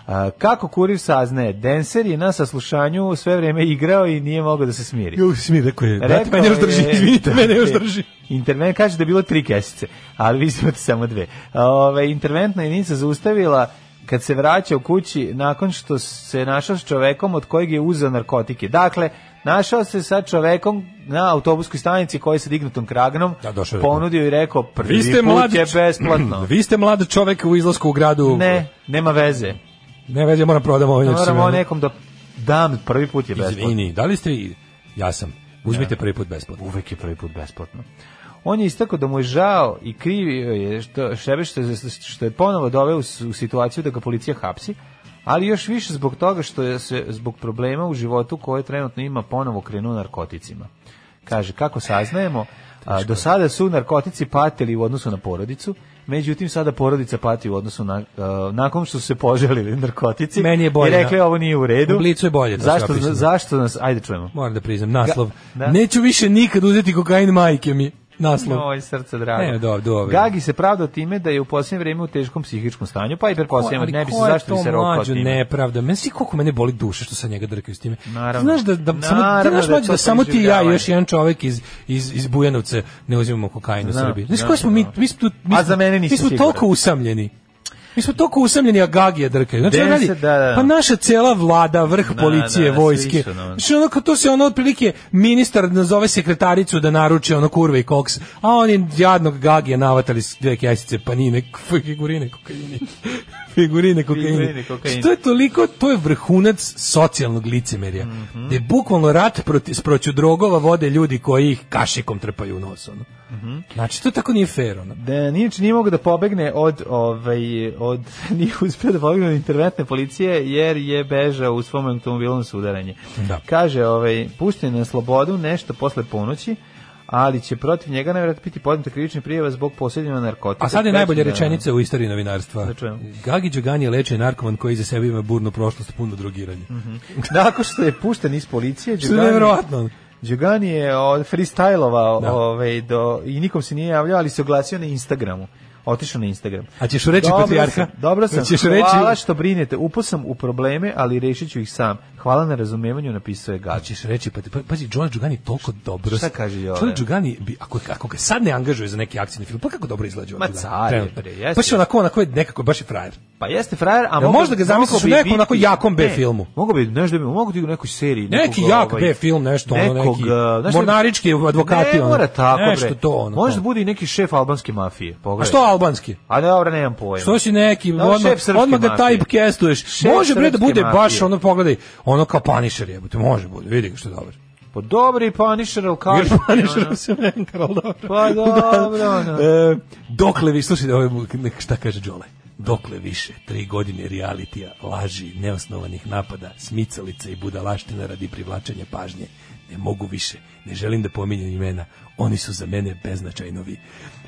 Speaker 6: A, kako kurir saznaje, Denser je na saslušanju sve vrijeme igrao i nije mogao da se smiri.
Speaker 9: Jo, si mi rekao je. Brate,
Speaker 6: Rekao
Speaker 9: mene još drži,
Speaker 6: je-
Speaker 9: izvinite, mene još drži.
Speaker 6: Intervent kaže da je bilo tri kesice, ali vi imate samo dve. Ove, interventna jedinica zaustavila kad se vraćao kući nakon što se našao s čovekom od kojeg je uzeo narkotike. Dakle, našao se sa čovekom na autobuskoj stanici koji se dignutom kragnom
Speaker 9: Da, došao je.
Speaker 6: ponudio i rekao prvi
Speaker 9: Vi ste
Speaker 6: put
Speaker 9: mlad,
Speaker 6: je besplatno.
Speaker 9: vi ste mlad čovek u izlasku u gradu.
Speaker 6: Ne, nema veze.
Speaker 9: Ne veze, ja moram prodam ovo. inače
Speaker 6: Moramo
Speaker 9: sam-
Speaker 6: nekom da dam prvi put je besplatno.
Speaker 9: Izvini, da li ste vi? Ja sam. Uzmite prvi put besplatno.
Speaker 6: Uvek je prvi put besplatno. On je istakao da mu je žao i krivio je što, šebe što, je- što je ponovo doveo u, s- u situaciju da ga policija hapsi, ali još više zbog toga što je se zbog problema u životu koje trenutno ima ponovo krenuo narkoticima. Kaže, kako saznajemo, a, do sada su narkotici patili u odnosu na porodicu, međutim sada porodica pati u odnosu na, a, nakon što su se poželili narkotici
Speaker 9: Meni je bolje
Speaker 6: i rekli
Speaker 9: na-
Speaker 6: ovo nije u redu.
Speaker 9: U Blicu je bolje, to sam
Speaker 6: Zašto,
Speaker 9: ja priznam.
Speaker 6: zašto nas, ajde čujemo.
Speaker 9: Moram da priznam, naslov.
Speaker 6: Ga- da.
Speaker 9: Neću više nikad uzeti kokain majke mi. Naslov.
Speaker 6: Oj, srce drago.
Speaker 9: Ne, do- dobro.
Speaker 6: Gagi se pravda time da je u posljednje vrijeme u teškom psihičkom stanju, pa i pretpostavljam,
Speaker 9: Ali
Speaker 6: ne bi se
Speaker 9: ko je
Speaker 6: zašto bi
Speaker 9: to
Speaker 6: se rokao
Speaker 9: mlađo
Speaker 6: time.
Speaker 9: nepravda. Meni si koliko mene boli duše što sa njega drkaju s time.
Speaker 6: Naravno.
Speaker 9: Znaš da, da,
Speaker 6: Naravno
Speaker 9: samo, ti,
Speaker 6: da
Speaker 9: znaš
Speaker 6: je
Speaker 9: mlađo
Speaker 6: to
Speaker 9: da samo ti i ja i
Speaker 6: preživljavanje.
Speaker 9: još jedan čovjek iz, iz, iz Bujanovce ne uzimamo kokain u
Speaker 6: Znam,
Speaker 9: Srbiji. Znaš
Speaker 6: znam,
Speaker 9: koji smo mi,
Speaker 6: znam.
Speaker 9: mi smo, tu- mi
Speaker 6: A
Speaker 9: smo-
Speaker 6: za mene nisi
Speaker 9: mi smo
Speaker 6: siguran.
Speaker 9: toliko usamljeni. Mi smo toliko usamljeni, a gagija drkaju. Znači,
Speaker 6: Deset,
Speaker 9: radi,
Speaker 6: da, da.
Speaker 9: Pa naša cela vlada, vrh policije,
Speaker 6: da, svi
Speaker 9: vojske.
Speaker 6: su, da.
Speaker 9: Znači, ono, kao to se ono, otprilike, ministar nazove sekretaricu da naruče ono kurve i koks, a oni jadnog gagija navatali s dve kjasice panine, k- figurine, kokaini. figurine,
Speaker 6: Figurine,
Speaker 9: kokaini.
Speaker 6: kokaini.
Speaker 9: Što je toliko, to je vrhunac socijalnog licemerja.
Speaker 6: Mhm.
Speaker 9: Da je bukvalno rat proti, s proću drogova vode ljudi koji ih kašikom trpaju u nos. Ono.
Speaker 6: Mhm.
Speaker 9: Znači, to tako nije fair. Ono.
Speaker 6: Da, nije, nije mogao da pobegne od, ovaj, od, nije uspio da pobegne od interventne policije jer je bežao u svom automobilu na sudaranje.
Speaker 9: Da.
Speaker 6: Kaže, ovaj, pušten je na slobodu nešto posle ponoći, ali će protiv njega najvjerojatno biti podneta krivična prijava zbog posjednjena narkotika.
Speaker 9: A sad je najbolja
Speaker 6: Treći dan.
Speaker 9: rečenica u istoriji novinarstva.
Speaker 6: Da čujem.
Speaker 9: Gagi Đogani je lečen narkoman koji za sebe ima burnu prošlost puno drogiranja.
Speaker 6: Mhm. Nakon što je pušten iz policije,
Speaker 9: Što je
Speaker 6: Đugani-
Speaker 9: nevjerojatno. ono.
Speaker 6: Đugani je o, freestylovao
Speaker 9: Da.
Speaker 6: ovaj, do, i nikom se nije javljao, ali se oglasio na Instagramu. Otišao na Instagram.
Speaker 9: A ćeš reći
Speaker 6: Dobro
Speaker 9: patrijarha?
Speaker 6: sam, Dobro sam,
Speaker 9: Ćeš reći-
Speaker 6: hvala što brinete. Upao sam u probleme, ali rešit ću ih sam. Hvala na razumevanju, napisao je
Speaker 9: A
Speaker 6: Gači.
Speaker 9: ćeš reći, pa, pa pazi, Jonas Đugani je toliko dobro.
Speaker 6: Šta kaže Jove?
Speaker 9: Jonas Đugani, bi, ako, ako ga sad ne angažuje za neki akcijni film, pa kako dobro izlađe
Speaker 6: Ma
Speaker 9: Đugani?
Speaker 6: car je,
Speaker 9: trenutno.
Speaker 6: bre, jeste.
Speaker 9: Pa će onako, onako je nekako, baš je frajer.
Speaker 6: Pa jeste frajer, a
Speaker 9: Jel možda ga zamisliš u nekom onako jakom B filmu?
Speaker 6: Mogu bi, znaš da bi, mogu ti u nekoj seriji.
Speaker 9: Neki
Speaker 6: nekog,
Speaker 9: jak
Speaker 6: ovaj,
Speaker 9: B film, nešto ono,
Speaker 6: nekog,
Speaker 9: neki
Speaker 6: a, znaš šta-
Speaker 9: mornarički advokati,
Speaker 6: Ne
Speaker 9: ono,
Speaker 6: mora tako, bre.
Speaker 9: nešto to, ono,
Speaker 6: Možda
Speaker 9: to.
Speaker 6: bude i neki šef albanske mafije.
Speaker 9: A
Speaker 6: Pogledaj.
Speaker 9: Pa što albanski?
Speaker 6: A dobro, nemam pojma.
Speaker 9: Što si neki,
Speaker 6: Da,
Speaker 9: odmah,
Speaker 6: šef srpske
Speaker 9: odmah ga
Speaker 6: mafije.
Speaker 9: typecastuješ.
Speaker 6: Šef
Speaker 9: Može bre da
Speaker 6: srpske
Speaker 9: bude baš
Speaker 6: mafije.
Speaker 9: ono, pogledaj, ono kao panišer jebote, može bude, vidi ga što je dobar.
Speaker 6: Pa dobro i Punisher, ali kao...
Speaker 9: Jer Punisher se menkar, ali dobro.
Speaker 6: Pa dobro, ono.
Speaker 9: E, dokle vi, slušajte, ovo je mu- nek- šta kaže Đole? Dokle više, tri godine realitija, laži, neosnovanih napada, smicalica i budalaština radi privlačenja pažnje. Ne mogu više, ne želim da pominjem imena, oni su za mene beznačajnovi.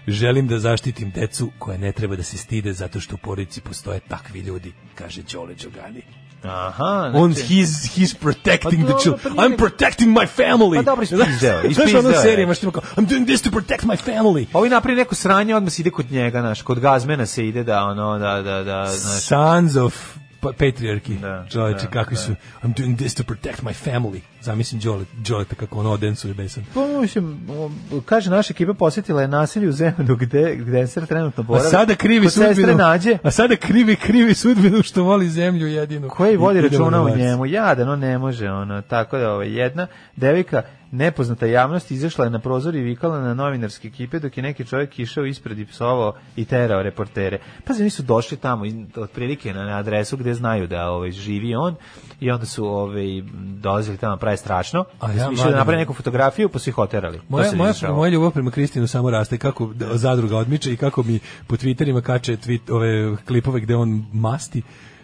Speaker 9: Želim da zaštitim decu koja ne treba da se stide zato što u porodici postoje takvi ljudi, kaže Đole Đogani.
Speaker 6: Aha,
Speaker 9: On
Speaker 6: znači-
Speaker 9: he's he's protecting
Speaker 6: Pa
Speaker 9: the
Speaker 6: dobro,
Speaker 9: children.
Speaker 6: pa nije-
Speaker 9: I'm protecting my family.
Speaker 6: Pa dobro, ispizdeo,
Speaker 9: Znaš
Speaker 6: ispizdeo
Speaker 9: ono
Speaker 6: je.
Speaker 9: serijama što ima kao, I'm doing this to protect my family.
Speaker 6: Pa Ovi napravi neko sranje, odmah se ide kod njega, znaš, kod gazmena se ide da, ono, da, da, da, znaš.
Speaker 9: Sons of pa- patriarchy.
Speaker 6: Da,
Speaker 9: Čovječe,
Speaker 6: da,
Speaker 9: kakvi su. I'm doing this to protect my family. Zamislim Đole, Đole kako ono odensuje besan.
Speaker 6: Pa, mislim, o, kaže, naša ekipa posjetila je nasilje u zemlju gde, gde se trenutno
Speaker 9: A
Speaker 6: boravi.
Speaker 9: sada krivi
Speaker 6: Kod sestre
Speaker 9: sudbinu.
Speaker 6: nađe,
Speaker 9: A sada krivi, krivi sudbinu što voli zemlju jedinu.
Speaker 6: koji vodi
Speaker 9: I idemo
Speaker 6: računa
Speaker 9: na
Speaker 6: o
Speaker 9: Mars.
Speaker 6: njemu, jadan, on ne može, ono, tako da, ovaj, jedna devika nepoznata javnost izašla je na prozor i vikala na novinarske ekipe dok je neki čovjek išao ispred i psovao i terao reportere. Pa znači su došli tamo iz- otprilike na, na adresu gde znaju da ovaj živi on i onda su ovaj dolazili tamo pravi strašno.
Speaker 9: A
Speaker 6: A
Speaker 9: ja,
Speaker 6: ja, da
Speaker 9: mladen.
Speaker 6: naprave neku fotografiju pa su ih oterali. To
Speaker 9: Moja,
Speaker 6: se
Speaker 9: moja,
Speaker 6: dešava.
Speaker 9: moja ljubav prema Kristinu samo raste kako d- zadruga odmiče i kako mi po Twitterima kače tweet, ove klipove gde on masti.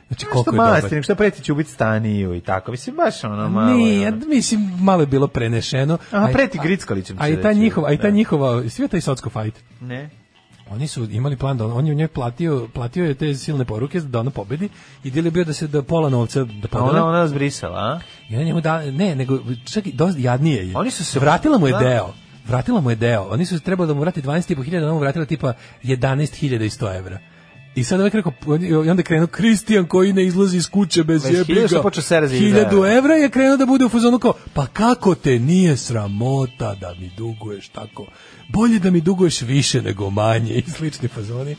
Speaker 9: Znači, koliko je
Speaker 6: što
Speaker 9: dobar.
Speaker 6: masti, nego što preti ću biti staniju i tako. Mislim, baš ono malo.
Speaker 9: Nije,
Speaker 6: je
Speaker 9: ja
Speaker 6: ono.
Speaker 9: mislim, malo je bilo prenešeno.
Speaker 6: Aha,
Speaker 9: A i-
Speaker 6: preti grickalićem
Speaker 9: A
Speaker 6: se
Speaker 9: i ta
Speaker 6: reći,
Speaker 9: njihova, a i ta
Speaker 6: da.
Speaker 9: njihova, svi taj socko fajt.
Speaker 6: Ne.
Speaker 9: Oni su imali plan da on, on je u njoj platio, platio je te silne poruke da ona pobedi i dil je bio da se da pola novca da
Speaker 6: Pa
Speaker 9: podele.
Speaker 6: ona, ona zbrisala, a?
Speaker 9: I ona njemu da, ne, nego čak i dosta jadnije je.
Speaker 6: Oni su se-
Speaker 9: vratila mu je
Speaker 6: Da.
Speaker 9: deo. Vratila mu je deo. Oni su trebali da mu vrati 12.500, ona mu vratila tipa 11.100 evra. I sad ovaj rekao, i onda je krenuo Kristijan koji ne izlazi iz kuće bez
Speaker 6: Već
Speaker 9: jebiga.
Speaker 6: hiljadu što počeo se razvijati, da, da.
Speaker 9: Hiljadu evra je krenuo da bude u fazonu kao, pa kako te nije sramota da mi duguješ tako? Bolje da mi duguješ više nego manje i slični fazoni.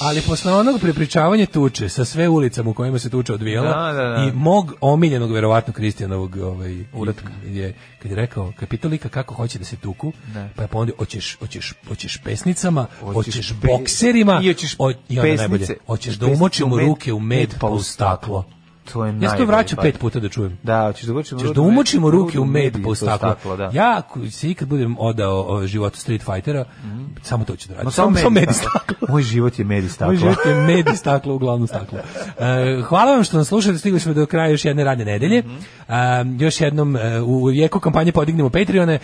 Speaker 9: Ali posle onog prepričavanja tuče sa sve ulicama u kojima se tuča odvijala
Speaker 6: Da, da, da.
Speaker 9: i mog omiljenog verovatno Kristijanovog ovaj uratka je kad je rekao kapitolika kako hoće da se tuku pa je pa onda hoćeš hoćeš hoćeš pesnicama
Speaker 6: Hoćeš
Speaker 9: hoćeš,
Speaker 6: pe-
Speaker 9: bokserima
Speaker 6: i hoćeš
Speaker 9: o- i onda
Speaker 6: pesnice,
Speaker 9: najbolje
Speaker 6: hoćeš
Speaker 9: hoćeš da
Speaker 6: pesnice
Speaker 9: umočimo
Speaker 6: u med-
Speaker 9: ruke u med pa u staklo
Speaker 6: To je
Speaker 9: ja sam to
Speaker 6: najbolji
Speaker 9: vraćao
Speaker 6: fazon.
Speaker 9: pet puta da čujem
Speaker 6: Da, hoćeš da umočimo
Speaker 9: Ćeš
Speaker 6: ruke
Speaker 9: da
Speaker 6: u med-
Speaker 9: umočimo ruke u
Speaker 6: i
Speaker 9: med
Speaker 6: po
Speaker 9: po staklo.
Speaker 6: staklo, da.
Speaker 9: Ja ako se ikad budem odao o, životu Street Fightera, Mhm. samo to ću da radim.
Speaker 6: Ma samo med
Speaker 9: med
Speaker 6: i
Speaker 9: i
Speaker 6: staklo.
Speaker 9: staklo.
Speaker 6: Moj život je med i staklo.
Speaker 9: Moj život je med i staklo, uglavnom staklo. E, hvala vam što nas slušate, stigli smo do kraja još jedne radne nedelje.
Speaker 6: Mhm.
Speaker 9: A, još jednom, e, u jeku kampanje Podignemo Patreone, e,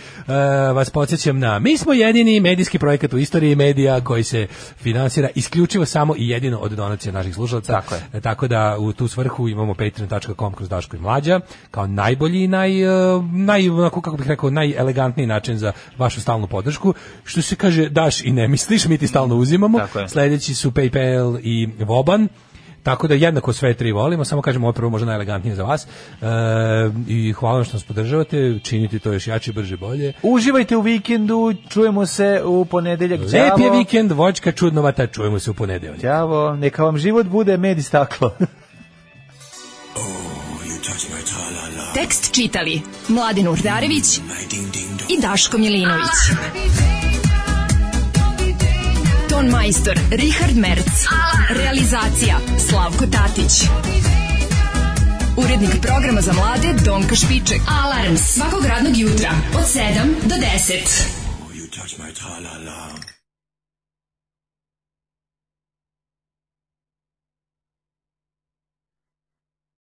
Speaker 9: vas podsjećam na mi smo jedini medijski projekat u istoriji medija koji se finansira isključivo samo i jedino od donacija naših slušalaca.
Speaker 6: Tako je.
Speaker 9: E, tako da u tu svrhu imamo patreon.com kroz Daško i Mlađa kao najbolji i naj, e, naj onako, kako bih rekao, najelegantniji način za vašu stalnu podršku. Što se kaže daš i ne misliš, mi ti stalno uzimamo.
Speaker 6: Tako je.
Speaker 9: Sledeći su PayPal i Voban. Tako da jednako sve tri volimo, samo kažemo ovo je prvo možda najelegantnije za vas. E, I hvala vam što nas podržavate, činite to još jače, brže, bolje.
Speaker 6: Uživajte u vikendu, čujemo se u ponedeljak.
Speaker 9: Lep je vikend, vočka čudnovata, čujemo se u ponedeljak.
Speaker 6: Ćavo, neka vam život bude med i staklo.
Speaker 8: Tekst čitali Mladin Urdarević i Daško Milinović. Ton majstor Richard Merc. Realizacija Slavko Tatić. Urednik programa za mlade Donka Špiček. Alarms svakog radnog jutra od 7 do 10.